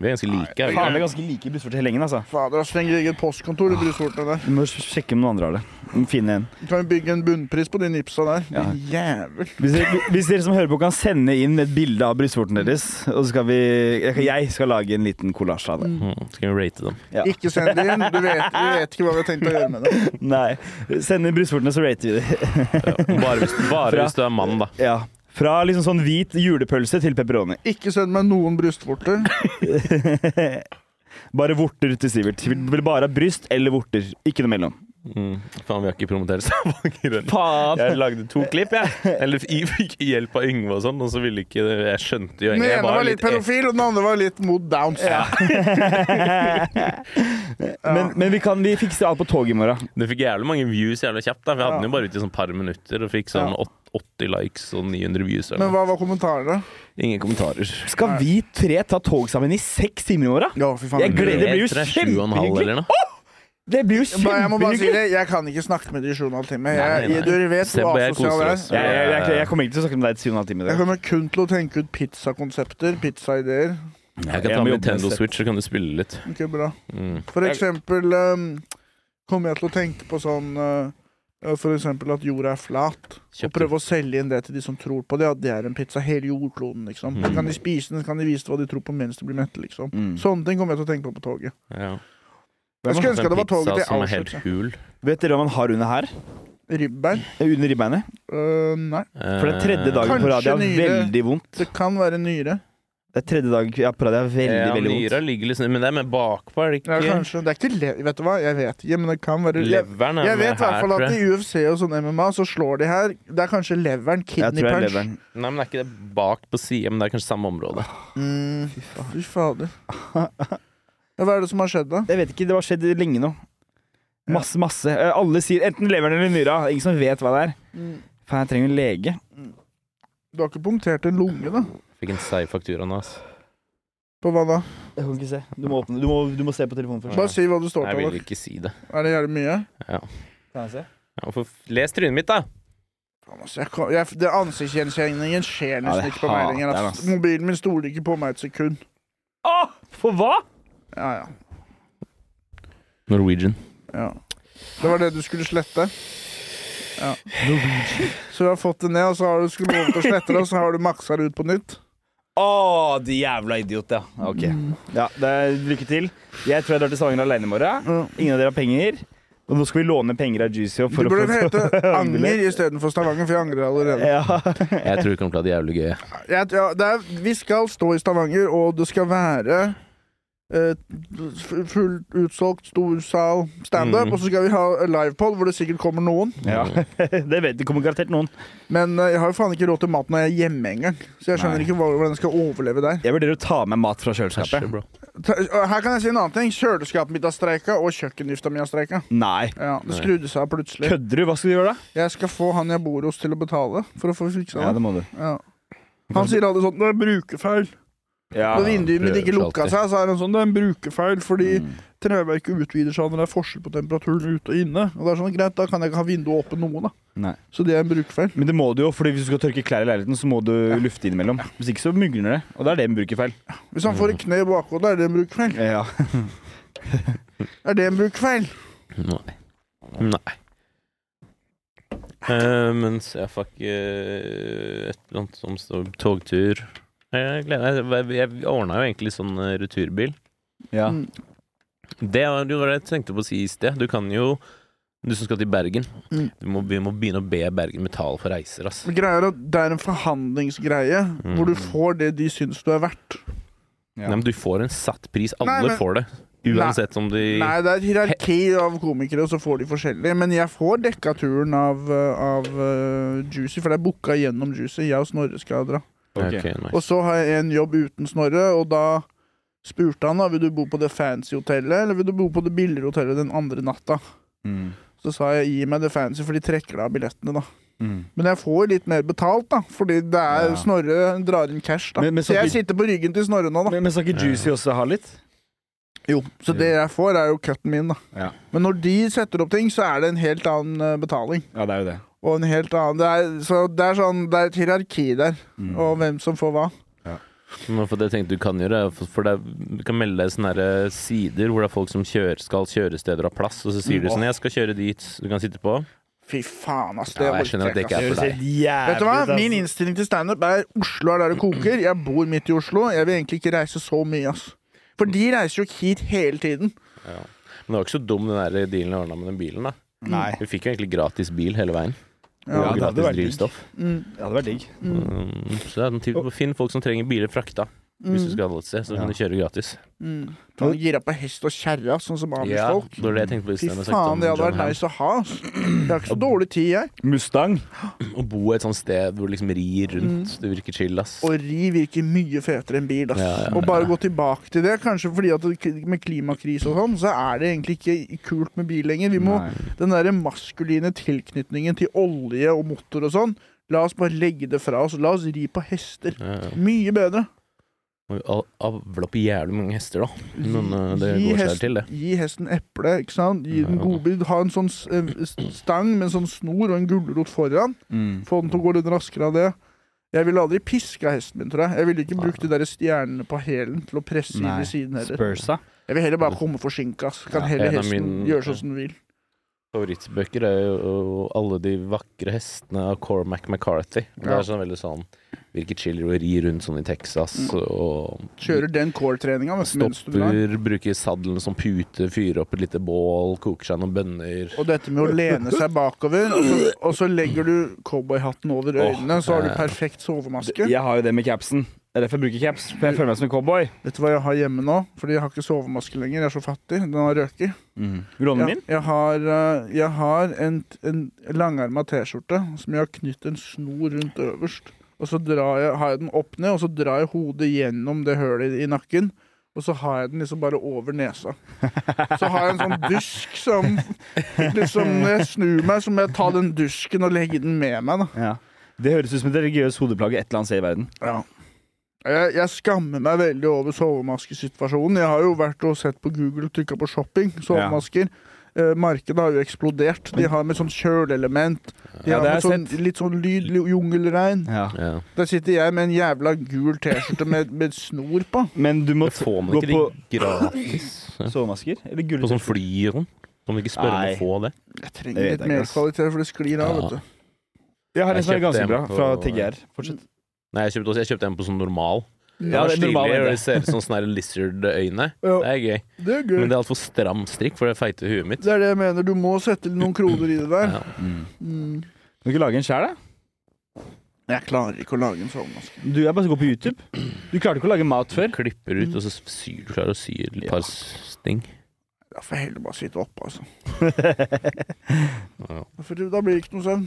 Speaker 2: Vi er ganske like. er
Speaker 1: Faen,
Speaker 2: vi ikke?
Speaker 1: vi er ganske like brystvorter hele gjengen, altså.
Speaker 3: Fader, ass, trenger eget postkontor i brystvortene der.
Speaker 1: Vi må sjekke om noen andre har det. Finne en.
Speaker 3: Du kan jo bygge en bunnpris på de nipsa der. Mm.
Speaker 1: Ja.
Speaker 3: Din jævel.
Speaker 1: Hvis dere, hvis dere som hører på kan sende inn et bilde av brystvorten deres, og så skal vi Jeg skal lage en liten kollasj av det.
Speaker 2: Mm, Skal vi rate dem?
Speaker 1: Ja.
Speaker 3: Ikke send det inn. Du vet, vi vet ikke hva vi har tenkt å gjøre med det.
Speaker 1: Nei. Send inn brystvortene, så rater vi det.
Speaker 2: Bare hvis, bare hvis du er mann, da.
Speaker 1: Ja. Fra liksom sånn hvit julepølse til pepperoni.
Speaker 3: Ikke send meg noen brystvorter.
Speaker 1: Bare vorter til Sivert. Vil vil bare ha bryst eller vorter. Ikke noe mellom.
Speaker 2: Mm. Faen, vi har ikke promotert Stavanger ennå.
Speaker 1: Faen!
Speaker 2: Jeg lagde to klipp, jeg. Eller jeg fikk hjelp av Yngve og sånn, og så ville ikke Jeg skjønte jo
Speaker 3: Den ene
Speaker 2: egentlig Jeg
Speaker 3: var litt pedofil, og den andre var litt mot downs.
Speaker 1: Men, men vi, kan, vi fikser alt på toget i morgen.
Speaker 2: Det fikk jævlig mange views jævlig kjapt, da. Vi hadde den jo bare ute i sånn par minutter og fikk sånn
Speaker 3: Ja.
Speaker 2: åt- 80 likes og 900 views.
Speaker 3: Men
Speaker 2: Eller. noe.
Speaker 3: hva var kommentarene?
Speaker 2: Ingen kommentarer.
Speaker 1: Skal vi tre ta tog sammen i seks timer i morgen?
Speaker 3: Ja, fy faen.
Speaker 1: Jeg gleder- det blir jo
Speaker 2: Etter er sju og en halv
Speaker 1: kjempehyggelig.
Speaker 2: eller noe.
Speaker 1: Det blir jo
Speaker 3: Bare, jeg må bare si
Speaker 1: kjempehyggelig!
Speaker 3: det, jeg kan ikke snakke med de i sju og en halv time.
Speaker 2: Nei, nei,
Speaker 3: Jeg,
Speaker 2: nei.
Speaker 3: du vet
Speaker 2: Se
Speaker 3: hvor
Speaker 2: på, jeg
Speaker 3: asosial
Speaker 2: koser
Speaker 3: jeg
Speaker 2: oss.
Speaker 3: er.
Speaker 1: Jeg, jeg, jeg, jeg kommer ikke til å snakke med deg i syv og en halv time i
Speaker 3: Jeg
Speaker 1: dag.
Speaker 3: kommer kun til å tenke ut pizzakonsepter, pizzaideer.
Speaker 2: Jeg
Speaker 1: Jeg
Speaker 2: kan
Speaker 1: må
Speaker 2: ta med
Speaker 1: jobbe med
Speaker 2: Nintendo
Speaker 1: sett.
Speaker 2: Switch, så kan du spille litt.
Speaker 3: Ikke bra. ehm,
Speaker 2: Mm.
Speaker 3: For eksempel um, kommer jeg til å tenke på sånn uh, eh, for eksempel at jorda er flat. Og
Speaker 2: Kjøpte-
Speaker 3: prøve å selge inn det til de som tror på det, at det er en pizza. Hele jordkloden, liksom.
Speaker 2: Mm.
Speaker 3: Kan de spise den, så kan de vise hva de tror på mens de blir mette, liksom.
Speaker 1: Mm.
Speaker 3: Sånne ting kommer jeg til å tenke på på toget.
Speaker 2: Ja. Sånn
Speaker 3: Jeg skulle ønske det var toget til
Speaker 2: som er helt
Speaker 3: Auschwitz. ja.
Speaker 2: hul.
Speaker 1: Vet dere hva man har under her?
Speaker 3: Ribbein?
Speaker 1: Eh, Under ribbeinet?
Speaker 3: Øh, nei.
Speaker 1: For det er
Speaker 2: Eh,
Speaker 1: tredje dagen på
Speaker 3: Kanskje
Speaker 1: rad jeg har
Speaker 3: nyre.
Speaker 1: veldig vondt.
Speaker 3: Det kan være nyre.
Speaker 1: Det er tredje dag jeg har prøvd, jeg har veldig,
Speaker 2: ja,
Speaker 1: veldig
Speaker 2: Nyra
Speaker 1: vondt.
Speaker 2: ligger liksom Men det er med bakpå, er det
Speaker 3: Ja,
Speaker 2: ikke?
Speaker 3: kanskje. Det er ikke le... Vet du hva, jeg vet ikke, men det kan være le...
Speaker 2: Leveren er
Speaker 3: Jeg vet i
Speaker 2: med
Speaker 3: hvert
Speaker 2: her,
Speaker 3: fall
Speaker 2: tror
Speaker 3: at
Speaker 2: jeg.
Speaker 3: i UFC og sånn MMA så slår de her. Det er kanskje leveren.
Speaker 1: Jeg tror
Speaker 3: Kidney
Speaker 1: jeg er
Speaker 3: punch.
Speaker 1: leveren.
Speaker 2: Nei, men det er ikke det bak på siden men det er kanskje samme område.
Speaker 3: Mm, fy fader. Ja, hva er det som har skjedd, da?
Speaker 1: Jeg vet ikke, det har skjedd lenge nå. Masse, masse. Eh, Alle sier enten leveren eller nyra. Ingen som vet hva det er. Faen, jeg trenger en lege.
Speaker 3: Du har ikke punktert en lunge, da?
Speaker 2: Fikk en seig faktura nå, ass.
Speaker 3: På hva da?
Speaker 1: Jeg kan ikke se. Du må, åpne. Du må, du må se på telefonen først.
Speaker 3: Bare si hva du står
Speaker 2: Jeg
Speaker 3: til.
Speaker 2: vil
Speaker 3: da.
Speaker 2: ikke si det.
Speaker 3: Er det jævlig mye?
Speaker 1: Kan jeg se?
Speaker 2: Ja, hvorfor- Les trynet mitt, da!
Speaker 3: Faen, ass, Altså, jeg kan, jeg, det Ansiktsgjenkjenningen skjer
Speaker 1: Ja,
Speaker 3: nesten
Speaker 1: det
Speaker 3: ikke på meg
Speaker 1: hater
Speaker 3: lenger.
Speaker 1: jeg,
Speaker 3: ass.
Speaker 1: ass.
Speaker 3: Mobilen min stoler ikke på meg et sekund.
Speaker 1: Åh, for hva?
Speaker 3: Ja, ja,
Speaker 2: Norwegian.
Speaker 3: ja. Det var det du skulle slette? Ja. Så du har fått det ned, og så har du skulle lov til å slette det, og så har du maksa det ut på nytt?
Speaker 1: Å, de jævla idiot, ja. Ok. Mm. Ja, det er, lykke til. Jeg tror jeg drar til Stavanger alene i morgen.
Speaker 3: Ja.
Speaker 1: Ingen av dere har penger. Og nå skal vi låne penger av Juicy og
Speaker 3: Du
Speaker 1: for å
Speaker 3: burde
Speaker 1: få <laughs>
Speaker 3: hete Anger istedenfor Stavanger, for jeg angrer allerede.
Speaker 1: Ja.
Speaker 2: Jeg tror det kommer til å bli jævlig gøy.
Speaker 3: Jeg, ja, det er, vi skal stå i Stavanger, og det skal være eh, f- fullt utsolgt, stor sal, standup,
Speaker 2: Mm.
Speaker 3: og så skal vi ha livepod hvor det sikkert kommer noen.
Speaker 1: ja. <laughs> Det vet det kommer garantert noen.
Speaker 3: Men eh, jeg har jo faen ikke råd til mat når jeg er hjemme engang, så jeg skjønner
Speaker 1: Nei.
Speaker 3: ikke hva- hvordan jeg skal overleve der.
Speaker 1: Jeg vurderer å ta med mat fra kjøleskapet.
Speaker 2: Kanskje, bro.
Speaker 3: Ta- og Her kan jeg si en annen ting. Kjøleskapet mitt har streika, og kjøkkendufta mi har streika.
Speaker 1: Nei.
Speaker 3: Ja, det skrudde seg av plutselig.
Speaker 1: Kødder du? Hva skal du gjøre da?
Speaker 3: Jeg skal få han jeg bor hos til å betale for å få fiksa det.
Speaker 1: det må du.
Speaker 3: Ja. Han sier alltid sånn 'Det er brukerfeil'.
Speaker 1: Ja.
Speaker 3: Når vinduet mitt ikke
Speaker 2: prøver
Speaker 3: lukka
Speaker 2: alltid.
Speaker 3: seg, så er det sånn, det er en brukerfeil, fordi
Speaker 1: Mm.
Speaker 3: treverket utvider seg når det er forskjell på temperaturen ute og inne. Og det er sånn, greit, da kan jeg ikke ha vinduet åpent noe, da.
Speaker 1: Nei.
Speaker 3: Så det er en brukerfeil.
Speaker 1: Men det må du jo, fordi hvis du skal tørke klær i leiligheten, så må du lufte innimellom. Hvis ikke så mugner det, og det er det vi bruker feil.
Speaker 3: Hvis han får et kne i bakhodet, er det en brukerfeil.
Speaker 1: Ja.
Speaker 3: Er det en brukerfeil?
Speaker 2: Nei. Nei. Eh, mens jeg fikk eh, et eller annet som står togtur Jeg, gleder meg. jeg, jeg ordna jo egentlig sånn eh, returbil.
Speaker 1: ja.
Speaker 3: Mm.
Speaker 2: Det var det var det jeg tenkte på å si i sted. Du kan jo Du som skal til Bergen,
Speaker 3: Mm.
Speaker 2: du må, vi må begynne å be Bergen betale for reiser, ass.
Speaker 3: Men Greia er at det er en forhandlingsgreie,
Speaker 1: Mm.
Speaker 3: hvor du får det de syns du er verdt.
Speaker 1: Ja.
Speaker 2: Nei, men du får en satt pris. Alle
Speaker 3: Nei, men-
Speaker 2: får det. Uansett om de
Speaker 3: Nei, det er et hierarki av komikere, og så får de forskjellige. Men jeg får dekka turen av, uh, av uh, Juicy, for det er booka gjennom Juicy. Jeg og Snorre skal dra.
Speaker 2: Ok,
Speaker 1: Ok.
Speaker 2: nice.
Speaker 3: Og så har jeg en jobb uten Snorre, og da spurte han da, vil du bo på det fancy hotellet, eller vil du bo på det billigere hotellet den andre natta.
Speaker 1: Mm.
Speaker 3: Så sa jeg gi meg det fancy, for de trekker deg av billettene, da.
Speaker 1: Mm.
Speaker 3: Men jeg får litt mer betalt, da, fordi det er
Speaker 1: Ja.
Speaker 3: Snorre drar inn cash, da.
Speaker 1: Men- men så
Speaker 3: så jeg
Speaker 1: blir-
Speaker 3: sitter på ryggen til Snorre nå, da.
Speaker 1: Men, men skal ikke Juicy også ha litt?
Speaker 3: Jo, Så det jeg får, er jo cutten min, da.
Speaker 1: Ja.
Speaker 3: Men når de setter opp ting, så er det en helt annen eh, betaling.
Speaker 1: Ja, det er jo det.
Speaker 3: Og en helt annen Det er, så det er sånn Det er et hierarki der,
Speaker 1: Mm.
Speaker 3: og hvem som får hva.
Speaker 2: Men for det jeg tenkte du kan gjøre, er for- for det, er- du kan melde deg i sånne her, eh, sider hvor det er folk som kjører, skal kjøre steder og plass, og så
Speaker 3: Mm.
Speaker 2: sier du sånn 'Jeg skal kjøre dit, så du kan sitte på'.
Speaker 3: Fy faen, ass. Det
Speaker 2: Ja, jeg
Speaker 3: orker
Speaker 2: skjønner at det
Speaker 3: ikke, ass.
Speaker 2: ikke er for deg.
Speaker 3: Vet du hva?
Speaker 2: altså.
Speaker 3: Min innstilling til standup er Oslo er der det koker. Jeg bor midt i Oslo. Jeg vil egentlig ikke reise så mye, ass. For de reiser jo ikke hit hele tiden.
Speaker 2: Men det var ikke så dum den der dealen jeg ordna med den bilen, da.
Speaker 1: Nei.
Speaker 2: Vi fikk jo egentlig gratis bil hele veien.
Speaker 1: Ja,
Speaker 2: og
Speaker 1: det hadde
Speaker 2: gratis
Speaker 1: vært digg.
Speaker 2: drivstoff.
Speaker 1: Ja, det hadde vært digg.
Speaker 2: Mm, Så det er en typ, finn folk som trenger biler frakta. Hvis
Speaker 3: Mm.
Speaker 2: du skal ha det et sted, så kan du kjøre gratis.
Speaker 3: Han gira på hest Mm. og kjerre, ass, sånn som
Speaker 2: Ja,
Speaker 3: Amish-folk.
Speaker 2: det var det jeg tenkte på
Speaker 3: Fy
Speaker 2: i sted. når jeg snakket om
Speaker 3: faen, det hadde
Speaker 2: John
Speaker 3: vært
Speaker 2: Hamm.
Speaker 3: nice å ha, ass. Jeg har ikke så dårlig tid, jeg.
Speaker 1: Mustang.
Speaker 2: Å bo et sånt sted hvor du liksom rir rundt, det virker chill, ass.
Speaker 3: Mm. Og ri virker mye fetere enn bil, ass.
Speaker 2: Ja, ja, ja.
Speaker 3: Og bare gå tilbake til det, kanskje fordi at det- med klimakrise og sånn, så er det egentlig ikke kult med bil lenger. Vi må den derre maskuline tilknytningen til olje og motor og sånn, la oss bare legge det fra oss. La oss ri på hester.
Speaker 2: Ja, ja.
Speaker 3: Mye bedre.
Speaker 2: Må jo av- avle opp jævlig mange hester, da. Men eh, det
Speaker 3: Gi
Speaker 2: går seg
Speaker 3: hest-
Speaker 2: til, det.
Speaker 3: Gi hesten eple, ikke sant? Gi den
Speaker 2: Ja.
Speaker 3: godbit. Ha en sånn s- eh, s- stang med en sånn snor og en gulrot foran.
Speaker 1: Mm.
Speaker 3: Få den til å gå litt raskere av det. Jeg ville aldri piska hesten min, tror jeg. Jeg ville ikke brukt de der stjernene på hælen til å presse inn
Speaker 1: Nei.
Speaker 3: i siden heller.
Speaker 1: Spursa.
Speaker 3: Jeg vil heller bare komme forsinka. ass. Kan
Speaker 1: Ja,
Speaker 3: heller
Speaker 2: en av
Speaker 3: hesten
Speaker 2: mine-
Speaker 3: gjøre sånn som den vil.
Speaker 2: favorittbøker er jo alle de vakre hestene av Cormac McCarthy. Og Det
Speaker 3: Ja.
Speaker 2: er sånn veldig sånn Virker chiller å ri rundt sånn i Texas og
Speaker 3: Kjører den core-treninga mens du drar.
Speaker 2: stopper, bruker saddelen som pute, fyrer opp et lite bål, koker seg noen bønner.
Speaker 3: Og dette med å lene seg bakover, og så, og så legger du cowboyhatten over øynene, så har du
Speaker 2: eh.
Speaker 3: perfekt sovemaske.
Speaker 1: Jeg har jo det med capsen. Det er derfor jeg bruker caps. For jeg føler meg som en cowboy.
Speaker 3: Vet du hva jeg har hjemme nå? Fordi jeg har ikke sovemaske lenger. Jeg er så fattig. Den har røket.
Speaker 1: Ronnen
Speaker 3: Jeg,
Speaker 1: min?
Speaker 3: jeg har, eh, jeg har en, en langarma T-skjorte som jeg har knytt en snor rundt øverst. Og så drar jeg, har jeg den opp ned, og så drar jeg hodet gjennom det hølet i nakken. Og så har jeg den liksom bare over nesa. Så har jeg en sånn dusk som liksom, Når jeg snur meg, så må jeg ta den dusken og legge den med meg. da
Speaker 1: Ja. Det høres ut som et religiøst hodeplagg et eller annet sted i verden.
Speaker 3: Ja. Jeg, jeg skammer meg veldig over sovemaskesituasjonen. Jeg har jo vært og sett på Google og trykka på shopping. Sovemasker. Eh, markedet har jo eksplodert. De har med sånn kjøleelement. De
Speaker 1: Ja,
Speaker 3: har
Speaker 1: det har
Speaker 3: med
Speaker 1: jeg
Speaker 3: sånn, litt sånn lyd, li- jungelregn.
Speaker 1: Ja.
Speaker 2: Ja.
Speaker 3: Der sitter jeg med en jævla gul T-skjorte med, med snor på.
Speaker 1: Men du må
Speaker 2: Får man
Speaker 1: gå
Speaker 2: ikke
Speaker 1: på
Speaker 2: de gratis?
Speaker 1: sovemasker? Eller
Speaker 2: På
Speaker 1: gull?
Speaker 2: sånn fly og sånn? Kan man ikke spørre om
Speaker 1: Nei.
Speaker 2: å få det?
Speaker 3: Jeg
Speaker 1: Det
Speaker 3: trenger
Speaker 1: vet
Speaker 3: litt
Speaker 1: jeg
Speaker 3: mer
Speaker 1: ikke, ass.
Speaker 3: kvalitet, for det sklir av.
Speaker 2: Ja.
Speaker 3: vet du
Speaker 1: Jeg har en som er
Speaker 2: Jeg kjøpte
Speaker 1: ganske
Speaker 2: en
Speaker 1: bra,
Speaker 2: på-
Speaker 1: fra TGR. Fortsett.
Speaker 2: Nei, jeg kjøpte, også, jeg kjøpte en på sånn normal.
Speaker 1: Ja,
Speaker 2: Ja, det,
Speaker 1: det er normal,
Speaker 2: stilig,
Speaker 1: det.
Speaker 2: og det ser ut som sånne her lizard-øyne. Det
Speaker 3: Ja,
Speaker 2: er gøy.
Speaker 3: det er
Speaker 2: Men
Speaker 3: gøy.
Speaker 2: det er altfor stram strikk for det feite huet mitt.
Speaker 3: Det er det jeg mener. Du må sette noen kroner i det der.
Speaker 2: Ja.
Speaker 1: Mm.
Speaker 3: Mm.
Speaker 1: Kan du ikke lage en sjæl, da?
Speaker 3: Jeg klarer ikke å lage en sovemaske.
Speaker 1: Du er bare så god på YouTube. Du klarte ikke å lage mat før.
Speaker 2: Klipper
Speaker 3: Mm.
Speaker 2: ut, og så syr du klarer å sy et par sting.
Speaker 3: Da får jeg heller bare sitte
Speaker 1: <laughs>
Speaker 3: oppe, altså.
Speaker 2: Ja.
Speaker 3: For da blir det ikke noe søvn.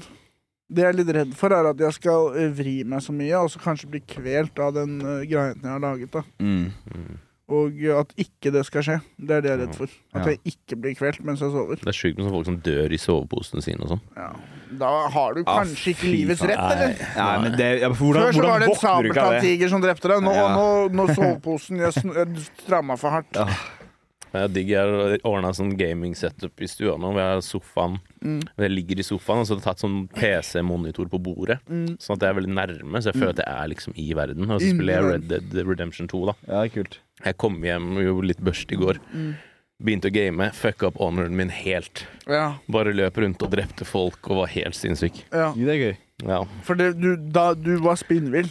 Speaker 3: Det jeg er litt redd for, er at jeg skal eh, vri meg så mye, og så kanskje bli kvelt av den eh, greien jeg har laget. da.
Speaker 2: Mm.
Speaker 3: Og eh, at ikke det skal skje. Det er det jeg er redd for. At
Speaker 1: Mm. Ja.
Speaker 3: jeg ikke blir kvelt mens jeg sover.
Speaker 2: Det er sjukt med sånne folk som dør i soveposene sine og sånn.
Speaker 3: Ja. Da har du
Speaker 1: Ah,
Speaker 3: kanskje ikke
Speaker 1: fy
Speaker 3: livets
Speaker 1: faen.
Speaker 3: rett, eller?
Speaker 1: Nei, men det, ja, for hvordan,
Speaker 3: Før så
Speaker 1: hvordan
Speaker 3: var det
Speaker 1: våkner du
Speaker 3: en
Speaker 1: ikke av det?
Speaker 3: sabeltanntiger som drepte deg. Nå,
Speaker 1: Ja.
Speaker 3: nå, nå soveposen Jeg, sn- jeg stramma for hardt.
Speaker 1: Ja.
Speaker 2: Jeg digg jeg har ordna sånn gaming-setup i stua nå. hvor Jeg har sofaen
Speaker 3: Mm.
Speaker 2: Jeg ligger i sofaen og så har jeg tatt sånn PC-monitor på bordet.
Speaker 3: Mm.
Speaker 2: Sånn at jeg er veldig nærme, så jeg føler at jeg er liksom i verden. Og så
Speaker 3: Inni
Speaker 2: spiller jeg Red
Speaker 3: verden.
Speaker 2: Dead Redemption 2, da.
Speaker 1: Ja, kult.
Speaker 2: Jeg kom hjem jo litt børst i går.
Speaker 3: Mm.
Speaker 2: Begynte å game, fucka opp honoren min helt.
Speaker 3: Ja,
Speaker 2: Bare løp rundt og drepte folk og var helt sinnssyk.
Speaker 3: ja.
Speaker 1: Jo, Det er gøy.
Speaker 2: Ja.
Speaker 3: For det, du, da, du var spinnvill.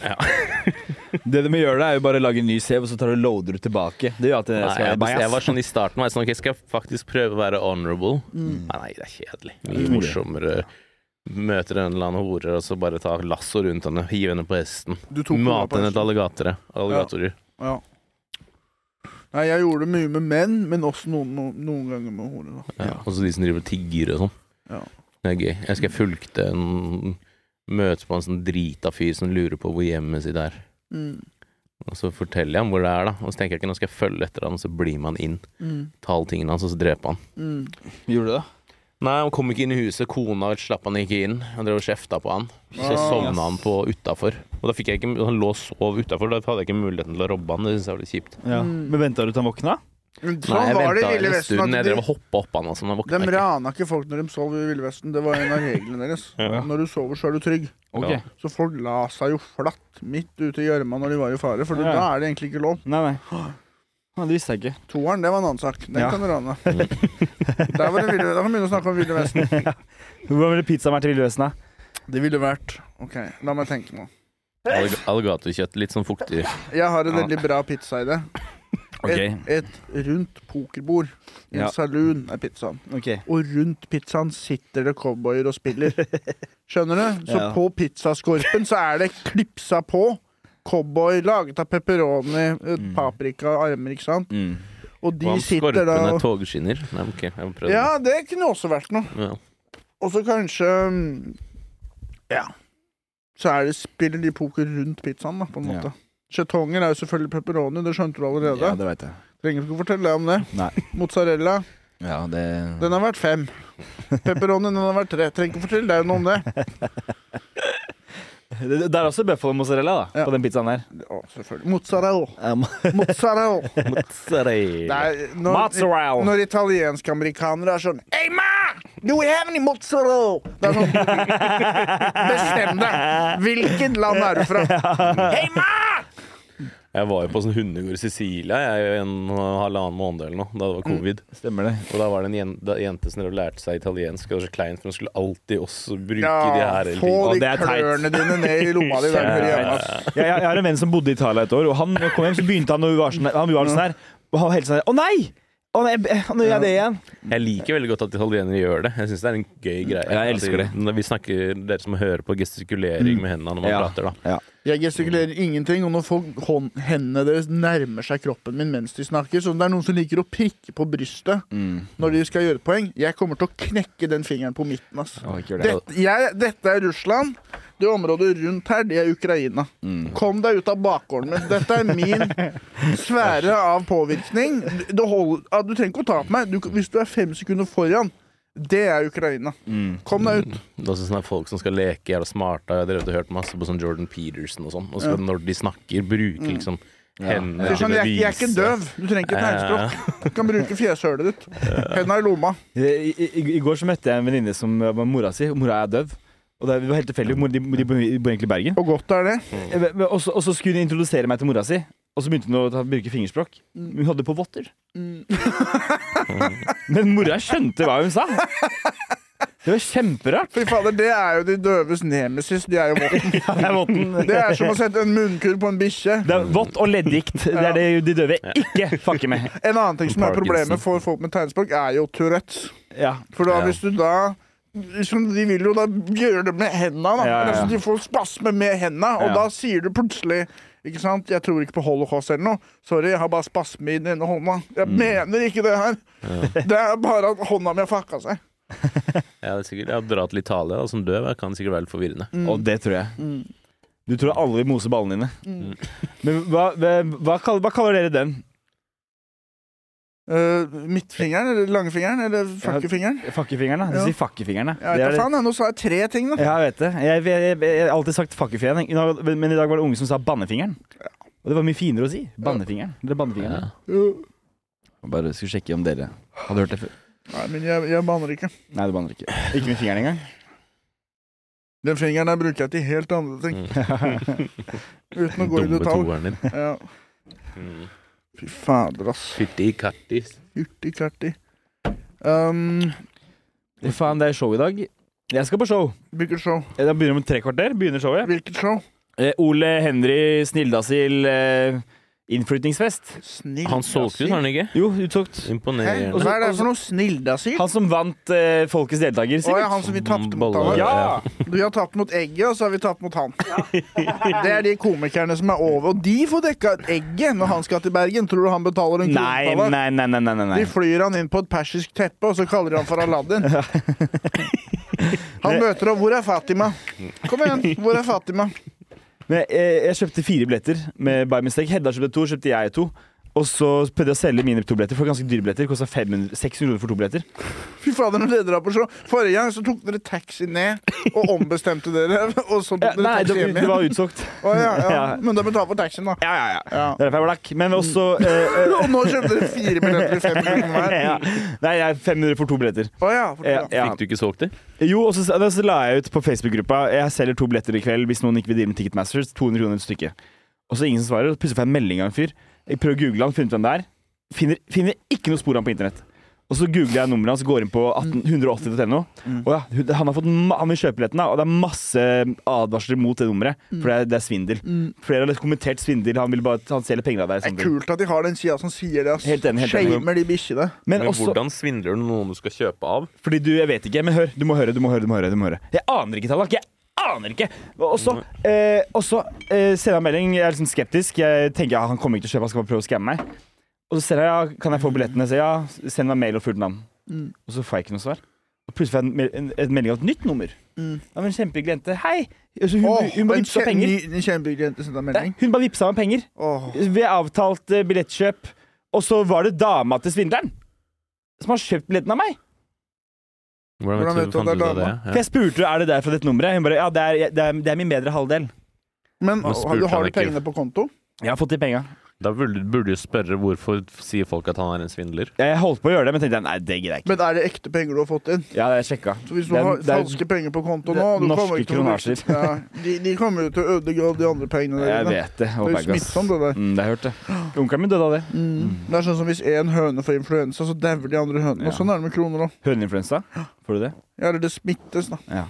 Speaker 1: Det du må gjøre, da, er jo bare å lage en ny save, og så tar du og loader du tilbake. Det gjør at det
Speaker 2: Nei,
Speaker 1: skal være
Speaker 2: jeg, bes- jeg var
Speaker 1: bajas.
Speaker 2: sånn i starten var jeg sånn, ok, Skal jeg faktisk prøve å være honorable?
Speaker 3: Mm.
Speaker 2: Nei, nei, det er kjedelig.
Speaker 1: det er
Speaker 2: Mye
Speaker 1: mye.
Speaker 2: morsommere. Møter en eller annen hore og så bare ta lasso rundt henne, hive henne på hesten.
Speaker 3: Du tok hodet
Speaker 2: Mate
Speaker 3: på
Speaker 2: henne
Speaker 3: hesten.
Speaker 2: til alligatorer. alligatorer.
Speaker 3: Ja. Nei, jeg gjorde det mye med menn, men også noen, no- noen ganger med horer. da.
Speaker 2: Ja. Og så de som driver og tigger og sånn.
Speaker 3: Ja.
Speaker 2: Det er gøy. Jeg husker jeg fulgte en møte på en sånn drita fyr som lurer på hvor hjemmet sitt er.
Speaker 3: Mm.
Speaker 2: Og så forteller jeg ham hvor det er, da. Og så tenker jeg ikke nå skal jeg følge etter han, og så blir man inn.
Speaker 3: Mm.
Speaker 2: Ta alle tingene hans, og så dreper han.
Speaker 3: Mm.
Speaker 1: Gjorde du det?
Speaker 2: Nei, han kom ikke inn i huset. Kona slapp han ikke inn. Han drev og kjefta på han. Så
Speaker 3: Ah.
Speaker 2: sovna han på utafor. Og da fikk jeg ikke Han lå og sov utafor. Da hadde jeg ikke muligheten til å robbe han. Det synes jeg var litt kjipt.
Speaker 1: Ja.
Speaker 3: Mm.
Speaker 1: Men venta du til han våkna?
Speaker 3: Men
Speaker 2: Nei,
Speaker 3: Sånn
Speaker 2: jeg
Speaker 3: var det
Speaker 2: venta
Speaker 3: i Ville
Speaker 2: en
Speaker 3: Vesten.
Speaker 2: stund.
Speaker 3: At
Speaker 2: Jeg drev
Speaker 3: de,
Speaker 2: og hoppa opp han, altså. Men han
Speaker 3: de
Speaker 2: våkna ikke.
Speaker 3: rana ikke folk når de sov i Ville Vesten. Det var en av reglene deres.
Speaker 2: Ja.
Speaker 3: Når du sover, så er du trygg.
Speaker 1: Ok.
Speaker 2: Ja.
Speaker 3: Så folk la seg jo flatt midt ute i gjørma når de var i fare, for
Speaker 1: Ja.
Speaker 3: da er det egentlig ikke lov.
Speaker 1: Nei, nei. Nei, det visste jeg ikke.
Speaker 3: Toeren, det var en annen sak. Den
Speaker 1: Ja.
Speaker 3: kan du rane. Der var det ville, da kan vi begynne å snakke om Ville Vesten.
Speaker 2: <laughs>
Speaker 1: Hvordan ville pizzaen vært i Ville Vesten, da?
Speaker 3: Det ville vært OK, la meg tenke nå.
Speaker 2: Allig alligatorkjøtt. Litt sånn fuktig.
Speaker 3: Jeg har en veldig bra pizza i det.
Speaker 1: Ok.
Speaker 3: Et, et rundt pokerbord. I en
Speaker 1: Ja.
Speaker 3: saloon er pizzaen.
Speaker 1: Ok.
Speaker 3: Og rundt pizzaen sitter det cowboyer og spiller. Skjønner du? Så
Speaker 1: Ja.
Speaker 3: på pizzaskorpen så er det klipsa på. Cowboy laget av pepperoni, eh,
Speaker 1: Mm.
Speaker 3: paprika, armer, ikke sant?
Speaker 1: Mm.
Speaker 3: Og de
Speaker 2: Og han
Speaker 3: sitter
Speaker 2: skorpen
Speaker 3: da
Speaker 2: er
Speaker 3: og
Speaker 2: togskinner. Nei, ok, jeg må prøve
Speaker 3: Ja, det kunne også vært noe.
Speaker 2: det. Ja.
Speaker 3: Og så kanskje mm, Ja. Så er det, spiller de poker rundt pizzaen, da, på en
Speaker 1: Ja.
Speaker 3: måte. Skjetonger er jo selvfølgelig pepperoni, det skjønte du allerede.
Speaker 1: Ja, det veit jeg.
Speaker 3: Trenger ikke å fortelle deg om det.
Speaker 1: Nei.
Speaker 3: Mozzarella,
Speaker 1: Ja, det
Speaker 3: den har vært fem. Pepperoni, den har vært tre. Trenger ikke å fortelle deg noe om det.
Speaker 1: Det, det er også bøffel og mozzarella da,
Speaker 3: Ja.
Speaker 1: på den pizzaen der.
Speaker 3: Å, selvfølgelig. Mozzarella. Mozzarella. Det
Speaker 2: Mozzarella.
Speaker 3: er når, når italiensk-amerikanere er sånn Hey, ma! Do we have any mozzarella? Det er sånn Bestem deg! Hvilket land er du fra? Hey, ma!
Speaker 2: Jeg var jo på sånn hundegård i Sicilia jeg, en og halvannen måned eller noe,
Speaker 3: Mm.
Speaker 2: da det var covid.
Speaker 1: Stemmer det.
Speaker 2: Og da var det en jen- da- jente som drev og lærte seg italiensk. og Det var så kleint, for hun skulle alltid også bruke de
Speaker 3: Ja,
Speaker 2: her hele
Speaker 1: Ja,
Speaker 3: få de
Speaker 1: det er teit.
Speaker 3: klørne dine ned i lomma di der nede hjemme. ass.
Speaker 1: Jeg, jeg, jeg har en venn som bodde i Italia et år, og han når han kom hjem, så begynte han å være sånn her. Han var sånn her, og han var helt sånn her Å nei! Å nei, b- nå gjør jeg det igjen.
Speaker 2: Jeg liker veldig godt at italienere gjør det. Jeg syns det er en gøy greie.
Speaker 1: Ja, jeg elsker
Speaker 2: At de- Når vi snakker, Dere som hører på
Speaker 3: Mm.
Speaker 2: gestikulering med hendene når man
Speaker 1: Ja.
Speaker 2: prater, da.
Speaker 3: Jeg gestikulerer ingenting, og når folk, hånd, hendene deres nærmer seg kroppen min mens de snakker, som det er noen som liker å prikke på brystet
Speaker 1: Mm.
Speaker 3: når de skal gjøre et poeng, jeg kommer til å knekke den fingeren på midten. Ass. Dette, jeg, dette er Russland. Det området rundt her, det er Ukraina.
Speaker 1: Mm.
Speaker 3: Kom deg ut av bakgården min. Dette er
Speaker 2: <laughs>
Speaker 3: min sfære av påvirkning. Det hold, ah, du trenger ikke å ta på meg. Du, hvis du er fem sekunder foran, det er Ukraina.
Speaker 1: Mm.
Speaker 3: Kom deg ut.
Speaker 2: Det er også sånne folk som skal leke jævla smarte. Jeg har drevet og hørt masse på sånn Jordan Peterson og sånn. Og så når de snakker, bruke liksom
Speaker 3: Mm.
Speaker 2: hendene
Speaker 3: Det er
Speaker 2: til
Speaker 3: sånn,
Speaker 2: å
Speaker 3: jeg, jeg er ikke
Speaker 2: vise-
Speaker 3: døv. Du trenger ikke tegnspråk. Du kan bruke fjeshølet
Speaker 2: <laughs>
Speaker 3: ditt. Henda i lomma.
Speaker 1: I, i, I går så møtte jeg en venninne som var mora si. og Mora er døv. Og det var helt tilfeldig. Mor- De, de bor egentlig i Bergen.
Speaker 3: Og godt er det.
Speaker 1: Eh, men- Og så, og så skulle hun introdusere meg til mora si, og så begynte hun å ta, bruke fingerspråk. Men Hun hadde på votter. Mm. <laughs> Men mora skjønte hva hun sa! Det var kjemperart.
Speaker 3: Fy fader, det er jo de døves nemesis. De er jo votten.
Speaker 1: Ja, det er votten.
Speaker 3: Det er som å sette en munnkurv på en bikkje.
Speaker 1: Det er vått og leddgikt. Det er det de døve ikke fucker
Speaker 3: <laughs>
Speaker 1: med.
Speaker 3: En annen ting som er
Speaker 2: Parkinson.
Speaker 3: problemet for folk med tegnspråk, er jo Tourettes.
Speaker 1: Ja.
Speaker 3: For da,
Speaker 2: Ja.
Speaker 3: hvis du da liksom, De vil jo da gjøre det med hendene.
Speaker 1: Ja,
Speaker 3: Da.
Speaker 1: ja, ja.
Speaker 3: Altså, de får spasme med hendene, og
Speaker 1: Ja.
Speaker 3: da sier du plutselig ikke sant? Jeg tror ikke på holocaust eller noe. Sorry, jeg har bare spasme i den ene hånda. Jeg
Speaker 1: Mm.
Speaker 3: mener ikke det her. Det er bare at hånda mi har fucka seg.
Speaker 2: Ja, det er sikkert, jeg har dratt til Italia, og som døv jeg kan sikkert være litt forvirrende.
Speaker 1: Mm. Og det tror jeg.
Speaker 3: Mm.
Speaker 1: Du tror alle vil mose ballene dine. Men hva, hva, hva, kaller, hva kaller dere den?
Speaker 3: Eh, midtfingeren, eller langfingeren, eller fuckefingeren.
Speaker 1: Fakkefingeren, da? Du
Speaker 3: Ja.
Speaker 1: sier fakkefingeren, da.
Speaker 3: Jeg
Speaker 1: Det
Speaker 3: vet
Speaker 1: er
Speaker 3: da
Speaker 1: det-
Speaker 3: faen, jeg. nå sa jeg tre ting, da.
Speaker 1: Ja, jeg vet det. Jeg, jeg, jeg, jeg har alltid sagt fakkefingeren, jeg. I dag- men i dag var det unge som sa bannefingeren. Og det var mye finere å si. Bannefingeren. Eller bannefingeren.
Speaker 2: Ja.
Speaker 1: Jeg Bare skulle sjekke om dere hadde hørt det før.
Speaker 3: Nei, men jeg, jeg banner ikke.
Speaker 1: Nei, du banner ikke. Ikke med fingeren engang.
Speaker 3: Den fingeren der bruker jeg til helt andre ting, <laughs>
Speaker 1: Mm.
Speaker 3: uten å gå i
Speaker 2: Mm. Dumme
Speaker 3: detalj.
Speaker 2: toeren din.
Speaker 3: Ja.
Speaker 2: Mm.
Speaker 3: Fy fader, ass.
Speaker 2: Fytti kattis.
Speaker 3: Hurtig, klartig. Um,
Speaker 1: Fy Faen, det er show i dag. Jeg skal på show.
Speaker 3: hvilket show?
Speaker 1: Eh, Det begynner om tre kvarter. Begynner showet.
Speaker 3: Hvilket show?
Speaker 1: Eh, Ole Henry Snildasil eh, innflytningsfest.
Speaker 3: Snill.
Speaker 2: Han solgte ut, har han ikke?
Speaker 1: Jo, utsolgt.
Speaker 3: Hæ?
Speaker 2: Imponerende.
Speaker 3: Hva er det for noe? Snildasil? Å
Speaker 1: Han som vant eh, Folkets deltaker,
Speaker 3: ja,
Speaker 1: sikkert.
Speaker 3: han som vi tapte mot.
Speaker 2: Bolle.
Speaker 3: alle.
Speaker 1: ja.
Speaker 3: Vi har tapt mot egget, og så har vi tapt mot han. <laughs> Det er de komikerne som er over. Og de får dekka egget når han skal til Bergen. Tror du han betaler en
Speaker 1: Nei,
Speaker 3: krone?
Speaker 1: nei, nei, nei, nei, nei.
Speaker 3: De flyr han inn på et persisk teppe, og så kaller de han for
Speaker 1: <laughs>
Speaker 3: Aladdin. Han møter henne. 'Hvor er Fatima?' Kom igjen, hvor er Fatima?
Speaker 1: Men jeg, jeg, jeg kjøpte fire billetter med by mistake. Hedda kjøpte to, kjøpte jeg to. Og så prøvde jeg å selge mine to billetter, for det var ganske dyre billetter. Kosta 500 600 kroner for to billetter.
Speaker 3: Fy fader, når dere drar på show Forrige gang så tok dere taxi ned og ombestemte dere, <laughs> og så
Speaker 1: Ja,
Speaker 3: tok dere
Speaker 1: nei, det,
Speaker 3: taxi hjem
Speaker 1: det
Speaker 3: igjen.
Speaker 1: var
Speaker 3: <laughs>
Speaker 1: utsolgt.
Speaker 3: Å, ja, ja.
Speaker 1: Ja.
Speaker 3: Men da betalte for taxien, da.
Speaker 1: Ja, ja, ja.
Speaker 3: Ja.
Speaker 1: Det er derfor jeg var lakk. Men også eh, eh,
Speaker 3: <laughs> Og nå kjøpte dere fire billetter i <laughs> fem kroner hver.
Speaker 1: <laughs> ja. Nei, jeg er 500 for to billetter.
Speaker 3: Å ja, for
Speaker 1: Ja, ja.
Speaker 2: Fikk du ikke solgt det?
Speaker 1: Jo, og så, og så la jeg ut på Facebook-gruppa Jeg selger to billetter i kveld hvis noen ikke vil deale med Ticketmasters. 200 kroner et stykke. Og så er det ingen som svarer. og Plutselig får jeg en melding av en fyr. Jeg prøver å google han, finne ut hvem det er. Finner, finner ikke noe spor av han på internett. Og så googler jeg nummeret hans, går inn på 180.no. Og ja, hun- han, har fått, ma- han vil kjøpe billetten, da, og det er masse advarsler mot det nummeret. For det er, det er svindel. Flere har kommentert svindel. Han vil bare at han stjeler penger av deg.
Speaker 3: Det
Speaker 1: sånn
Speaker 3: er
Speaker 1: ting.
Speaker 3: kult at de har den sida som sier det. ass.
Speaker 1: Helt enig, helt enig.
Speaker 3: Shamer de bikkjene.
Speaker 1: Men
Speaker 2: Men
Speaker 1: også,
Speaker 2: hvordan svindler du noen du skal kjøpe av?
Speaker 1: Fordi du, jeg vet ikke, men hør, du må høre, du må høre, du må høre, du må høre. Jeg aner ikke, Tallak, jeg aner ikke! Og så, eh, og så eh, sender han melding, jeg er liksom skeptisk, jeg tenker ja, han kommer ikke til å kjøpe, han skal bare prøve å skamme meg. Og så sender jeg, ja, kan jeg få billettene? Jeg sier ja, send meg mail og fullt navn.
Speaker 3: Mm,
Speaker 1: Og så får jeg ikke noe svar. Og plutselig får jeg en, mel- en, en melding av et nytt nummer. Av en kjempehyggelig jente. Hei! Altså, hun,
Speaker 3: mm. Åh,
Speaker 1: hun bare
Speaker 3: en
Speaker 1: vippsa
Speaker 3: kje-
Speaker 1: penger.
Speaker 3: ny- En kjempehyggelig jente sendte en
Speaker 1: Nei,
Speaker 3: melding.
Speaker 1: Hun bare vippsa meg penger.
Speaker 3: Åh.
Speaker 1: Vi avtalte billettkjøp, og så var det dama til svindleren som har kjøpt billetten av meg.
Speaker 3: Hvordan vet du at
Speaker 2: fant
Speaker 3: det er
Speaker 2: ut av
Speaker 1: For
Speaker 2: det?
Speaker 1: jeg spurte er det der fra dette nummeret. Hun bare ja, det er, det er, det er min bedre halvdel.
Speaker 3: Men
Speaker 2: Nå
Speaker 3: åh,
Speaker 2: spurte
Speaker 3: du
Speaker 2: han
Speaker 3: har du
Speaker 2: ikke.
Speaker 3: pengene på konto?
Speaker 1: Jeg har fått de penga.
Speaker 2: Ja. Da burde, burde du spørre hvorfor sier folk at han er en svindler.
Speaker 1: Jeg holdt på å gjøre det, men tenkte jeg, nei, det gidder jeg ikke.
Speaker 3: Men er det ekte penger du har fått inn?
Speaker 1: Ja, jeg sjekka.
Speaker 3: Så hvis du
Speaker 1: Det er-
Speaker 3: har
Speaker 1: det er-
Speaker 3: falske penger på konto
Speaker 1: det
Speaker 3: nå
Speaker 1: er
Speaker 3: du kommer
Speaker 1: norske
Speaker 3: ikke til å bruke-
Speaker 1: kronasjer.
Speaker 3: Ja, de, de kommer jo til å ødelegge av de andre pengene
Speaker 1: Jeg
Speaker 3: dine.
Speaker 1: vet det.
Speaker 3: Det er jo
Speaker 1: håper jeg ikke, ass.
Speaker 3: smittsomt, det der.
Speaker 1: Mm, det har jeg hørt, det. Onkelen min døde av det.
Speaker 3: Det er sånn som hvis én høne får influensa, så dauer de andre hønene.
Speaker 1: Ja.
Speaker 3: Og sånn er det med kroner òg.
Speaker 1: Høneinfluensa. Får du det?
Speaker 3: Ja, eller det smittes, da.
Speaker 1: Ja.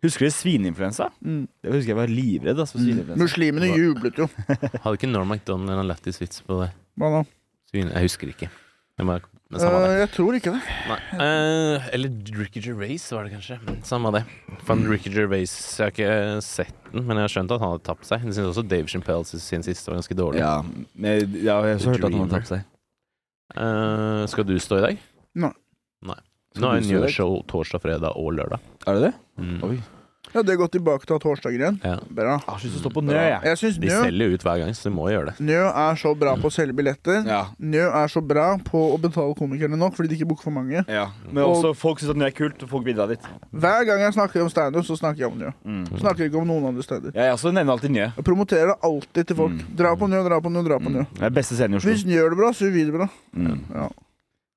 Speaker 1: Husker du svineinfluensa?
Speaker 3: Mm.
Speaker 1: Det husker jeg var livredd ass, for svineinfluensa.
Speaker 3: Muslimene jublet jo.
Speaker 2: Hadde ikke Norm MacDonald en lættis vits på det?
Speaker 3: Hva da?
Speaker 2: Svin- Jeg husker ikke. Jeg bare, men samme det.
Speaker 3: Eh, jeg tror ikke det.
Speaker 2: Nei. Eh, eller Ricky Gervais var det kanskje. Samme det. Fan, Ricky Gervais, Jeg har ikke øh, sett den, men jeg har skjønt at han hadde tapt seg. Jeg synes også Dave Chappelle sin siste var ganske dårlig.
Speaker 1: Ja, men- ja, jeg har også hørt at han har tatt seg.
Speaker 2: Eh, skal du stå i dag?
Speaker 3: Nei.
Speaker 2: Nei.
Speaker 1: Skal
Speaker 2: Nå
Speaker 1: du
Speaker 2: er det
Speaker 1: stå i dag?
Speaker 2: nye show torsdag, fredag og lørdag.
Speaker 1: Er det det?
Speaker 2: Mm.
Speaker 1: Oi.
Speaker 3: Ja, det går tilbake til torsdager igjen.
Speaker 2: Ja.
Speaker 3: Bra.
Speaker 1: Jeg har lyst til å stå på nø, jeg.
Speaker 3: Jeg syns
Speaker 2: De
Speaker 3: Njø,
Speaker 2: selger jo ut hver gang, så du må gjøre det.
Speaker 3: Njø er så bra på å selge billetter.
Speaker 1: Ja.
Speaker 3: Njø er så bra på å betale komikerne nok fordi de ikke booker for mange.
Speaker 1: ja. Men også folk syns at nø er kult, og folk bidrar litt.
Speaker 3: Hver gang jeg snakker om standup, så snakker jeg om Njø.
Speaker 1: Mm.
Speaker 3: Snakker ikke om noen andre steder.
Speaker 1: Jeg også nevner alltid nø.
Speaker 3: Jeg promoterer det alltid til folk. Dra på Njø, dra på Njø, dra på Njø.
Speaker 1: Mm. Det er beste scenen i Oslo.
Speaker 3: Hvis Njø gjør det bra, så gjør vi det bra.
Speaker 1: Mm.
Speaker 3: Ja.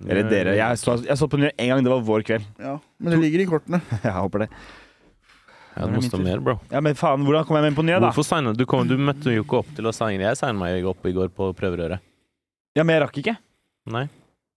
Speaker 1: Eller dere. Jeg så, jeg så på Njø en gang, det var vår kveld.
Speaker 3: ja. Men det ligger i kortene.
Speaker 1: <laughs> Jeg håper det.
Speaker 2: Ja, du må stå mer, bro.
Speaker 1: Ja, Men faen, hvordan kom jeg meg inn på Njø, da?
Speaker 2: Hvorfor signet du? Kom, du møtte jo ikke opp til å signe. Jeg signet meg jo opp i går på prøverøret.
Speaker 1: Ja, Men jeg rakk ikke.
Speaker 2: Nei.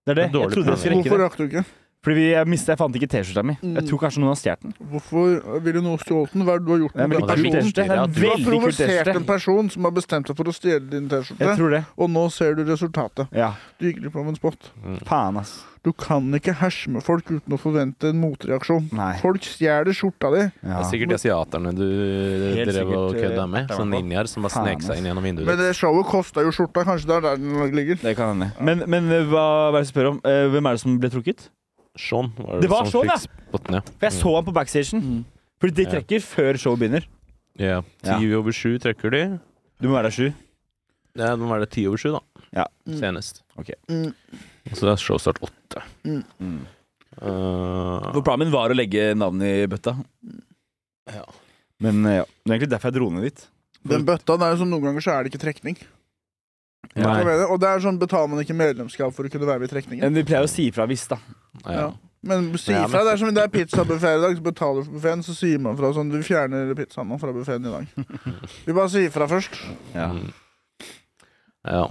Speaker 1: Det er det.
Speaker 2: Det er dårlig
Speaker 1: Jeg trodde jeg skulle rekke
Speaker 3: Hvorfor
Speaker 1: det.
Speaker 3: rakk du ikke?
Speaker 1: Fordi vi- jeg mistet, jeg fant ikke T-skjorta mi.
Speaker 3: Mm.
Speaker 1: Jeg tror kanskje noen har stjålet den.
Speaker 3: Hvorfor ville noen stjålet den? Hva er det du har gjort
Speaker 1: Det er en
Speaker 3: med
Speaker 1: veldig
Speaker 3: den
Speaker 2: det
Speaker 1: kul
Speaker 3: personen?
Speaker 2: er viktig
Speaker 1: T-skjorte. Det er en
Speaker 3: Du har
Speaker 1: veldig kul
Speaker 3: provosert en
Speaker 1: T-skjorte.
Speaker 3: person som har bestemt seg for å stjele din
Speaker 1: Jeg
Speaker 3: T-skjorte,
Speaker 1: tror det.
Speaker 3: og nå ser du resultatet.
Speaker 1: Ja.
Speaker 3: Du gikk glipp av en spot.
Speaker 1: Faen, ass.
Speaker 3: Du kan ikke herse med folk uten å forvente en motreaksjon.
Speaker 1: Nei.
Speaker 3: Folk stjeler skjorta di,
Speaker 2: Det
Speaker 1: Ja.
Speaker 2: er sikkert asiaterne du
Speaker 1: Helt
Speaker 2: drev og
Speaker 1: sikkert, eh,
Speaker 2: kødda med.
Speaker 1: der
Speaker 2: Sånne
Speaker 1: var det.
Speaker 2: ninjaer som bare
Speaker 1: Faen,
Speaker 2: snek seg inn gjennom vinduet.
Speaker 3: men det showet kosta jo skjorta. Kanskje det er der den ligger.
Speaker 1: Det kan hende. Men, men eh, hva, hva er det jeg spør om? Eh, hvem er det som ble trukket?
Speaker 2: Sean var
Speaker 1: Det var
Speaker 2: som
Speaker 1: Sean,
Speaker 2: fikk spotten, ja.
Speaker 1: For jeg så han på backstation.
Speaker 3: Mm.
Speaker 1: Fordi de
Speaker 2: Ja.
Speaker 1: trekker før showet begynner.
Speaker 2: ja.
Speaker 1: Ja.
Speaker 2: Ti over sju trekker de.
Speaker 1: Du må være der sju.
Speaker 2: Ja, nå var det ti over sju, da.
Speaker 1: Ja.
Speaker 3: Mm.
Speaker 2: Senest.
Speaker 1: Ok.
Speaker 3: Mm.
Speaker 2: Så det er showstart åtte.
Speaker 3: Mm.
Speaker 2: Eh,
Speaker 1: For planen min var å legge navnet i bøtta.
Speaker 2: Ja.
Speaker 1: Men eh, ja. Det er egentlig derfor jeg dro ned dit.
Speaker 3: Den bøtta der som noen ganger så er det ikke trekning.
Speaker 2: Nei.
Speaker 3: Jeg mener, Og det er sånn betaler man ikke medlemskap for å kunne være med i trekningen.
Speaker 1: Men vi pleier å si ifra hvis, da.
Speaker 2: ja.
Speaker 3: Men si
Speaker 2: Ja, men-
Speaker 3: fra. Det er som det er pizzabuffé i dag, så betaler du for buffeen, så sier man fra sånn Du fjerner pizzaen nå fra buffeen i dag. Vi bare sier fra først.
Speaker 1: Ja.
Speaker 2: Mm. ja.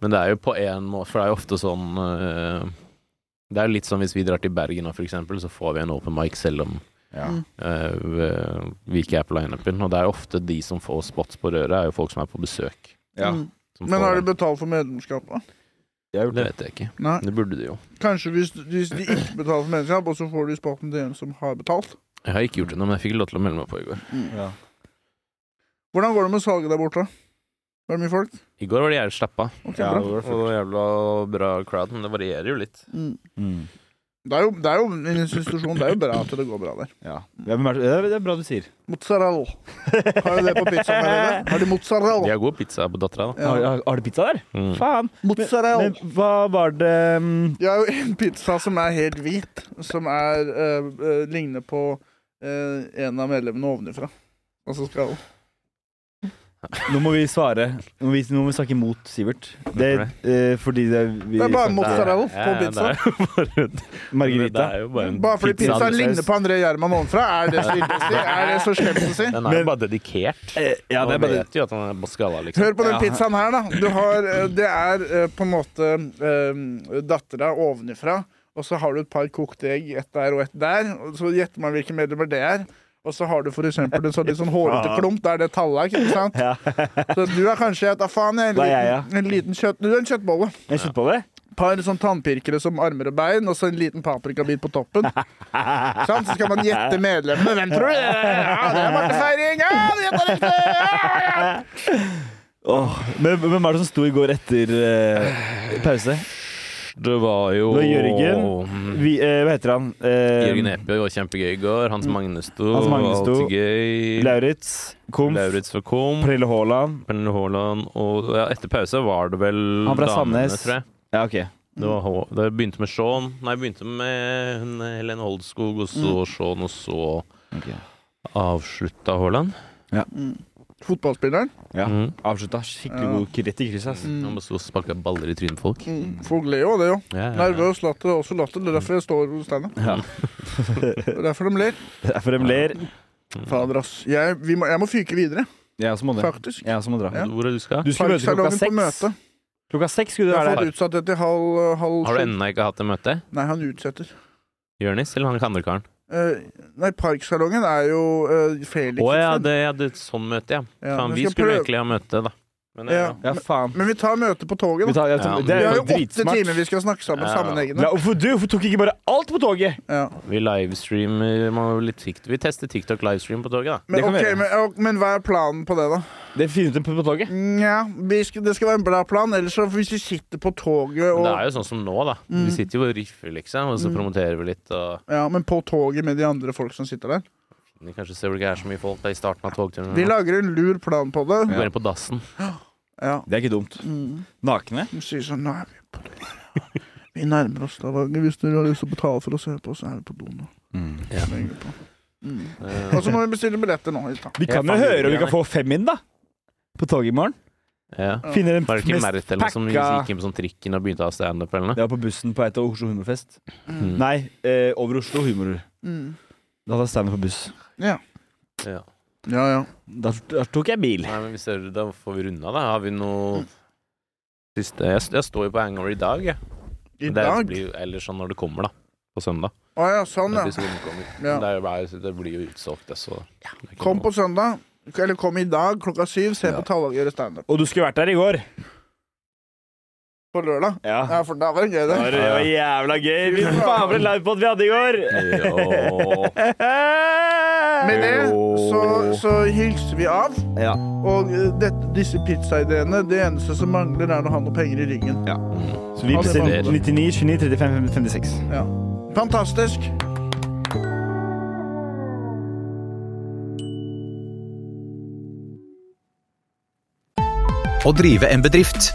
Speaker 2: Men det er jo på en måte For det er jo ofte sånn eh, Det er jo litt som hvis vi drar til Bergen nå, for eksempel, så får vi en open mic selv om
Speaker 1: Ja.
Speaker 3: Mm.
Speaker 2: eh, vi- vi ikke er på lineupen. Og det er jo ofte de som får spots på røret, er jo folk som er på besøk.
Speaker 1: Ja.
Speaker 3: Mm.
Speaker 2: Som
Speaker 3: Men
Speaker 2: får
Speaker 3: har
Speaker 2: den.
Speaker 3: du betalt for medlemskap, da?
Speaker 1: Jeg har gjort
Speaker 2: Det
Speaker 1: det.
Speaker 2: vet jeg ikke.
Speaker 3: Nei.
Speaker 2: Det burde de jo.
Speaker 3: Kanskje hvis, hvis de ikke betaler for medlemskap, og så får du spotten til en som har betalt.
Speaker 2: Jeg har ikke gjort det nå, men jeg fikk lov til å melde meg på i går.
Speaker 1: Ja.
Speaker 3: Hvordan går det med salget der borte? Er det mye folk?
Speaker 2: I går var det jævlig slappa.
Speaker 3: Ok,
Speaker 1: Ja,
Speaker 3: bra.
Speaker 1: det var
Speaker 2: Og det
Speaker 1: fullt.
Speaker 2: var jævla bra crowd, men det varierer jo litt.
Speaker 3: Mm.
Speaker 1: Mm.
Speaker 3: Det er jo, det er jo en institusjon. Det er jo bra at det går bra der.
Speaker 1: Ja. Ja, men er det det er bra du sier.
Speaker 3: Mozzarella. Har de det på pizzaen her inne? Har de mozzarella?
Speaker 2: De har god pizza på dattera, da.
Speaker 1: <laughs>
Speaker 3: Ja.
Speaker 1: Har, har, har du pizza der?
Speaker 2: Mm.
Speaker 1: Faen!
Speaker 3: Mozzarella.
Speaker 1: Men hva var det mm,
Speaker 3: Jeg har jo en pizza som er helt hvit, som er eh, eh, ligner på eh, en av medlemmene ovenifra. Altså skallen.
Speaker 1: Nå må vi svare. Nå må vi, nå må vi snakke imot Sivert. Det, eh, fordi det, vi,
Speaker 3: Det er bare
Speaker 1: snakker-
Speaker 3: mozzarella
Speaker 2: Ja, ja,
Speaker 3: på pizza.
Speaker 2: Det er jo bare,
Speaker 1: Margarita.
Speaker 2: det er jo bare en
Speaker 3: Bare fordi
Speaker 1: pizza
Speaker 3: pizzaen
Speaker 1: med
Speaker 3: ligner
Speaker 1: saus.
Speaker 3: på André Gjerman ovenfra, er det så ille å si? Er det så slemt å si?
Speaker 2: Den er jo
Speaker 1: Men-
Speaker 2: bare dedikert.
Speaker 1: Eh, Ja, det er
Speaker 2: Man
Speaker 1: bare
Speaker 2: vet jo at han er på skala, liksom.
Speaker 3: Hør på den
Speaker 1: Ja.
Speaker 3: pizzaen her, da. Du har, eh, det er eh, på en måte eh, dattera ovenifra, og så har du et par kokte egg, ett der og ett der. Og så gjetter man hvilke medlemmer det er. Og så har du for eksempel en sånn litt sånn hårete klump, der det tallet er, ikke sant? <laughs> Så du er kanskje, jeg vet da faen, jeg, en
Speaker 1: Da er jeg,
Speaker 3: liten, en liten kjøtt... Du er en kjøttbolle.
Speaker 1: Jeg slutter på det.
Speaker 3: par sånn tannpirkere som armer og bein, og så en liten paprikabit på
Speaker 1: <laughs>
Speaker 3: toppen. Sant? Så skal man gjette medlemmene. Hvem tror du det er? Ja, det er Marte Feiring! Ja, du gjetta riktig! Ja, ja.
Speaker 1: Åh, men men hvem er det som sto i går etter eh, pause?
Speaker 2: Det var jo
Speaker 1: Det var Jørgen. Vi, eh, hva heter han? Eh,
Speaker 2: Jørgen Epe var kjempegøy i går. Hans Magne sto.
Speaker 1: Hans Magne sto.
Speaker 2: Alltid gøy.
Speaker 1: Lauritz. Komf.
Speaker 2: Lauritz var kom.
Speaker 1: Prelle Haaland.
Speaker 2: Pernille Haaland. Og ja, etter pause var det vel
Speaker 1: Han fra
Speaker 2: damene,
Speaker 1: Sandnes. Mm.
Speaker 2: tror jeg.
Speaker 1: Ja, OK.
Speaker 2: Det, var, H- det begynte med Sean. Nei, begynte med hun Helene Holdskog, og så Sean, og så
Speaker 1: Mm. Ok.
Speaker 2: avslutta Haaland.
Speaker 1: Ja.
Speaker 3: Fotballspilleren.
Speaker 1: Ja.
Speaker 2: Mhm.
Speaker 1: Avslutta skikkelig
Speaker 3: Ja.
Speaker 1: god k- rett i krysset. ass.
Speaker 2: Han bare sto og sparka baller i trynet på folk.
Speaker 3: Mm, Folk ler jo av det òg.
Speaker 2: Ja, ja, ja.
Speaker 3: Nervøs latter er også latter. Det er derfor jeg står hos Steinar.
Speaker 1: Ja.
Speaker 3: Det er derfor de ler.
Speaker 1: Det er For de ler.
Speaker 3: Fader, ass. Jeg, vi må, jeg må fyke videre,
Speaker 1: Jeg også må det.
Speaker 3: faktisk.
Speaker 1: Jeg også må dra.
Speaker 3: Ja.
Speaker 2: Hvor er det du skal?
Speaker 1: Du skulle møte klokka
Speaker 3: Parksalongen på
Speaker 1: seks.
Speaker 3: møte.
Speaker 1: Klokka seks skulle
Speaker 3: Jeg
Speaker 1: du
Speaker 3: har
Speaker 1: være der.
Speaker 3: fått utsatt det til halv, halv
Speaker 2: Har du
Speaker 3: sju.
Speaker 2: ennå ikke hatt det møtet?
Speaker 3: Nei, han utsetter.
Speaker 2: Jonis eller han andre karen?
Speaker 3: Eh, nei, Parksalongen er jo uh,
Speaker 2: Å
Speaker 3: Felix.
Speaker 2: ja,
Speaker 3: sin.
Speaker 2: det, ja, det sånn møte, ja.
Speaker 3: Ja,
Speaker 2: Faen,
Speaker 3: men
Speaker 2: vi
Speaker 3: skal
Speaker 2: skulle
Speaker 3: prøve-
Speaker 2: egentlig ha møte, da. Men, eh,
Speaker 3: Ja.
Speaker 2: ja.
Speaker 1: Ja, faen.
Speaker 3: Men vi tar møtet på toget,
Speaker 1: Vi
Speaker 3: da.
Speaker 1: tar, jeg,
Speaker 2: Ja,
Speaker 1: det
Speaker 2: men-
Speaker 3: Vi
Speaker 1: er
Speaker 3: har
Speaker 1: jo
Speaker 3: jo åtte
Speaker 1: dritsmart.
Speaker 3: timer vi skal snakke sammen
Speaker 2: Ja.
Speaker 3: sammenhengende.
Speaker 1: Ja, hvorfor du hvorfor tok ikke bare alt på toget?
Speaker 3: Ja.
Speaker 2: Vi livestreamer man, litt TikTok. Vi tester TikTok livestream på toget, da.
Speaker 3: Men,
Speaker 1: Det kan vi
Speaker 3: ok,
Speaker 1: gjøre.
Speaker 3: men, og- men hva er planen på det, da?
Speaker 1: Det finner du på, på toget.
Speaker 3: Nja, vi skal- det skal være en bra plan. Ellers så hvis vi sitter på toget
Speaker 2: Men
Speaker 3: og Mm.
Speaker 2: det er jo sånn som nå, da. Vi sitter jo og riffer, liksom, og så promoterer vi litt. Og
Speaker 3: Ja, men på toget med de andre folk som sitter der.
Speaker 2: vi kanskje ser hvor det ikke er så mye folk da, i starten av togturen.
Speaker 3: Vi lager en lur plan på det.
Speaker 2: Går inn på dassen.
Speaker 3: Ja. Mm.
Speaker 1: Det er ikke dumt. Nakne?
Speaker 3: De sier sånn Nå er vi på do. Vi nærmer oss Stavanger. Hvis dere har lyst til å betale for å se på, så er vi på do nå.
Speaker 2: Ja.
Speaker 3: Slenger på. Mm.
Speaker 2: Eh,
Speaker 3: Og så må vi bestille billetter nå. i stedet.
Speaker 1: Vi kan jo høre om vi kan få fem inn, da. På toget i morgen.
Speaker 2: ja.
Speaker 3: Ja.
Speaker 1: Finner den
Speaker 2: Var det ikke
Speaker 1: mest
Speaker 2: Merit eller noe som
Speaker 1: pakka-
Speaker 2: gikk inn på sånn trikken og begynte å ha standup eller noe?
Speaker 1: Det var på bussen på vei til Oslo Humorfest.
Speaker 2: Mm.
Speaker 1: Nei, eh, over Oslo Humor.
Speaker 3: Mm.
Speaker 1: Da hadde jeg standup på buss.
Speaker 2: Ja.
Speaker 3: Ja, ja.
Speaker 1: Da, da tok jeg bil.
Speaker 2: Nei, men hvis det, da får vi runda, da. Har vi noe siste Jeg, jeg står jo på hangover i dag, jeg.
Speaker 3: I
Speaker 2: Det
Speaker 3: dag?
Speaker 2: blir jo eller sånn når det kommer, da. På søndag.
Speaker 3: Å ja, sånn, ja.
Speaker 2: Episoden kommer.
Speaker 3: Ja.
Speaker 2: Det, er jo bare, det blir jo utsolgt, det, så det er ikke
Speaker 3: Kom
Speaker 2: noe-
Speaker 3: på søndag. Eller kom i dag klokka syv. Se
Speaker 2: Ja.
Speaker 3: på Tallag gjøre standup.
Speaker 1: Og du skulle vært der i går.
Speaker 3: På lørdag.
Speaker 1: Ja.
Speaker 2: Ah.
Speaker 3: Ja, for da var det gøy,
Speaker 1: Det
Speaker 3: det.
Speaker 1: var det var jævla gøy. Fy faen for en livepod vi hadde i går!
Speaker 2: Ja.
Speaker 3: Med det så,
Speaker 1: Åh.
Speaker 3: så hilser vi av.
Speaker 1: Ja.
Speaker 3: Og eh, dette, disse pizzaideene, det eneste som mangler, er å ha noe penger i ryggen.
Speaker 1: Så vi bestiller 99, 29, 35, 56.
Speaker 3: Ja. Fantastisk.
Speaker 4: Å drive en bedrift